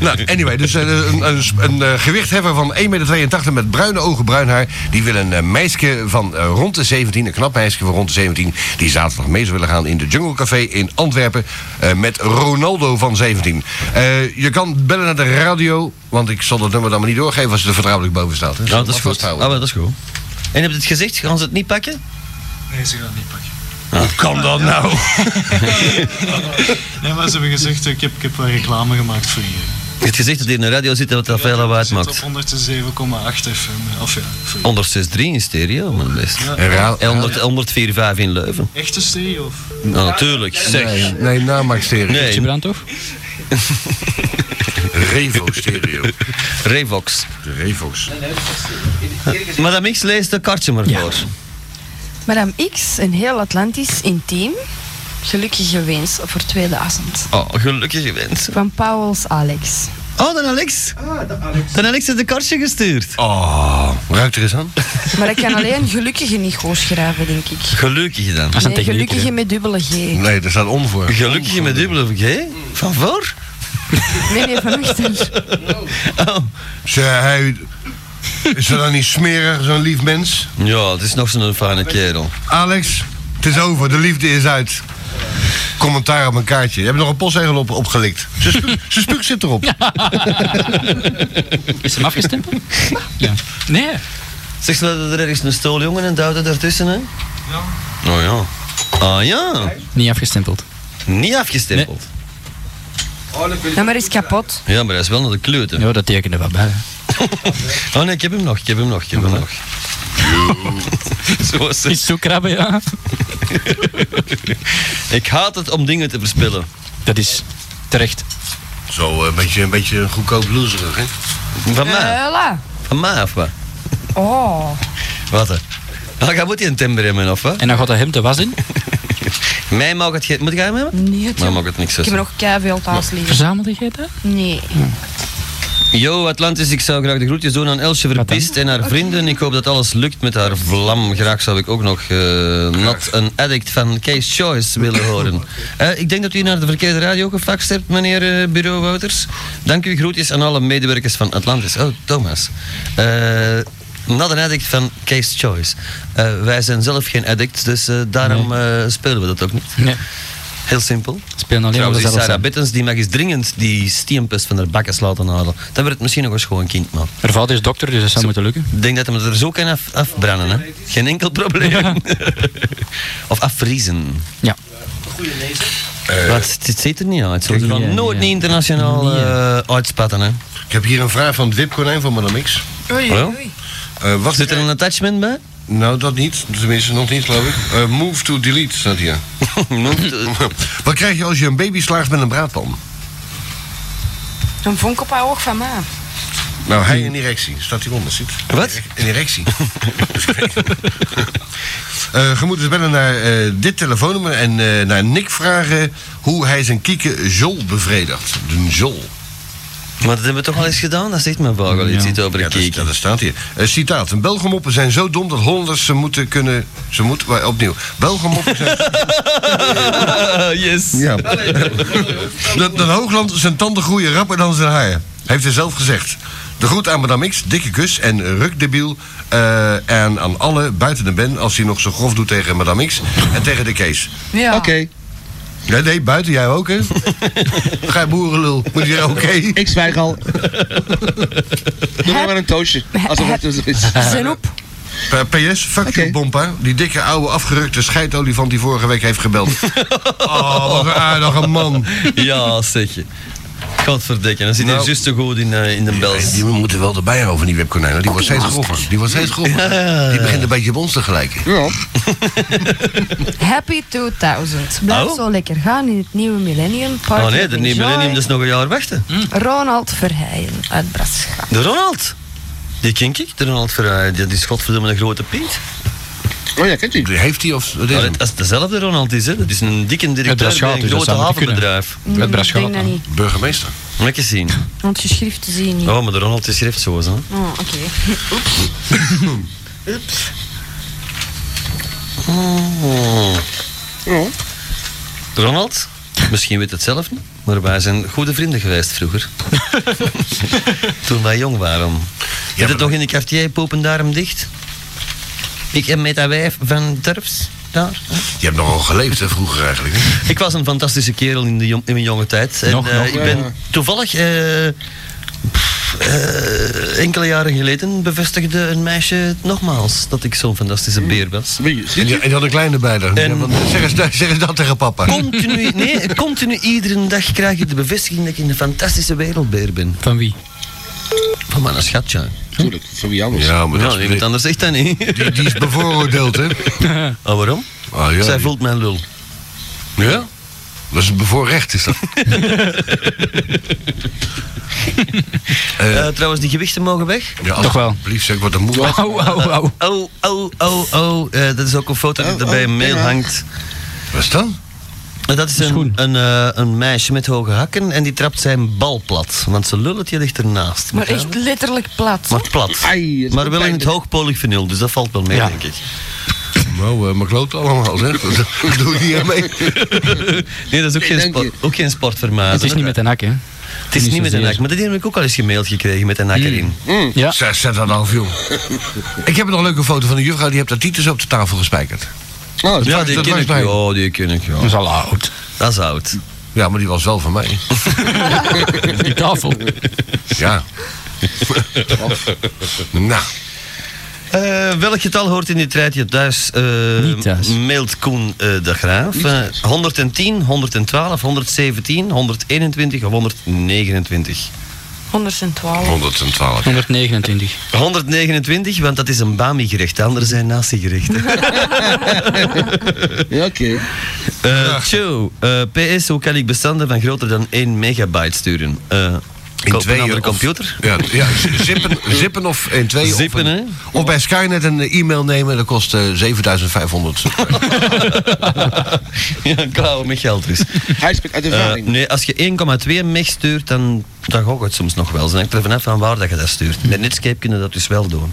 nou, anyway, dus eh, een, een, een eh, gewichtheffer van 1,82 meter met bruine ogen, bruin haar. Die wil een eh, meisje van eh, rond de 17, een knap meisje van rond de 17. Die zaterdag mee zou willen gaan in de Jungle Café in Antwerpen. eh, met Ronaldo van 17. Eh, je kan bellen naar de radio, want ik zal dat nummer dan maar niet doorgeven als het er vertrouwelijk boven staat. Hè.
Ja,
Zal
dat
hem
is goed. Ah,
vasthouden.
wel, dat is goed. En heb je het gezegd, gaan ze het niet pakken?
Nee, ze gaan niet pakken.
Hoe kan dat (laughs) nou?
Nee, maar ze hebben gezegd, ik heb, ik heb wel reclame gemaakt voor hier.
Je hebt gezegd dat hier een radio zit en dat dat veel lawaai
Het op
maakt.
107,8 FM. Of ja, voor
106.3 in stereo, mijn best.
Ja.
En ra- En 100 104.5 in Leuven.
echte stereo. of-
Nou, natuurlijk, zeg.
Nee, nee namaak stereo.
Nee.
Is brand toch?
Revo stereo.
Revox.
De Revox.
Madame X leest de kartje maar voor.
Madame X, een heel Atlantisch intiem. Gelukkige wens voor 2000.
Oh, gelukkig gewend.
Van Pauls Alex.
Oh, dan Alex.
Ah, de Alex.
Dan Alex heeft de kartje gestuurd.
Oh, ruikt er eens aan?
Maar ik kan alleen gelukkige niet goed schrijven, denk ik.
Gelukkig dan.
Nee, gelukkige met dubbele G.
Nee, daar staat on voor.
Gelukkig met dubbele G? Van voor?
Nee, nee, van achter.
Oh.
Ze, hij, is dat dan niet smerig, zo'n lief mens?
Ja, het is nog zo'n fijne kerel.
Alex, het is over, de liefde is uit. Commentaar op een kaartje. Je hebt nog een postzegel op, opgelikt. Ze spu- (laughs) Ze spuuk zit erop.
Is hem afgestempeld?
(laughs)
ja. Nee.
Zeg ze dat er ergens een stooljongen en duwde daartussen, hè? Ja. Oh ja. Ah ja.
Niet afgestempeld.
Niet afgestempeld.
Ja, maar is kapot.
Ja, maar hij is wel naar de kleuter.
Ja, dat tekende wat bij.
(laughs) Oh nee, ik heb hem nog, ik heb hem nog, ik heb hem
(laughs)
nog. Zo was het.
Is zo krabben, ja.
(laughs) Ik haat het (laughs) om dingen te verspillen.
Dat is terecht.
Zo, eh, een beetje, een beetje goedkoop loserig, hè?
Van
Eh.
mij?
Hela.
Van mij of wat?
Oh.
Wat hè? Ah, jij moet die een timber hebben of wat?
En dan gaat dat hem te was in.
(laughs) Mij mag het geen... Moet jij hem hebben?
Nee, het-
Mij mag het niks
ik heb
zeggen.
nog keiveel thuis liggen.
Verzamelde jij dat?
Nee.
Yo Atlantis, ik zou graag de groetjes doen aan Elsje Verpist en haar vrienden. Ik hoop dat alles lukt met haar vlam. Graag zou ik ook nog eh Not an Addict van Case Choice willen horen. Eh, ik denk dat u naar de verkeerde radio gefaxt hebt, meneer eh, Bureau Wouters. Dank u, groetjes aan alle medewerkers van Atlantis. Oh, Thomas. Eh, not an Addict van Case Choice. Eh, wij zijn zelf geen addicts, dus eh, daarom eh, spelen we dat ook niet.
Nee.
Heel simpel.
Spelen alleen maar
Trouwens, die
zelf
Sarah
zijn.
Bittens die mag eens dringend die steampest van haar bakkes laten halen. Dat wordt het misschien nog eens gewoon kind, man.
Haar vader is dokter, dus dat zou moeten lukken.
Ik denk dat hem het er zo kan af, afbranden, hè. Geen enkel probleem. (laughs) of afvriezen.
Ja.
Eh.
Wat, het ziet er niet uit. Zullen ze
Kijk,
van
ja,
nooit
ja.
niet internationaal
Nee.
eh, uitspatten, hè.
Ik heb hier een vraag van het wipkonijn van Madame X.
Oei,
Oh
(laughs)
Wel?
oei.
Eh, wat
Zit er een attachment bij?
Nou, dat niet. Tenminste, nog niet, geloof ik. Eh, move to delete, staat
(laughs)
hier. (laughs) Wat krijg je als je een baby slaagt met een braadpan?
Een vonk op haar oog van mij.
Nou, hij in erectie. Staat hieronder, zit.
Wat?
Een erectie. (laughs) Dus Eh je moet dus bellen naar eh, dit telefoonnummer en eh, naar Nick vragen hoe hij zijn kieke jol bevredigt. Een jol.
Maar dat hebben we toch al eens gedaan? Dat zegt mijn vrouw al iets niet over een
dat, dat staat hier. Eh, citaat. Belgemoppen zijn zo dom dat Hollanders ze moeten kunnen... Ze moeten... wa- Opnieuw. Belgemoppen zijn...
yes.
Ja. dat, dat Hoogland zijn tanden groeien rapper dan zijn haar. Heeft hij zelf gezegd. De groet aan Madame X, dikke kus en rukdebiel. eh en aan alle buiten de Ben als hij nog zo grof doet tegen Madame X en tegen de Kees.
Ja.
Oké. Nee, nee, buiten jij
(laughs)
ook, hè? Ga je boerenlul. Moet je zeggen, oké.
Ik zwijg al. Doe maar een toosje. Alsof het er is.
Zin op.
Eh, PS, fuck you, Bompa. Die dikke, oude, afgerukte scheidolifant die vorige week heeft gebeld. oh, wat een aardige man.
eh. (laughs) Ja, zeg je. Godverdikke, dan zit hij
Nou.
juist zo goed in, eh, in de bels.
Die moeten wel erbij houden, die webkonijnen. Die wordt steeds grover. Die wordt steeds grover. Die begint een beetje op ons te gelijken.
Ja.
(laughs)
Happy 2000. Blijf
Oh.
zo lekker gaan in het nieuwe millennium. Party
Oh nee,
of
de nieuwe
enjoy.
millennium is nog een jaar wachten.
Ronald Verheijen uit Brascha.
De Ronald. Die ken ik, de Ronald Verhaaien. Die is godverdomme een grote Piet.
Oh ja, kent u?
Heeft hij of...
Ja, dat is dezelfde Ronald is, hè. Dat is een dikke directeur
Brasschaat,
bij een
dus dat
grote
zou moeten
havenbedrijf.
kunnen. Mm, Met Brasschaat, ik denk dat niet.
Burgemeester.
Lekker zien.
Want je schrift te zien niet.
Oh, maar de Ronald is schrift zo, hè.
Oh, oké.
(coughs)
Oeps. Oeps. Mm.
Oh. Ronald, misschien weet het zelf niet, maar wij zijn goede vrienden geweest
(laughs)
vroeger. Toen wij jong waren. Heb je toch in de quartier popen daarom dicht? Ik heb met dat wijf van Durfs daar.
Je hebt nogal geleefd, hè, vroeger eigenlijk. hè?
(laughs) Ik was een fantastische kerel in, de jong- in mijn jonge tijd. En,
Nog,
eh,
nog,
ik ben
ja.
toevallig eh, pff, eh, enkele jaren geleden bevestigde een meisje nogmaals dat ik zo'n fantastische beer was.
En die, en die had een kleine bijdrage. Ja, want, eh, zeg, eens, dat- zeg eens dat tegen papa. (laughs)
Continu, nee, continu iedere dag krijg je de bevestiging dat ik een fantastische wereldbeer ben. Van wie? Van mijn schatje.
Tuurlijk, van wie anders?
Ja, maar dat
Nou,
is-
iemand anders zegt dat niet.
Die, die is bevooroordeeld,
(laughs)
hè? Eh.
Oh, waarom?
Ah, ja,
Zij
die-
voelt mijn lul.
Ja? Dat is een bevoorrecht,
(laughs)
is dat.
Eh, trouwens, die gewichten mogen weg.
Ja, Toch wel. Alsjeblieft, zeg wat een moe. was.
oh. Oh, oh, oh, oh. Eh, dat is ook een foto die
Oh,
er bij
oh,
een mail
ja.
hangt.
Wat is dat?
En Dat is een, een, eh, een meisje met hoge hakken en die trapt zijn bal plat. Want ze lulletje ligt ernaast.
Maar echt letterlijk plat.
Maar plat. maar wel in het hoog polyfenol, dus dat valt wel mee, denk ik.
Nou, eh, maar kloot allemaal,
(laughs)
zeg. Dat dat doe ik niet aan mee.
nee, dat is ook, geen, sport, ook geen sport voor mij.
Het is niet met een hak, hè?
Het is niet, met een hak, maar dat heb ik ook al eens gemaild gekregen met een hak erin.
Ja. Zet, zet dat af, joh. Mm.
(laughs)
Ik heb nog een leuke foto van een juffrouw, die heeft haar titus op de tafel gespijkerd.
Oh,
ja, die
dat
ken
was
ik.
mij.
Ja, die ken ik. Ja. Dat
is al oud.
Dat is oud.
Ja, maar die was wel van
(laughs)
mij.
Die tafel.
(laughs)
Ja. nou.
Eh, welk getal hoort in dit rijtje thuis? eh Mailt Koen eh, de Graaf. Eh, 110, 112, 117, 121 of 129?
112.
112.
129.
129, want dat is een Bami-gerecht. De anderen zijn nasi-gerechten.
(laughs) Ja, oké.
Eh Tjo, eh, PS, hoe kan ik bestanden van groter dan 1 megabyte sturen? Eh
In
koop een
tweeën
andere
of-
computer?
Ja, ja z-
(laughs)
zippen, zippen of in twee.
Zippen,
of,
hè?
een- of bij Skynet een eh, e-mail nemen, dat kost eh,
(laughs)
7500.
ja, klauwen met geld dus.
(laughs) Hij spreekt uit ervaring.
Eh, nee, als je 1,2 meg stuurt, dan, dan gok het soms nog wel. Dan hangt er vanaf van waar dat je dat stuurt. Met Netscape kunnen dat dus wel doen.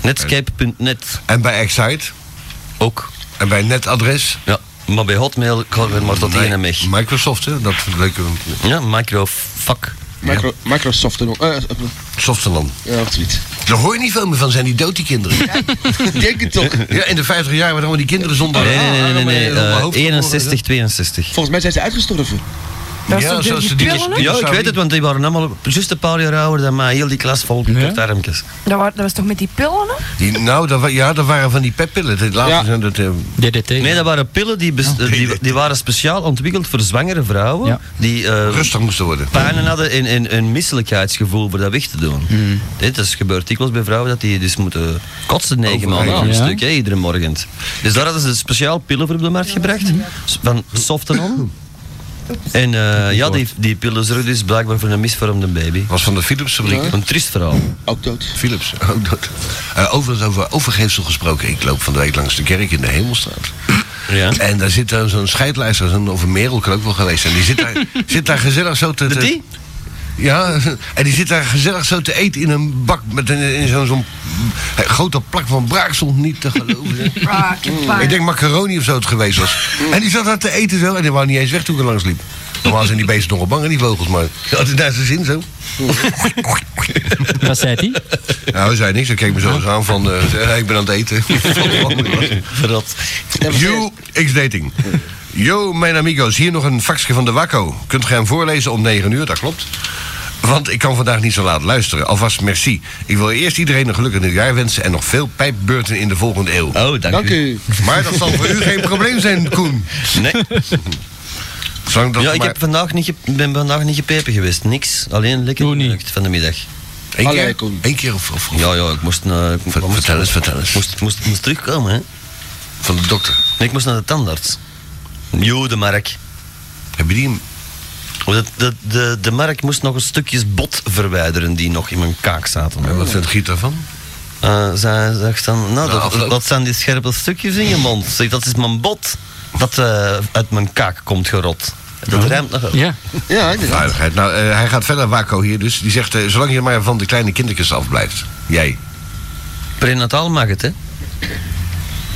Netscape.net.
En bij Excite?
Ook.
En bij netadres?
Ja, maar bij Hotmail kan er maar tot
Nee,
1 meg.
Microsoft, hè? Dat leuke...
Ja, microfuck.
Micro, Microsoft en ook. eh, eh,
Softeland.
Ja, of zoiets.
Daar hoor je niet veel meer van, zijn die dood, die kinderen.
Ik Denk het toch?
Ja, in de 50 jaar waren allemaal die kinderen zonder... Ah,
Nee, nee, nee, nee. nee,
Allemaal
eh,
hoofd-
61, 62.
Volgens mij zijn ze uitgestorven.
Dat is Ja, toch de- zoals die ze die- pillen, hè?
Ja, ik
Sorry.
weet het, want die waren allemaal juist een paar jaar ouder dan mij. Heel die klas vol met armpjes.
Dat, wa- dat was toch met die pillen? hè?
Die, nou, dat, wa- ja, dat waren van die Oh. peppillen. De laatste zijn dat... eh,
DDT.
Nee, dat waren pillen die, bes- eh, die, die waren speciaal ontwikkeld voor zwangere vrouwen. Die eh,
rustig moesten worden.
pijnen hadden en, en een misselijkheidsgevoel voor dat weg te doen. Dit is gebeurd dikwijls bij vrouwen dat die dus moeten kotsen negen maanden
Overal,
aan een
ja.
stuk, hè, iedere morgen. Dus daar hadden ze speciaal pillen voor op de markt gebracht. s- Van Softenon. En eh, ja, die, die pillen zorgen dus blijkbaar voor een misvormde baby.
was van de Philips fabriek.
Een triest verhaal.
Ook dood.
Philips, ook dood. Eh, overigens over overgeefsel gesproken. Ik loop van de week langs de kerk in de Hemelstraat.
Ja.
En daar zit
(laughs)
dan zo'n scheidlijster, zo'n, of een merel kan ook wel geweest zijn. Die zit daar, zit daar gezellig zo te... te-
die?
Ja, en die zit daar gezellig zo te eten in een bak met een, in zo'n zo'n grote plak van braaksel, niet te geloven.
Ah, ik heb pijn.
Ik denk macaroni of zo het geweest was. En die zat daar te eten zo en die wou niet eens weg toen ik er langs liep. Normaal zijn die beesten nogal bang en die vogels, maar die hadden daar zijn zin zo.
Wat zei hij?
Nou, hij zei niks. Hij keek me zo eens aan van, eh, hey, ik ben aan het
(laughs)
eten. Verrat. You, X-dating. Yo, mijn amigos, hier nog een faxje van de Waco. Kunt gij hem voorlezen om 9 uur? Dat klopt. Want ik kan vandaag niet zo laat luisteren. Alvast merci. Ik wil eerst iedereen een gelukkig nieuwjaar wensen... en nog veel pijpbeurten in de volgende eeuw.
Oh, dank,
Dank
u.
Maar dat zal voor u geen probleem zijn, Koen.
Nee.
Zolang dat
ja, ik
maar-
heb vandaag niet ge- ben vandaag niet gepepen geweest. Niks. Alleen lekker geneukt van de middag.
Eén keer? Eén keer of... of
Ja, ja, ik moest... naar ik moest-
vertel eens, vertel eens.
Moest, moest, moest terugkomen, hè.
Van de dokter?
Nee, ik moest naar de tandarts. Jo, de mark.
Heb je die...
De, de, de, de mark moest nog een stukjes bot verwijderen die nog in mijn kaak zaten. Oh.
En wat vindt Giet daarvan?
Eh, zij zegt dan, nou, dat,
afloop.
dat zijn die scherpe stukjes in je mond. Zeg, dat is mijn bot dat eh, uit mijn kaak komt gerot. (laughs) Dat ruimt nog wel.
Ja, Veiligheid. Nou, eh, hij gaat verder, Waco hier dus. Die zegt, eh, zolang je maar van de kleine kindertjes afblijft. Jij.
Prenataal mag het, hè?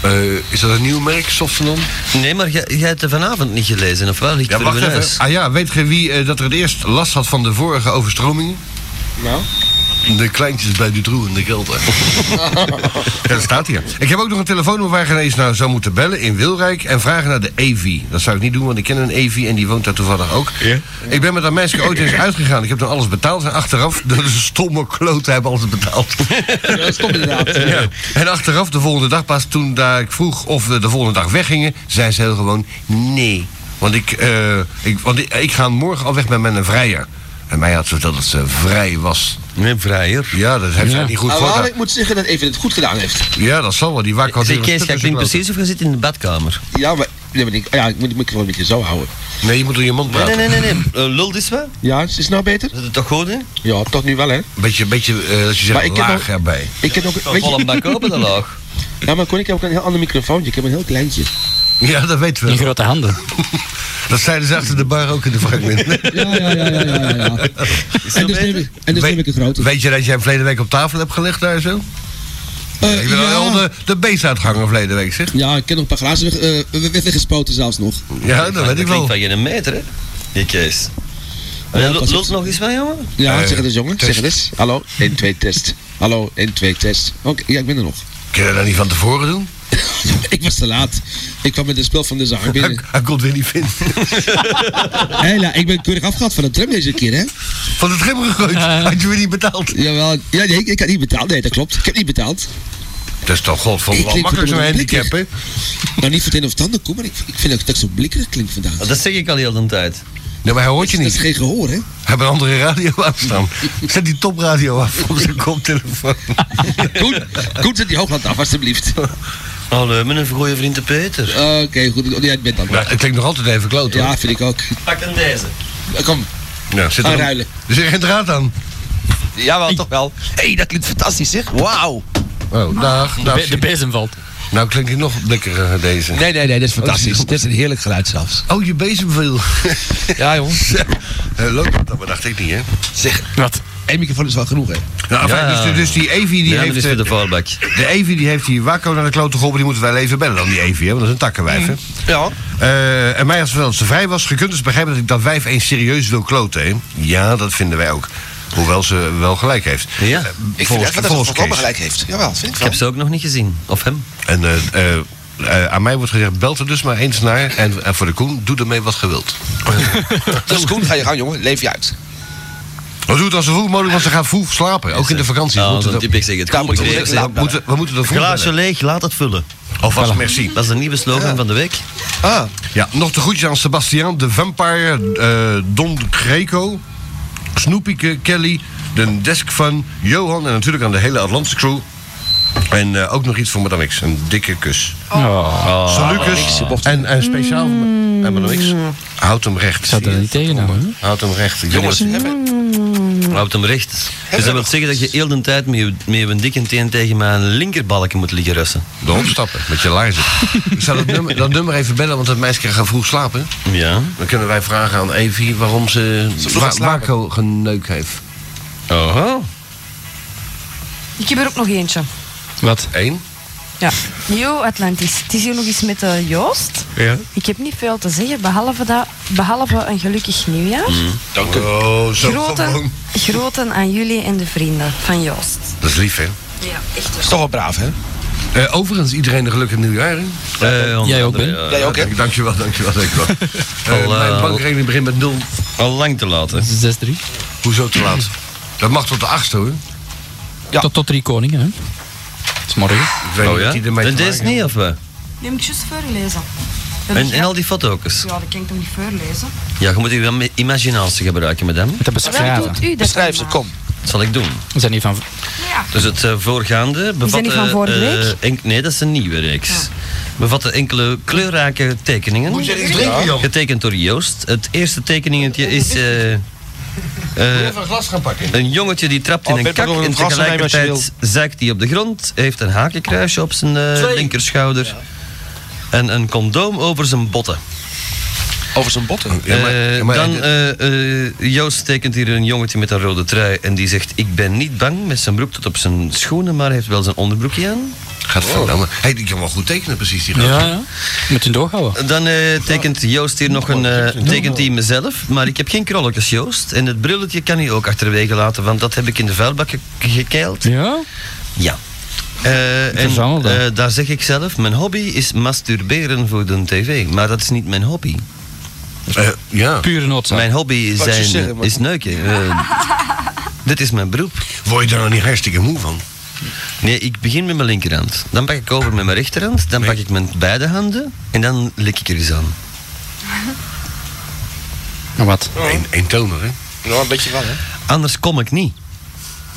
Eh, is dat een nieuw merk, Softenon?
Nee, maar jij, jij hebt het vanavond niet gelezen, of wel? Ligt
Ja,
er
wacht
in mijn
even.
huis.
Ah ja, weet je wie eh, dat er het eerst last had van de vorige overstromingen?
Nou?
De kleintjes bij Dutroux en de Gelder. (laughs) Ja, dat staat hier. Ik heb ook nog een telefoonnummer waar je ineens naar zou moeten bellen in Wilrijk en vragen naar de EV. Dat zou ik niet doen, want ik ken een EV en die woont daar toevallig ook. Ik ben met dat meisje ooit eens uitgegaan. Ik heb dan alles betaald en achteraf, (laughs) de stomme kloten hebben alles betaald.
Ja,
(laughs)
stop inderdaad.
Ja. En achteraf, de volgende dag pas, toen daar ik vroeg of we de volgende dag weggingen, zei ze heel gewoon nee. Want ik, eh, ik, want ik, ik ga morgen al weg met mijn vrijer. En mij had ze verteld dat ze vrij was.
Nee, vrijer?
Ja, dat heeft zij niet goed
Maar
gedaan.
ik Nou, moet zeggen dat Even het goed gedaan heeft.
Ja, dat zal wel. Die wakker had
Zeg,
weer een
Kees, jij
stuk
klinkt
tussen
precies of je zit in de badkamer.
Ja, maar nee, maar ik, ja, ik moet de microfoon een beetje zo houden.
Nee, je moet door je mond
Nee, nee, nee, nee. nee.
(laughs)
Eh, lul is wel.
Ja, is het nou beter?
Zit het toch goed, hè?
Ja, toch nu wel, hè?
Beetje, beetje eh, dat je
Maar
zegt
ik heb
laag
ook-
erbij.
Ik heb ook...
Zo vol een bak open, de
(laughs)
laag.
Ja, maar kon ik heb ook een heel ander microfoontje. Ik heb een heel kleintje.
Ja, dat weten we.
In grote
(laughs)
handen.
Dat zeiden ze achter de bar ook in de fragment.
Ja, ja, ja, ja, ja.
(laughs)
ja. En dus neem ik, en dus neem ik een grote.
Weet je dat jij hem verleden week op tafel hebt gelegd daar zo?
Eh,
ik ben
ja.
al de, de beestuitganger verleden week, zeg.
Ja, ik ken nog een paar glazen weg, eh, weg- weggespoten zelfs nog.
Ja, dat weet ik wel.
klinkt van geen meter, hè? Die Kees.
Ja,
Eh,
pas
lul-
op.
Lult nog eens wel, jongen?
Ja,
Eh,
zeg het eens jongen,
test.
zeg het eens. Hallo, 1, 2, test. Hallo, 1, 2, test. Oké, ja, ik ben er nog.
Kun je dat niet van tevoren doen?
(laughs) ik was te
(laughs)
laat. Ik kwam met het spel van de zaak
Hij,
binnen.
hij kon het weer niet
(laughs)
vinden.
Hela, ik ben keurig afgehaald van de tram deze keer, hè?
Van het tram gegooid? Had je weer niet betaald?
Jawel, ja, nee, ik had niet betaald. Nee, dat klopt. Ik heb niet betaald.
Dat is toch
Ik
godverdomme wel
klink
makkelijk zo'n
verdomme
handicap, hè?
blikker. Nou, niet voor het een of het ander, Koen, maar ik, ik vind dat ik zo blikkerig klink vandaag.
Ah, Dat zeg ik al heel de tijd.
Nee, maar hij hoort je
Dat is
niet.
geen gehoor, hè?
Hij heeft een andere radio aanstaan. Zet die topradio af op zijn koptelefoon.
(laughs) Koen, Koen zet die hoogland af, alstublieft.
Hallo, mijn goede vriend Peter.
Oké, goed. Oh, Jij bent dan.
Maar het klinkt nog altijd even kloot, hoor.
Ja, vind ik ook. Eh,
Pak hem deze.
Kom,
Ja, zit er,
gaan
een-
ruilen.
er zit geen draad aan.
Jawel, toch wel. Hé, hey, dat klinkt fantastisch, zeg. Wauw.
Oh, dag. dag
Be- de bezem valt.
Nou klinkt hij nog blikkeriger, deze.
Nee, nee, nee, dat is fantastisch.
Oh,
Dit is een heerlijk geluid zelfs.
Oh, je bezem veel.
(laughs)
Ja,
(laughs)
jongen.
Eh, Leuk, dat bedacht ik niet, hè?
Zeg,
Wat?
één microfoon is wel genoeg, hè?
Nou,
Ja.
fijn, dus, dus die Evie die
Ja, dat
heeft...
is
eh,
voor de voorbak.
De Evie die heeft die Waco naar de klote geholpen. Die moeten wij even bellen dan, die Evie. Hè? Want dat is een takkenwijf, hè?
Mm. Ja.
Eh, en mij als wel ze vrij was, gekund is begrijpen dat ik dat wijf eens serieus wil kloten, hè? Ja, dat vinden wij ook. Hoewel ze wel gelijk heeft.
Ja.
Eh,
Ik vind
volgens-
echt dat het
volgens
volkomen
Kees.
gelijk heeft. Jawel, vind ik
Ik
wel. (laughs)
heb ze ook nog niet gezien. Of hem.
En eh, eh, eh, aan mij wordt gezegd, belt er dus maar eens naar. En, en voor de Koen, doe ermee wat gewild.
Dus Koen, ga je gang, jongen. Leef je uit.
Maar doe het als zo vroeg mogelijk, want ze gaan vroeg slapen. Ook in de vakantie.
Nou,
Moeten
zo'n
dat-
typisch zeg het.
Daar moet je
Koen,
direct
zeg,
laat
moeten, we moeten er vroeg
Glaasje leeg, laat het vullen.
bellen. Alvast merci.
Dat is de nieuwe slogan van de week.
Ah,
Ja, nog de groetjes aan Sebastian, de Vampire, eh, Don Greco, Snoepieke, Kelly, de Desk van Johan en natuurlijk aan de hele Atlantische crew. En eh, ook nog iets voor Madame X, een dikke kus.
Oh.
Sir Lucas en, en speciaal voor
Mm.
Ma- en Madame X. Houd hem recht.
Ik zat er niet tegen nou, aan.
Houd hem recht. Ik weet
jongens.
niet
Hebben,
Houdt hem recht. Dus dat wil zeggen dat je heel de tijd met je, met je dikke teen tegen mijn linkerbalken moet liggen russen.
De opstappen, met je laarzen. Ik zou dat nummer, dat nummer even bellen, want dat meisje gaat vroeg slapen.
Ja.
Dan kunnen wij vragen aan Evie waarom ze,
Ze vroeg
Wa-
gaat slapen.
Marco geneukt heeft.
Oh.
Ik heb er ook nog eentje.
Wat? Eén?
Ja. Neo Atlantis. Het is hier nog eens met eh, Joost.
Ja.
Ik heb niet veel te zeggen, behalve, dat, behalve een gelukkig nieuwjaar.
Mm.
Dank u. Oh, zo
Groten,
gewoon.
groeten aan jullie en de vrienden van Joost.
Dat is lief, hè?
Ja, echt
Is toch wel braaf, hè? Eh, overigens, iedereen een gelukkig nieuwjaar. hè?
jij ook, Ben?
Jij ook, hè? Dankjewel, dankjewel,
(laughs)
dankjewel. Eh,
Al, eh,
mijn
al-
bankrekening begint met nul.
Al lang te laat, hè?
6-3.
Hoezo te laat? Dat mag tot de achtste, hoor.
Tot, tot drie koningen, hè. Het is morgen.
Ik weet
Oh
niet
ja?
wat die ermee
En
te
deze
maken
niet, of wat?
Die moet ik juist voorlezen. Dat
En,
is-
en al die foto's.
Ja, dat kan ik toch niet voorlezen?
Ja, je moet je wel met imaginatie gebruiken, madame. Met dat
beschrijven. Wel, doet u dat Beschrijf ze, dan maar.
kom. Dat zal ik doen.
We zijn niet van...
Dus het eh, voorgaande bevatte...
niet van vorige
eh,
week?
enk- nee, dat is een nieuwe reeks. Bevatte enkele kleurrijke tekeningen.
Moet je er iets drinken, Jan?
Getekend door Joost. Het eerste tekeningetje is... eh, eh,
Even een glas gaan pakken.
een jongetje die trapt in
Oh,
een
Bert,
kak
maar nog
en
een glas erbij als je
tegelijkertijd zeikt hij op de grond, heeft een hakenkruisje op zijn eh,
Twee.
linkerschouder en een condoom over zijn botten.
Over zijn botten.
Eh, dan eh, eh, Joost tekent hier een jongetje met een rode trui en die zegt ik ben niet bang met zijn broek tot op zijn schoenen, maar heeft wel zijn onderbroekje aan. Oh.
Gaat verdamme. Hey, die kan wel goed tekenen, precies. Die
Ja,
gast.
ja.
Met hun doorhouden.
Dan eh, tekent Joost hier nog een eh tekent hij mezelf, maar ik heb geen krolletjes Joost en het brilletje kan hij ook achterwege laten, want dat heb ik in de vuilbak ge- gekeild.
Ja?
Ja. Eh, en
Verzamel dat.
eh, daar zeg ik zelf, mijn hobby is masturberen voor de tv, maar dat is niet mijn hobby.
Eh, ja.
Pure noodzaak.
Mijn hobby
Wat je
zijn,
zeggen, maar-
is neuken. Eh, dit is mijn beroep.
Word je daar nou niet hartstikke moe van?
Nee, ik begin met mijn linkerhand. Dan pak ik over met mijn rechterhand. Dan pak ik mijn beide handen. En dan lik ik er eens aan.
wat?
Eén eentonig, hè?
Nou, een beetje wel, hè?
Anders kom ik niet.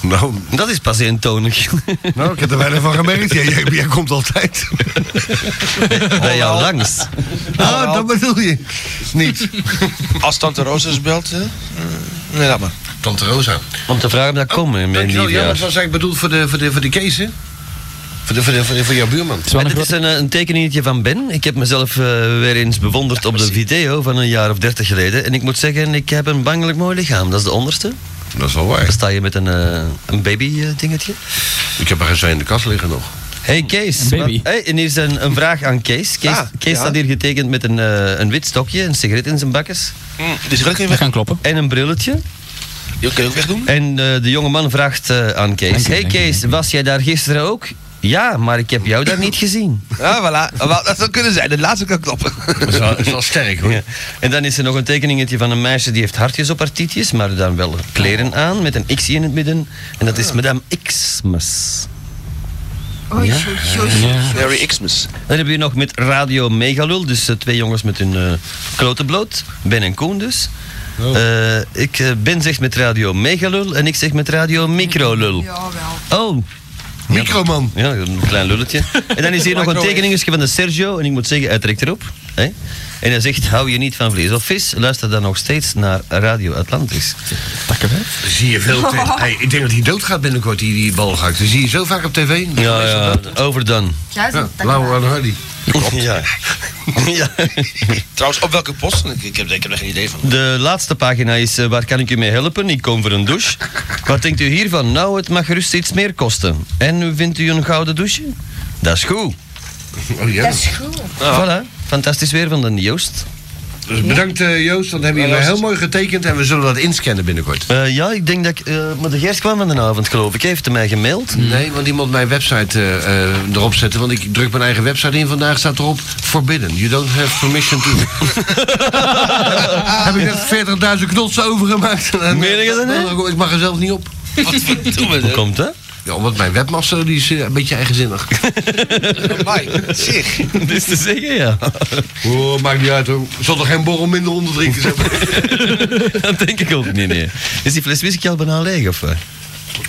Nou.
Dat is pas eentonig. (laughs)
Nou, ik heb er weinig van gemerkt. Jij, jij, jij komt altijd.
Bij jou langs.
Ah, dat bedoel je. Niet.
Nou, Als Tante Roos eens belt, hè? Nee, laat maar.
Tante Rosa.
Om te vragen of dat komt, mijn
Dankjewel, ja,
liefjaar.
dat was eigenlijk bedoeld voor de, voor de, voor de Kees, hè? eh, Voor, de, voor, de, voor, de- voor jouw buurman.
Maar dit is een, eh, een tekeningetje van Ben. Ik heb mezelf eh, weer eens bewonderd op de video van een jaar of dertig geleden. En ik moet zeggen, ik heb een bangelijk mooi lichaam. Dat is de onderste.
Dat is wel waar.
Dan sta je met een, eh, een baby eh, dingetje.
Ik heb er geen zin in de kast liggen nog.
Hey Kees,
Een baby.
wat- hey, en hier is een, een vraag aan Kees. Kees,
Ah,
Kees
ja.
staat hier getekend met een, eh, een wit stokje, een sigaret in zijn bakkes.
Hm, dus
Die sigaret kan je weg
gaan kloppen.
En een brilletje.
Die kun je ook wegdoen.
En eh, de jonge man vraagt eh, aan Kees:
Dank je,
Hey
dank je,
Kees, was jij daar gisteren ook? Ja, maar ik heb jou daar niet gezien.
(laughs) Ja, voilà. Wel, Dat zou kunnen zijn. De laatste kan kloppen.
Dat is wel, dat is wel sterk, hoor.
Ja. En dan is er nog een tekeningetje van een meisje die heeft hartjes op haar tietjes, maar dan wel kleren aan met een X in het midden. En dat is
Ah.
Madame Xmas.
Oei,
Ja.
oei, oei.
Merry Xmas.
Dan hebben we nog met Radio Megalul, dus eh, twee jongens met hun eh klote bloot. Ben en Koen dus. Eh, ik, eh, ben zegt met Radio Megalul en ik zeg met Radio Microlul. Oh.
Microman.
Ja, een klein lulletje. En dan is hier nog een tekeningetje van de Sergio. En ik moet zeggen, hij trekt erop. Hè? En hij zegt, hou je niet van vlees of vis? Luister dan nog steeds naar Radio Atlantis.
Takken hè?
Zie je veel te... Hey, ik denk dat hij doodgaat binnenkort, die, die balgak. Dat zie je zo vaak op tv.
Ja, ja, overdone.
Ja,
Ja,
dat
Lauwe en Hardy.
(laughs)
Ja. ja.
Trouwens, op welke post? Ik, ik, heb, ik heb er geen idee van.
De laatste pagina is, eh, waar kan ik u mee helpen? Ik kom voor een douche. Wat denkt u hiervan? Nou, het mag gerust iets meer kosten. En hoe vindt u een gouden douche? Dat is goed.
Oh ja.
Dat is goed.
Voilà, fantastisch weer van de Joost.
Dus bedankt eh, Joost, want hebben jullie heel mooi getekend en we zullen dat inscannen binnenkort.
Eh, ja, ik denk dat ik... eh, maar de Gers kwam van de avond, geloof ik. Hij heeft hem mij gemaild.
Mm. Nee, want iemand mijn website eh, eh, erop zetten, want ik druk mijn eigen website in. Vandaag staat erop forbidden. You don't have
(laughs)
permission to. Heb ik net 40.000 knotsen overgemaakt?
Meen je dat niet?
Ik mag er zelf niet op.
Hoe komt dat?
Ja, want mijn webmaster die is eh, een beetje eigenzinnig.
(laughs) Amai,
(laughs)
zeg.
Dat is te zeggen, ja.
Oh, maakt niet uit hoor. Zal er geen borrel minder onder drinken? zeg maar.
(laughs) Dat denk ik ook niet, nee. Is die fles whisky al bijna leeg, of wat?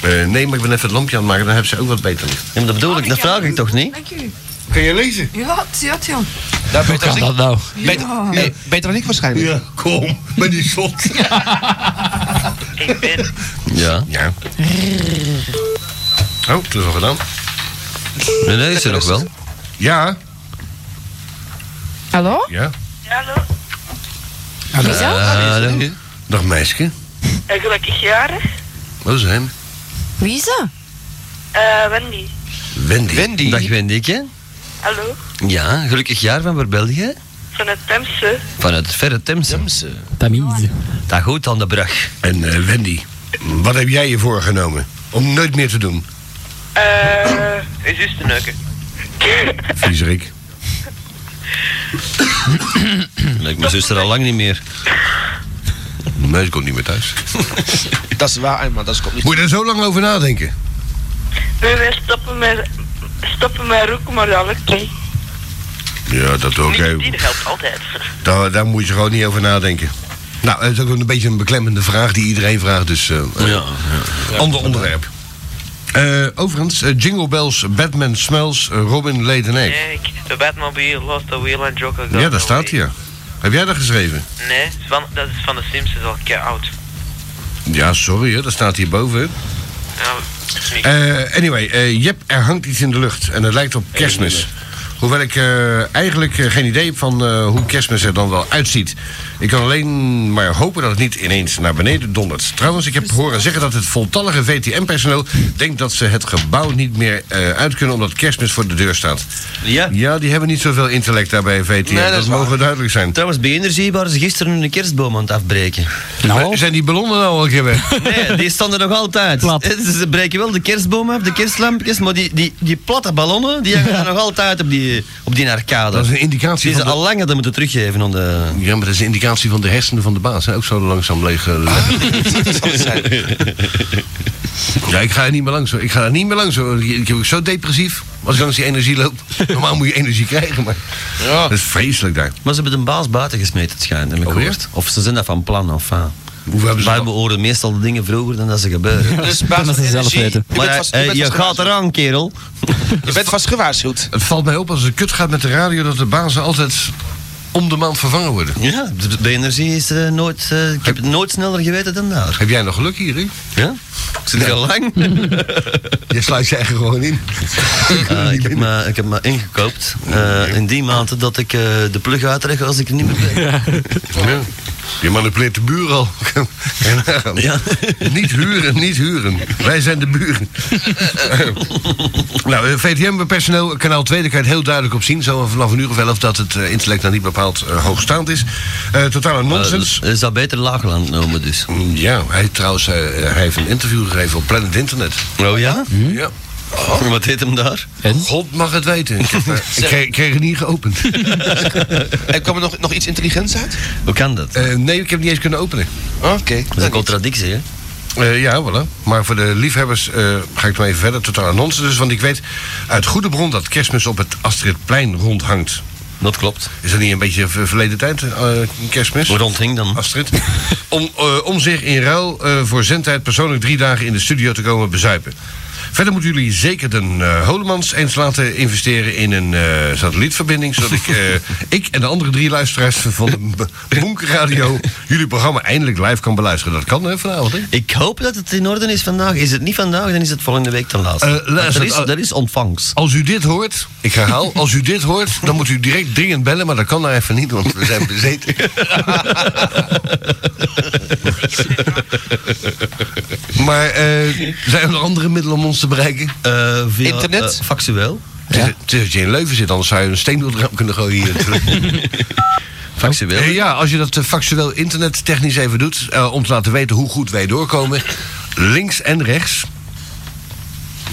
Ja,
Eh, nee, maar ik ben even het lampje aan het maken, dan hebben ze ook wat beter licht.
maar dat bedoel ik, dat vraag ik toch niet?
Dank u.
Kun je lezen?
Ja, het zit, jong.
Daar beter dan ik.
Dat nou.
(laughs)
Beter, nee, beter dan ik waarschijnlijk.
Ja, kom, ben die zot.
Ik ben.
Ja.
Ja. Oh, dat is al gedaan.
Nee, nee, is er nog wel.
Ja.
Hallo?
Ja.
Hallo,
Hallo.
Eh,
Is dat?
Hallo. Dag meisje.
en gelukkig jarig.
Dat is hem.
Wie is dat?
Eh, Wendy.
Wendy.
Wendy. Dag Wendyke.
Hallo,
Ja, gelukkig jaar van waar bel je?
van het Temse.
Van het verre Temse. Temse. Tamise. Dat goed aan de brug.
En eh, Wendy, wat heb jij je voorgenomen? Om nooit meer te doen,
Eh,
Is juist te neuken.
Vriezerik.
Hm, Lijkt mijn zuster al lang niet meer.
Nee, ze komt niet meer thuis.
Dat is waar, maar dat komt niet.
Moet je er zo lang over nadenken?
(coughs) we wij stoppen met, stoppen met roken, maar dat lukt niet.
Ja, dat ook. hè.
Die helpt altijd.
Daar, daar moet je gewoon niet over nadenken. Nou, dat is ook een beetje een beklemmende vraag die iedereen vraagt, dus... eh, eh, Ander onderwerp. Eh, overigens, eh, Jingle Bells, Batman Smells, eh, Robin Late an Egg.
Nee, ik- de Batmobile, Lost the Wheel en Joker.
Ja,
Gone
daar staat
Away.
hier. Heb jij dat geschreven?
Nee, het is van- dat is van de Simpsons al keer oud.
Ja, sorry, hè, dat staat hierboven.
Ja, niks.
Eh anyway, eh, Jep, er hangt iets in de lucht en het lijkt op kerstmis. Hoewel ik eh, eigenlijk eh, geen idee heb van eh, hoe kerstmis er dan wel uitziet. Ik kan alleen maar hopen dat het niet ineens naar beneden dondert. Trouwens, ik heb horen zeggen dat het voltallige VTM-personeel denkt dat ze het gebouw niet meer eh, uit kunnen omdat kerstmis voor de deur staat.
Ja.
Ja, die hebben niet zoveel intellect daarbij, VTM.
Nee, dat
dat
is
mogen duidelijk zijn.
Trouwens, bij Energy waren ze gisteren een kerstboom aan het afbreken.
Maar Eh, Zijn die ballonnen nou al een keer weg?
Nee, die stonden nog altijd. Eh, Ze breken wel de kerstboom af, de kerstlampjes, maar die, die, die platte ballonnen, die hangen nog altijd op die, op die arcade.
Dat is een indicatie
Die ze
van de-
al lang hadden moeten teruggeven aan de...
Ja, maar dat is een indicatie van de hersenen van de baas. Hè? Ook zo langzaam leeg. eh,
(laughs)
(laughs) Ja, ik ga er niet meer langs hoor. Ik ga er niet meer langs hoor. Ik ik word zo depressief als ik langs die energie loop. (laughs) Normaal moet je energie krijgen, maar... Ja. Dat is vreselijk daar.
Maar ze hebben de baas buiten gesmeten, het schijnt, heb ik
Alweer?
gehoord. Of ze zijn dat van plan, of eh. van...
Hoeveel hebben ze
Wij beoordelen meestal de dingen vroeger dan dat ze gebeuren.
Dus baas
(laughs) dat
van energie, je
Maar
bent
ja,
vast- je
eh,
bent
je
vast
gaat eraan, kerel.
Je bent vast gewaarschuwd.
(laughs) Het valt mij op als het kut gaat met de radio dat de bazen altijd om de maand vervangen worden.
Ja, de, de energie is eh, nooit... eh, ik heb het nooit sneller geweten dan daar.
Heb jij nog geluk hier, hè?
Ja? Ik zit hier al lang.
Je sluit je eigen gewoon (laughs) in.
(laughs) Eh, ik, heb me, ik heb me ingekoopt eh, in die maanden dat ik eh, de plug uitrek als ik er niet meer ben.
Ja. Je manipuleert de buren (laughs) al. Kan je nagaan. Niet huren, niet huren. Wij zijn de buren. nou, eh, VTM-personeel, kanaal 2, daar kan je het heel duidelijk op zien. Zo vanaf een uur of elf dat het eh, intellect nou niet bepaald eh, hoogstaand is. Eh, totale nonsens.
Eh, zou beter laagland noemen dus.
Mm, Ja, hij trouwens, eh, hij heeft een interview gegeven op Planet Internet. Hm?
Oh ja?
Ja.
Wat heet hem daar?
God mag het weten. Ik,
(laughs)
heb, eh, ik kreeg, ik kreeg het niet geopend. (laughs)
En kwam er nog, nog iets intelligents uit?
Hoe kan dat?
Eh, nee, ik heb het niet eens kunnen openen.
Oké.
Dat is een contradictie, hè?
Eh, ja, voilà. Maar voor de liefhebbers eh, ga ik dan even verder. Totaal nonsens dus, want ik weet uit goede bron dat kerstmis op het Astridplein rondhangt.
Dat klopt.
Is dat niet een beetje ver- verleden tijd, eh, kerstmis?
Hoe rondhing dan?
Astrid. Om, eh, om zich in ruil eh, voor zendtijd persoonlijk drie dagen in de studio te komen bezuipen. Verder moeten jullie zeker de eh, Holemans eens laten investeren in een eh, satellietverbinding. Zodat ik, eh, ik en de andere drie luisteraars van de B- Bonkerradio jullie programma eindelijk live kan beluisteren. Dat kan hè, vanavond. Hè?
Ik hoop dat het in orde is vandaag. Is het niet vandaag, dan is het volgende week ten laatste.
Eh,
Want
luister,
er, is,
eh,
er is ontvangst.
Als u dit hoort, ik herhaal, als u dit hoort, dan moet u direct dringend bellen, maar dat kan nou even niet, want we zijn
(laughs)
bezeten. maar eh, zijn er nog andere middelen om ons te bereiken?
Eh, via,
Internet?
eh, factueel.
Het is- Het is dat je in Leuven zit, anders zou je een steen door het raam kunnen gooien hier.
(laughs) Factueel.
Eh, ja, als je dat eh, factueel internettechnisch even doet, eh, om te laten weten hoe goed wij doorkomen, links en rechts,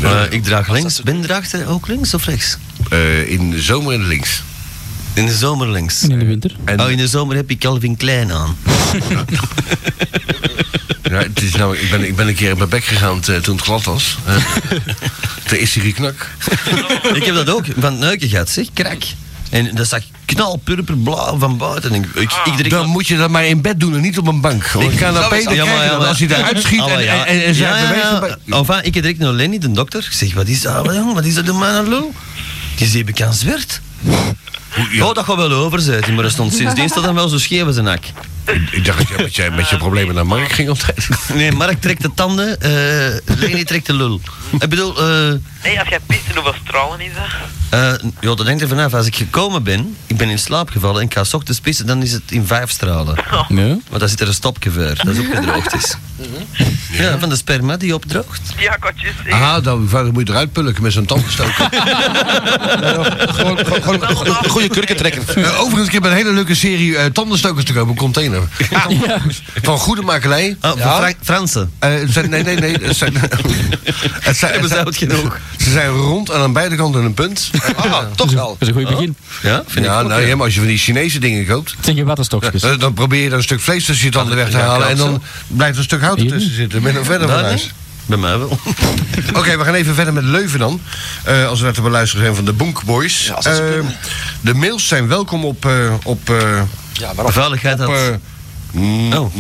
Eh, ik draag links. Ben draagt hij ook links of rechts?
eh, in de zomer en links.
In de zomer links.
In de winter.
En-
Oh, in de zomer heb ik Calvin Klein aan.
Ja, het is nou, ik, ben, ik ben een keer op mijn bek gegaan te- toen het glad was.
(laughs)
Eh, toen is hij geknak.
ik heb dat ook van het neuken gehad, zeg. Krak. En dat zag knalpurper blauw van buiten. En ik, ik, ik drink
Dan moet je dat maar in bed doen en niet op een bank. Want
Ik
ik kan dat beter kijken dan als hij daaruit schiet en, en, en, en zijn beweging bij-
Enfin, ik heb direct naar Lenny, de dokter. Ik zeg, wat is dat, wat, jong? Wat is dat, de man, lul? Die is even kan zwert.
Hoe- ja.
Oh, dat gaat wel overzetten, maar er stond sindsdien staat dan wel zo scheef als een hak.
Ik dacht dat jij met je, met je problemen naar Mark ging optreden.
(laughs) Nee, Mark trekt de tanden, eh Leni trekt de lul. Ik bedoel, eh
Nee, als jij pist, hoeveel stralen is dat?
eh, ja, dat hangt er vanaf. Als ik gekomen ben, ik ben in slaap gevallen en ik ga 's ochtends pissen, dan is het in vijf stralen.
Oh.
Nee? Maar daar zit er een stopje voor, dat is ook gedroogd is. Ja, van de sperma die opdroogt.
Ja, katjes.
Ah, dan, dan moet je eruit pulken met zo'n tandgestoken. (laughs)
(laughs)
gewoon, gewoon, gewoon een goe- goede kurkentrekker. Eh, overigens, ik heb een hele leuke serie eh tandenstokers te kopen, een container. Ah. Van goede makelij.
Ah, van Fra- Fransen?
zijn, nee, nee, nee. Het
(laughs)
zijn, (laughs) het zijn,
Hebben ze oud genoeg?
Ze zijn rond en aan beide kanten een punt. Ah, toch wel.
Dat is een goed begin.
Ja,
vind ik
ja,
ook,
nou,
ja.
ja, maar als je van die Chinese dingen koopt...
Het zijn geen wattenstokjes.
Dan, dan probeer je dan een stuk vlees tussen je tanden weg te
Ja,
halen... en
klopt,
dan blijft een stuk hout
Hier?
ertussen zitten. Ben je nog verder
Daar
van
niet?
huis?
Bij mij wel.
(laughs) Oké, we gaan even verder met Leuven dan. Eh, als we net te beluisteren zijn van de Bonk Boys. Eh, de mails zijn welkom op... eh, op eh,
Ja, waarop? Veiligheid
op,
had-
eh, n-
Oh.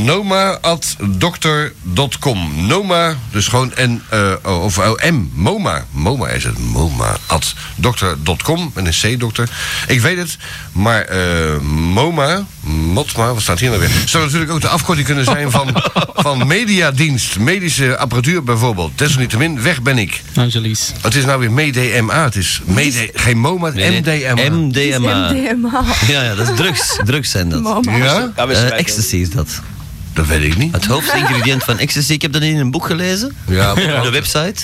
Noma.dokter.com. Noma, dus gewoon en, eh, oh, of oh, M, MoMA. MoMA is het, MoMA.dokter.com. En een C-dokter. Ik weet het, maar eh, MoMA, MOTMA, wat staat hier nou weer? Zou natuurlijk ook de afkorting kunnen zijn van,
(laughs)
van mediadienst, medische apparatuur bijvoorbeeld. Desalniettemin, weg ben ik.
Angelies.
Het is nou weer MeDMA, het is mede, geen MoMA,
Nee, nee,
MDMA.
MDMA.
DMA.
(laughs) Ja, ja, dat is drugs. Drugs zijn dat.
Mama.
Ja? Ja, we zijn
Eh,
bij-
ecstasy is dat.
Dat weet ik niet.
Het hoofdingrediënt van ecstasy, ik heb dat in een boek gelezen.
Ja,
op
maar-
de website.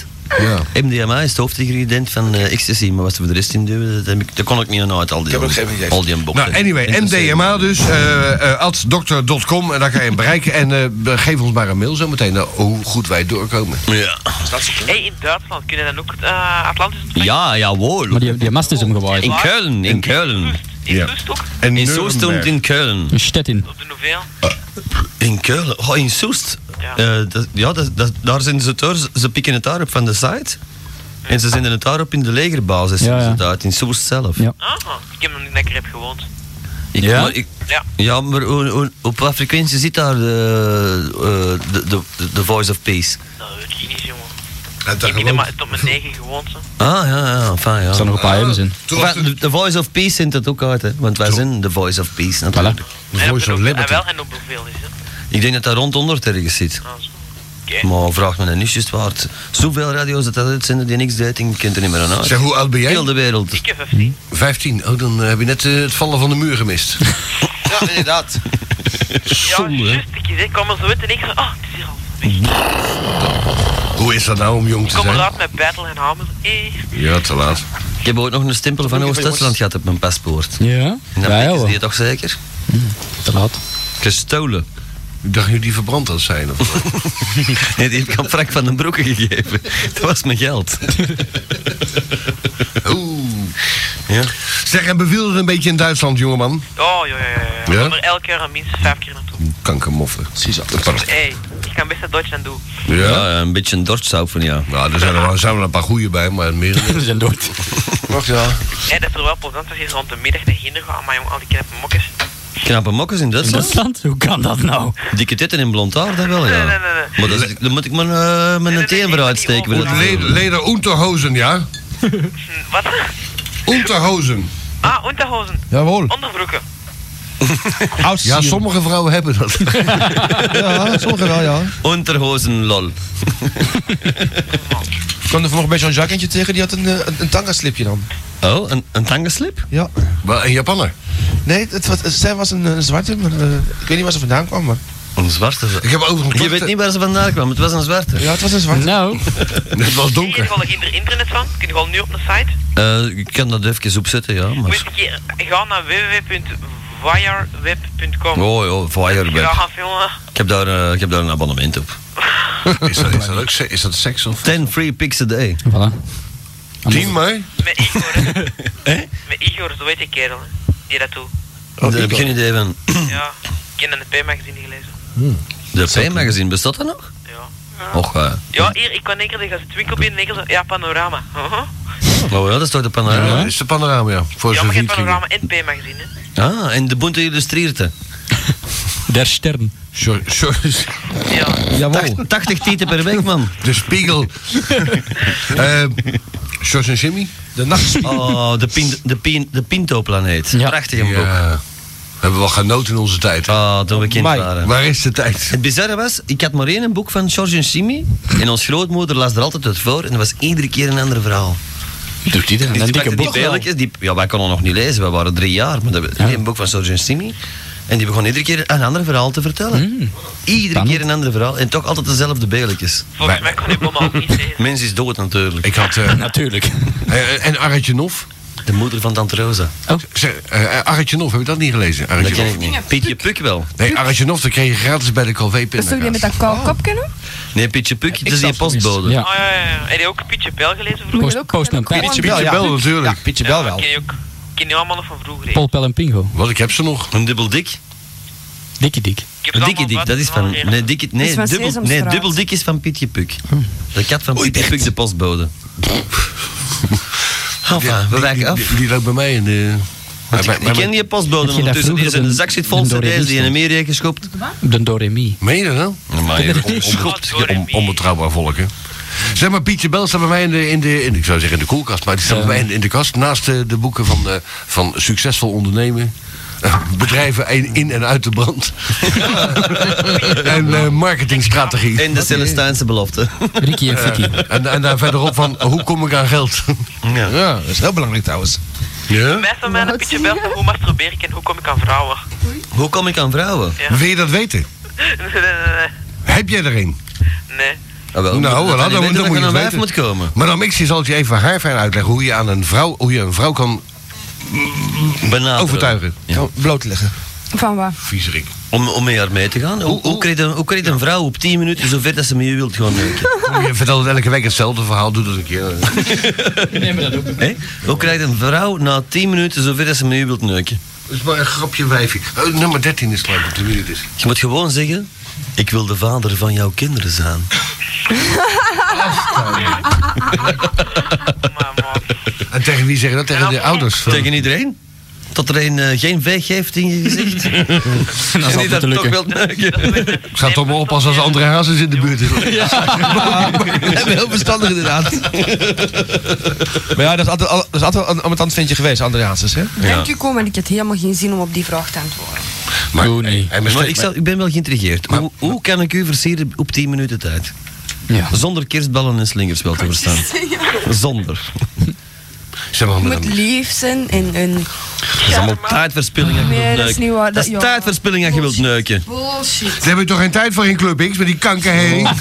Ja.
MDMA is het hoofdingrediënt van eh, ecstasy, maar wat ze voor de rest in duwen, dat, heb ik, dat kon ik niet aan uit al die,
heb ook geen idee.
al die boeken.
Nou, anyway, MDMA dus. eh eh addokter.com. En daar kan je hem bereiken. En eh, geef ons maar een mail zometeen eh, hoe goed wij doorkomen.
Ja.
hey, in Duitsland kunnen dan ook eh Atlantis
Ja, jawohl. Maar
die, die mast is omgewaaid.
In Keulen, in Keulen.
Ja. En
In Soest en in Keulen.
Een stettin.
In Keulen? Oh, in Soest?
Ja.
Eh, dat, ja, dat, dat- daar zijn ze door. Ze- Ze pikken het daar op van de site. En ze zenden het daar op in de legerbasis.
Ja, ja.
inderdaad, in Soest zelf. Ja,
Ah, ik heb nog niet lekker heb gewoond.
ik,
Ja?
Maar ik,
Ja.
ja, maar hoe- hoe- op wat frequentie zit daar de, eh, de, de, de- de Voice of Peace?
Nou, weet ik niet, jongen.
Ik
heb hier maar tot mijn negen gewoond. hè.
Ah, ja, ja, fijn, ja. Eh,
Er staan nog een paar M's in.
Enfin, de, de Voice of Peace zendt dat ook uit, hè? Want wij zijn de Voice of Peace natuurlijk.
En op hoeveel- En wel, en op hoeveel is het?
Ik denk dat dat rond 100 ergens zit.
Ah,
Maar vraag me dan niet juist waar. het- Zoveel radio's dat dat uitzenden die niks deed, ik ken er niet meer aan uit.
Zeg, hoe oud ben jij?
Heel de wereld.
Ik heb 15.
15. Oh, dan eh, heb je net eh, het vallen van de muur gemist.
Ja, inderdaad.
Zonde. hè?
Ik zeg, ik kwam er zo uit en ik zeg, ah, het is hier al.
Hoe is dat nou om jong
Ik
te
kom
zijn?
eruit met Battle en Hamel. Hey.
Ja, te laat.
Ik heb ooit nog een stempel van Oost-Duitsland gehad op mijn paspoort.
Ja?
En dat
Ja,
is
hoor.
die toch zeker?
Te laat.
Gestolen.
Ik dacht nu die verbrand had zijn. Of... wat?
(laughs) Nee, die heb ik aan Frank van den Broeke gegeven. Dat was mijn geld.
Oeh. Ja. Zeg, en beviel het een beetje in Duitsland, jongeman?
Oh, ja, ja, ja. ja.
Ja?
Ik kom er elk jaar minstens vijf keer naartoe.
Kankermoffen. Precies.
Hey, ik kan best naar Duitsland doen.
Ja, een beetje een dorpsauw van jou.
Nou, er zijn er, wel, er zijn wel een paar goeie bij, maar het merendeel...
We zijn dood.
Wacht, ja.
Hey, dat is er wel plezant als je rond de middag naar Ginder gaat. Maar jong, al die knappe mokkers.
Knappe mokkers in Duitsland?
Duitsland? Hoe kan dat nou?
Dikke titten in blond haar, dat wel, ja.
Nee, nee, nee, nee.
Maar dat is- dan moet ik mijn, eh, mijn teen voor uitsteken. voor dat te
Leder,
doen.
leder Unterhosen, ja?
Wat?
Unterhosen.
Ah, Unterhosen.
Jawohl.
Onderbroeken.
Ja, sommige vrouwen hebben dat.
Ja, sommige wel, ja.
Unterhosen lol.
Ik kwam er vanochtend bij zo'n jackentje tegen, die had een, eh, een, een tanga-slipje dan.
Oh, een, een tangenslip?
Ja.
Wel, een Japanner.
Nee, het, was- zij was een, eh, zwarte, maar eh, ik weet niet waar ze vandaan kwam, maar...
Een zwarte.
Ik heb overigens een
Je weet
klacht-
niet waar ze vandaan kwam, het was een zwarte.
Ja, het was een zwarte.
Nou.
Het was
Kun je er
donker.
wel in de internet van? Kun je gewoon nu op de site?
Eh, ik kan dat even opzetten, ja.
Moet
Maar...
ik hier- ga naar www.wireweb.com.
Oh ja,
Ik ga
Fireweb.
gaan filmen.
Ik heb, daar, eh, ik heb daar een abonnement
Oh,
op.
(laughs) Is dat, is dat ook se- is dat seks of...
10 free pics a day.
Voilà.
Tien mij?
Met Igor. hè. Met Igor, zo weet je kerel. hè. Die dat doet.
Daar heb ik geen idee van.
Ja. Ik heb dat in de P-magazine gelezen.
Hmm.
De P-magazine, bestaat dat nog?
Ja.
Och, eh,
Ja, hier, ik kwam enkel, ik was het winkel binnen, enkel zo, ja, panorama. Haha.
Uh-huh.
oh ja, dat is toch de
Hmm. Ja,
panorama?
dat is de panorama, ja. Voor
Ja, maar
zo'n
geen
vriend ging.
panorama en P-magazine. hè.
Ah, en de Bonte
(laughs)
Illustreerte.
Der Stern.
Sorry, sorry.
Tacht- 80 tieten per week, man.
De spiegel. Eh, George en Jimmy?
(laughs)
De nachtspiegel.
Oh, de, pin, de, pin, de Pinto-planeet. Prachtige boek.
Ja. hebben wel genoten in onze tijd.
Ah, toen we kind
Maar-
waren.
Waar is de tijd?
Het bizarre was, ik had maar één boek van George en Simi. En ons grootmoeder las er altijd uit voor. En dat was iedere keer een ander verhaal.
Doet die dan?
Dus
Een
die
dikke
pakte die
boek wel.
pijltjes, die, ja, wij konden nog niet lezen, we waren drie jaar. Maar dat we- een boek van Sergeant Simi. En die begon iedere keer een ander verhaal te vertellen.
Hmm.
Iedere keer een ander verhaal. En toch altijd dezelfde beelletjes.
Volgens mij kon ik mama ook niet lezen.
Mens is dood natuurlijk.
Ik had... eh, (laughs)
Natuurlijk.
eh, en Arretje Nof?
De moeder van Tante Rosa.
Oh.
Arretje eh, Nof, heb je dat niet gelezen?
Dat
Arretje
ken
Nof.
ik niet. Pietje Puk wel.
Nee, Arretje Nof, dat kreeg je gratis bij de
Dat is toch die
Calvé-pindakaas.
met dat koude kopje, hè?
Nee, Pietje Puk, dat is die postbode.
Oh, ja, ja, ja. Heb je ook Pietje Bel gelezen vroeger?
Post, postman Pat.
Pietje Bel, natuurlijk.
Ja, Pietje Bel wel.
Ken je ook? Ken je allemaal nog van vroeger? hè?
Paul Pel en Pingo.
Wat, ik heb ze nog.
Een dubbel dik.
Dikkie dik.
Een dikke dik, dat is van... Nee, dikke,
Dat
nee,
is Dus van
dubbel, nee
Sesamstraat.
dubbel dik is van Pietje Puk.
Hm.
De kat van Pietje Puk, de postbode. Enfin, we wijken af.
Die, die loopt bij mij in de...
Want
bij-
ik,
bij
ik ken
mijn-
die postbode
Heb je dat
ondertussen. Die is
vroeger
in de
op
zak zit vol
een- een
cd's die in
Doremi
Amerika heeft geschopt.
De Doremi.
Meen je dat nou?
Maar
je
je
on-
geschopt.
on- on- onbetrouwbaar volk, hè? Zeg maar, Pietje Bel staat bij mij in de, in de in, ik zou zeggen in de koelkast, maar die staat bij mij in, in de kast naast eh, de boeken van, eh, van succesvol ondernemen. eh, Bedrijven in, in en uit de
(laughs)
brand. en eh, marketingstrategie.
En de Celestijnse belofte.
Ricky en Vicky.
(laughs) En, en daar verderop van, hoe kom ik aan geld?
Ja.
Ja, dat is heel belangrijk trouwens.
ja?
Mij van mij een Pietje Bel hoe masturbeer ik en hoe kom ik aan vrouwen?
Hoe kom ik aan vrouwen?
Ja.
Wil je dat weten?
Nee, (laughs) nee, nee,
Heb jij er een?
nee. Nee.
Ah, wel, moet-
Nou,
dat
dan,
je weet
moet
dat
je
er
het
een wijf
weten.
moet komen.
Madame X zal het je even haarfijn uitleggen hoe je, aan een, vrouw, hoe je een vrouw kan
Benaderen.
overtuigen.
Gewoon Bloot te leggen.
Van wat?
Viezerik.
Om, om met haar mee te gaan. Hoe, hoe, krijgt een, hoe krijgt een vrouw op 10 minuten zover dat ze met je wilt gaan
(laughs)
neuken?
Je vertelt elke week hetzelfde verhaal, doe dat een keer.
(laughs) Neem dat ook.
Hè? Hoe krijgt een vrouw na 10 minuten zover dat ze met je wilt neuken?
Het is maar een grapje wijfje. Eh, nummer 13 is geloof ik op de minuut is.
Je moet gewoon zeggen, ik wil de vader van jouw kinderen zijn.
En eh, tegen wie zeggen dat? Tegen de ouders. van-
Tegen iedereen? Tot er een eh, geen veeg heeft in je
(laughs)
gezicht.
Dat zal
en die
het
Nou, dat
moeten
toch
lukken.
wilt neuken.
Het gaat toch maar oppassen als André Hazes in de buurt is.
(laughs) Heel verstandig inderdaad. maar ja, dat is altijd, al- dat is altijd wel een ambetant ventje geweest, André Hazes, hè?
(laughs) Dank je, kom, maar ik had helemaal geen zin om op die vraag te antwoorden.
Maar,
Doe niet.
en
Maar ik, zal, ik ben wel geïntrigeerd. hoe, hoe kan ik u versieren op 10 minuten tijd?
Ja.
Zonder kerstballen en slingers wel te verstaan. Zonder.
(laughs) Zeg maar,
Je moet
madame.
lief zijn en... en
Dat is allemaal tijdverspilling als je
Nee,
wilt
dat is niet
neuken.
waar.
Dat is
Ja.
tijdverspilling als je wilt neuken.
Bullshit.
Daar heb je toch geen tijd voor in Club X met die kanker heen?
(laughs)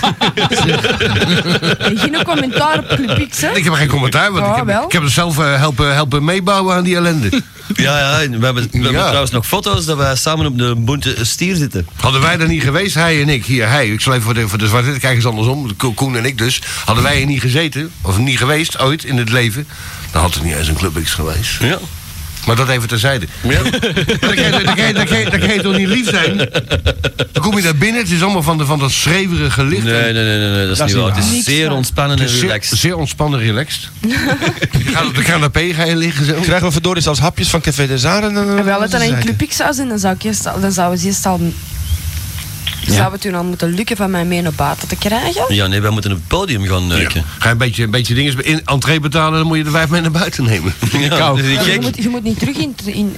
En geen commentaar op Club X, hè?
Ik heb geen commentaar, want
Ja,
ik, heb,
wel.
ik heb het zelf eh, helpen, helpen meebouwen aan die ellende.
Ja, ja, en we hebben, we hebben
Ja.
trouwens nog foto's dat wij samen op de boente stier zitten.
Hadden wij er niet geweest, hij en ik, hier, hij, ik zal even voor de, voor de zwarte kijk eens andersom, Ko- Koen en ik dus, hadden wij er niet gezeten, of niet geweest ooit in het leven, dan had het niet eens een Club X geweest.
Ja.
Maar dat even terzijde.
Ja.
Dat kan je- dat kan je- dat kan je- dat kan je toch niet lief zijn? Dan kom je daar binnen, het is allemaal van, de, van dat schreeuwerige licht.
Nee, nee, nee, nee, nee, dat is niet waar. Het is
Niks
zeer
waar.
ontspannen
Het
en
is zeer,
relaxed.
zeer ontspannen,
(laughs)
relaxed. je gaat op de canapé ga je liggen zo.
Krijgen we verdorie zelfs hapjes van Café de Zaren?
En wel, het dan in Club X zou zijn, dan zou, ik eerst, al- dan zou het eerst al... Zou het toen al moeten lukken van mij mee naar buiten te krijgen?
Ja, nee, wij moeten op het podium gaan eh, neuken.
Ga je een beetje, een beetje dingen in entree betalen, dan moet je de vijf mee naar buiten nemen.
(laughs)
(laughs)
Ja, dat is niet
Je
gek.
moet, je moet niet terug in... in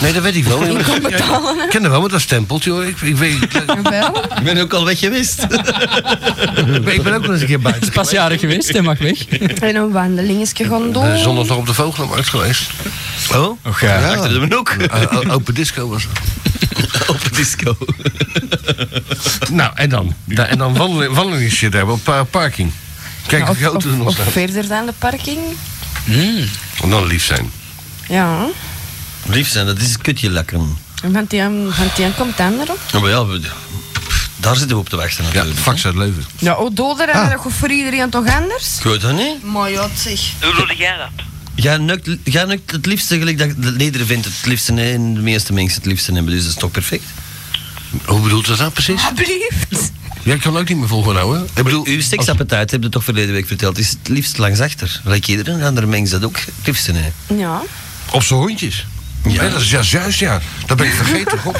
Nee, dat weet ik (laughs) wel.
Ik kan betalen.
Ik ken er wel met dat stempeltje hoor. Ik, ik, weet, ik,
wel.
Ik ben ook al weg geweest.
ben- (laughs) ik ben ook nog eens een keer buiten.
Pas jarig geweest, hij mag weg.
(laughs)
(laughs) En een wandelingetje gaan doen.
Eh, zondag nog op de Vogelmarkt geweest.
Oh?
Och ja.
Ja. Achter de ook.
Eh, (laughs) o- open disco was het. (laughs)
Open disco.
Nou, en dan? Da- en dan wandelen, wandelingetje daar op pa- parking. Kijk Nou, of je
of,
auto er
of,
nog
of
staat. Hmm.
verder dan de parking.
En dan Nou, lief zijn.
Ja.
Lief zijn, dat is een kutje lekker.
En van die, een- van die een komt de ander op.
Ja, maar ja, we- pff, daar zitten we op te wachten
Ja,
natuurlijk.
fax uit Leuven.
Ja, oh, doder
Ah.
en dat gaat voor iedereen toch anders?
Goed, hè, nee?
Maar ja, zeg.
Hoe doe jij dat?
Jij neukt, jij neukt het liefste gelijk dat de leder vindt het liefste hè, en de meeste mensen het liefste hebben, dus dat is toch perfect?
Hoe bedoelt dat nou precies?
Alsjeblieft.
Jij kan ook niet meer volgehouden. hè? Ik bedoel,
Uw seksappetijt, heb je toch verleden week verteld, is het liefst langs achter. Like iedereen andere mens dat ook het liefste hè.
Ja.
op zijn hondjes. Ja. dat is ja, juist, ja. Dat ben ik
(laughs)
vergeten. God.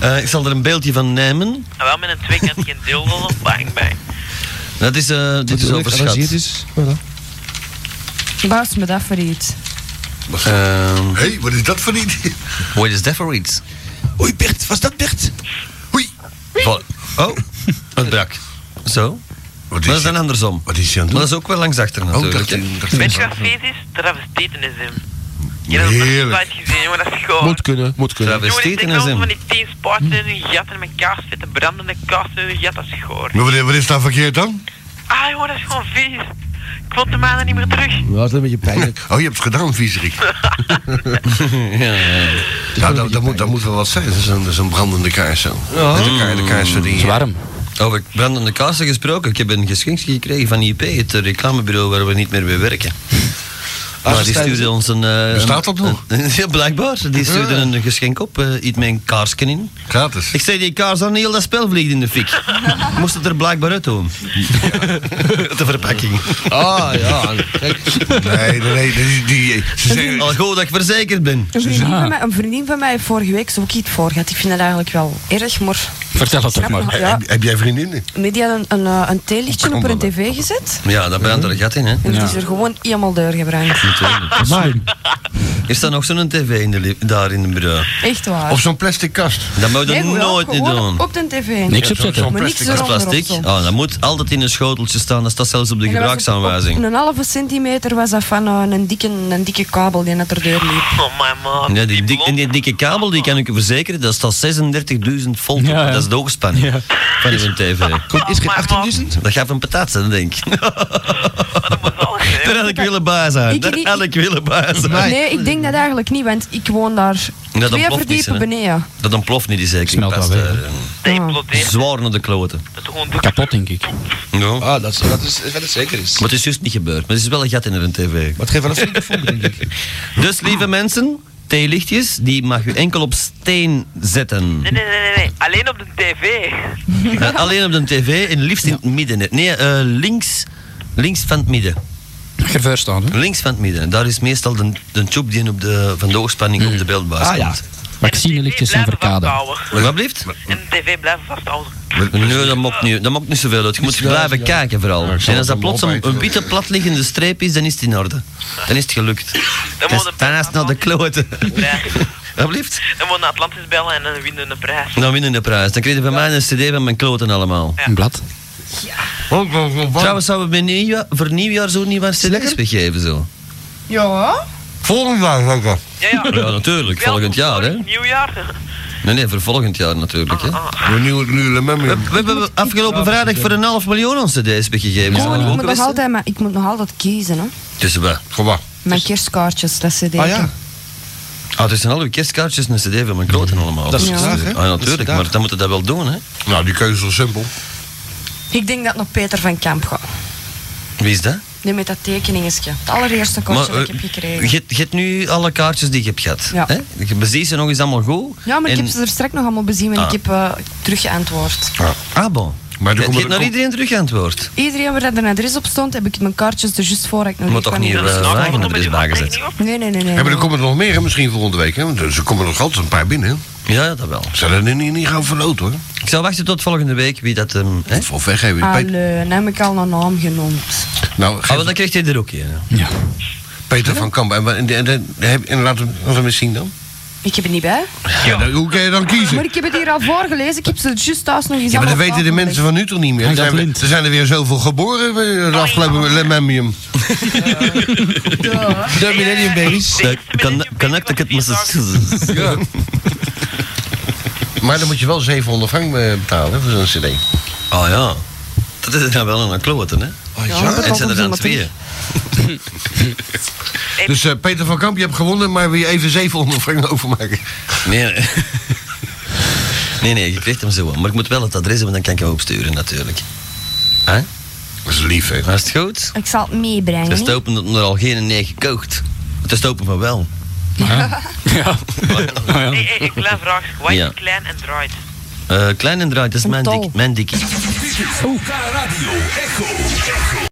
Eh, ik zal er een beeldje van nemen.
Ah, wel met een tweekant geen dildo of bang bij.
Dat is, eh dit is overschat.
is. Voilà.
Baas me dat voor iets.
Ehm, hey, wat is dat voor iets?
What is that for iets?
Oei, Bert, was dat Bert?
Val- Oh, het brak. Zo.
Wat
maar dat is dan andersom. Wat is Maar dat is ook wel langs achter natuurlijk.
Oh, dacht
hè.
Weet je wat feest is? Travestietenism. Je hebt dat nooit
Heerlijk.
uit gezien, jongen, dat is gewoon...
Moet kunnen, moet kunnen. Travestietenism.
Jongen, ik denk wel van die tien spaarten in hun gat en met kaas zitten branden en kaas in hun gat, dat is goor.
Maar wat, wat is daar verkeerd dan?
Ah, jongen, dat is gewoon vies. Ik vond de maanden niet meer terug.
Dat is een beetje pijnlijk. (laughs) Oh, je hebt het gedaan, (laughs) viezerik. ja, ja. dat, dat, moet, dat moet wel wat zijn. Dat is een, dat is een brandende kaars zo.
Ja.
Met de, ka- de kaars van die...
warm. Over brandende kaarsen gesproken. Ik heb een geschenkje gekregen van IP, het reclamebureau waar we niet meer mee
(laughs)
werken. maar
ze
die
staan-
stuurde ons een... eh,
Bestaat dat
een- (laughs)
nog?
ja, blijkbaar. Die stuurde
Ja.
een geschenk op, eh, iets met een kaarsken in.
Gratis.
Ik zei, die kaars aan, heel dat spel vliegt in de
(laughs)
fik. Moest het er blijkbaar uit doen. de verpakking.
Ah, ja, Nee, nee, nee. Die, die, ze zeggen...
Al goed dat ik verzekerd ben.
Een vriendin, van mij, een vriendin van mij heeft vorige week zo ook iets voor gehad. Ik vind dat eigenlijk wel erg, maar...
Vertel het
toch maar. Ja.
Heb, heb jij vriendinnen?
Nee, die had een, een, eh, een theelichtje op haar tv gezet.
Ja, dat brandt er een gat in, hè.
En het is er gewoon helemaal Ah, doorgebrand.
(laughs) Is daar nog zo'n tv in de li- daar in de bureau?
Echt waar.
zo'n plastic kast. Dat moet je
Nee, gewoon-
nooit niet
gewoon
doen.
op de tv.
op
Maar niks
Dat is
eronder of
plastic.
zo.
Oh, dat moet altijd in een schoteltje staan. Dat staat zelfs op de
En dan was het op
gebruiksaanwijzing.
Een halve centimeter was dat van eh, een, dikke, een dikke kabel die net er deur liep.
Oh, my man.
Ja, die, dik- en die dikke kabel, die kan ik u verzekeren, dat staat 36.000 volt op. Dat is de hoogspanning van
Dus-
uw tv.
Oh,
is geen 18.000? Dat gaat een patat zijn, denk ik. (laughs) Daar had ik willen bij zijn.
Ik
Daar
niet-
had ik willen bij zijn.
Nee, ik denk dat eigenlijk niet, want ik woon daar
Dat
twee
ontploft niet,
verdiepen
hè?
beneden.
Dat ontploft niet, die zeker.
Smelt wel weg,
Zwaar naar de kloten.
Kapot, denk ik.
Ja.
Ah, dat is, dat is wat het zeker is.
Maar het is juist niet gebeurd. Maar het is wel een gat in een tv.
Wat geeft wel een flinke
(laughs)
vonk, denk ik.
Dus, lieve mensen, theelichtjes, die mag u enkel op steen zetten.
Nee, nee, nee, nee, nee. Alleen op de tv.
Eh, alleen op de tv en liefst in het midden. net. Nee, eh, links, links van het midden.
Geveer staan, hè?
Links van het midden. Daar is meestal de, de tube die op de, van de oogspanning op de beeldbaas
Ah, ja.
komt.
Vaccinelichtjes zijn verkade.
Wat blijft?
En de tv blijft vasthouden.
Nee, dat maakt niet, dat maakt niet zoveel uit. Je moet blijven kijken vooral. En als dat plots een, een witte platliggende streep is, dan is het in orde. Dan is het gelukt. Dan is, dan is het naar de kloten. (laughs) Wat blijft?
Dan moet naar Atlantis bellen en dan winnen we een prijs.
Dan Nou, winnen de prijs. Dan kreeg je van mij een cd van mijn kloten allemaal.
Een
blad.
Oh,
Trouwens, zouden we bij nieuwjaar- voor nieuwjaar zo niet waar cd's weggeven zo?
Ja?
Volgend jaar, zeker.
Ja, ja.
Ja, natuurlijk. Volgend jaar, hè?
Nieuwjaar. (laughs)
Nee, nee, voor volgend jaar natuurlijk. Hè.
We,
we hebben afgelopen vrijdag voor een half miljoen onze cd's weggegeven.
Gewoon,
Zou
ik,
je
moet
ook
nog
wisten?
altijd, maar ik moet nog altijd kiezen. Hè.
Dus wat? Voor wat?
Mijn kerstkaartjes, dat cd.
Dus- Ah, ja. Ah, dus zijn alle kerstkaartjes en een cd van mijn kloten allemaal.
Dat is Ja. vandaag, hè?
Ah, natuurlijk, maar dan moeten we dat wel doen, hè? Nou, die keuze is wel simpel.
Ik denk dat nog Peter van Kamp gaat.
Wie is dat?
Nee, met dat tekeningetje. Het allereerste kaartje dat ik
eh,
heb gekregen.
je hebt- je hebt nu alle kaartjes die je hebt gehad.
Ja.
Hè? Je beziet ze nog eens allemaal goed.
Ja, maar ik
en-
heb ze er straks nog allemaal bezien, want
Ah.
ik heb eh, teruggeantwoord.
Ah, bon. Maar je
komen
hebt
er-
naar iedereen teruggeantwoord.
Iedereen waar dat een adres op stond, heb ik mijn kaartjes er juist voor. dat Ik nog
Je moet
weg
toch
kwam.
niet eh, vragen naar de wagen zetten?
Nee, nee, nee. nee,
Ja, maar er
nee.
komen er nog meer, hè, misschien volgende week. Hè? Want er- ze komen er nog altijd een paar binnen. hè?
Ja, dat wel.
Ze er niet, niet gaan verloot, hoor.
Ik zal wachten tot volgende week wie dat... ehm hè?
Voor weggeven.
Ah,
Peter,
Allee, dan heb ik al een naam genoemd.
nou,
Ah, wel, dan krijgt hij er ook een. hè.
Peter van Kamp. En, wa- en, en, en, en, en laten we laten we eens zien dan.
Ik heb het niet bij.
Ja, dan- hoe kan je dan kiezen?
Maar ik heb het hier al voorgelezen. Ik heb ze er juist thuis nog eens
Ja, maar dat
allemaal
weten de
op
mensen van nu toch niet meer. Er zijn, er zijn er weer zoveel geboren
Oh,
eh, het afgelopen
(laughs)
lemmium.
De Millennium Babies.
Connecticut, Massachusetts.
Ja. Maar dan moet je wel 700 frank eh, betalen hè, voor zo'n cd.
Ah ja. Dat is dan wel een kloten, hè?
Oh,
Ja, dat
En zijn er
komt
dan
iemand
tweeën.
Dus eh, Peter van Kamp, je hebt gewonnen, maar wil je even 700 frank overmaken?
Nee. nee. Nee, nee, je krijgt hem zo. Maar ik moet wel het adres hebben, dan kan ik hem opsturen natuurlijk. Hè?
Dat is lief, hè?
Is het goed?
de- Ik zal het meebrengen.
Het is
hè.
te open dat er al geen nee gekookt. Het is te open van wel.
(laughs)
Ja.
Hey, hey, een klein vraag. Wat
Ja.
is klein en draait?
Eh, klein en draait, dat is mijn, dik, mijn dikkie.
K Radio Echo. Echo.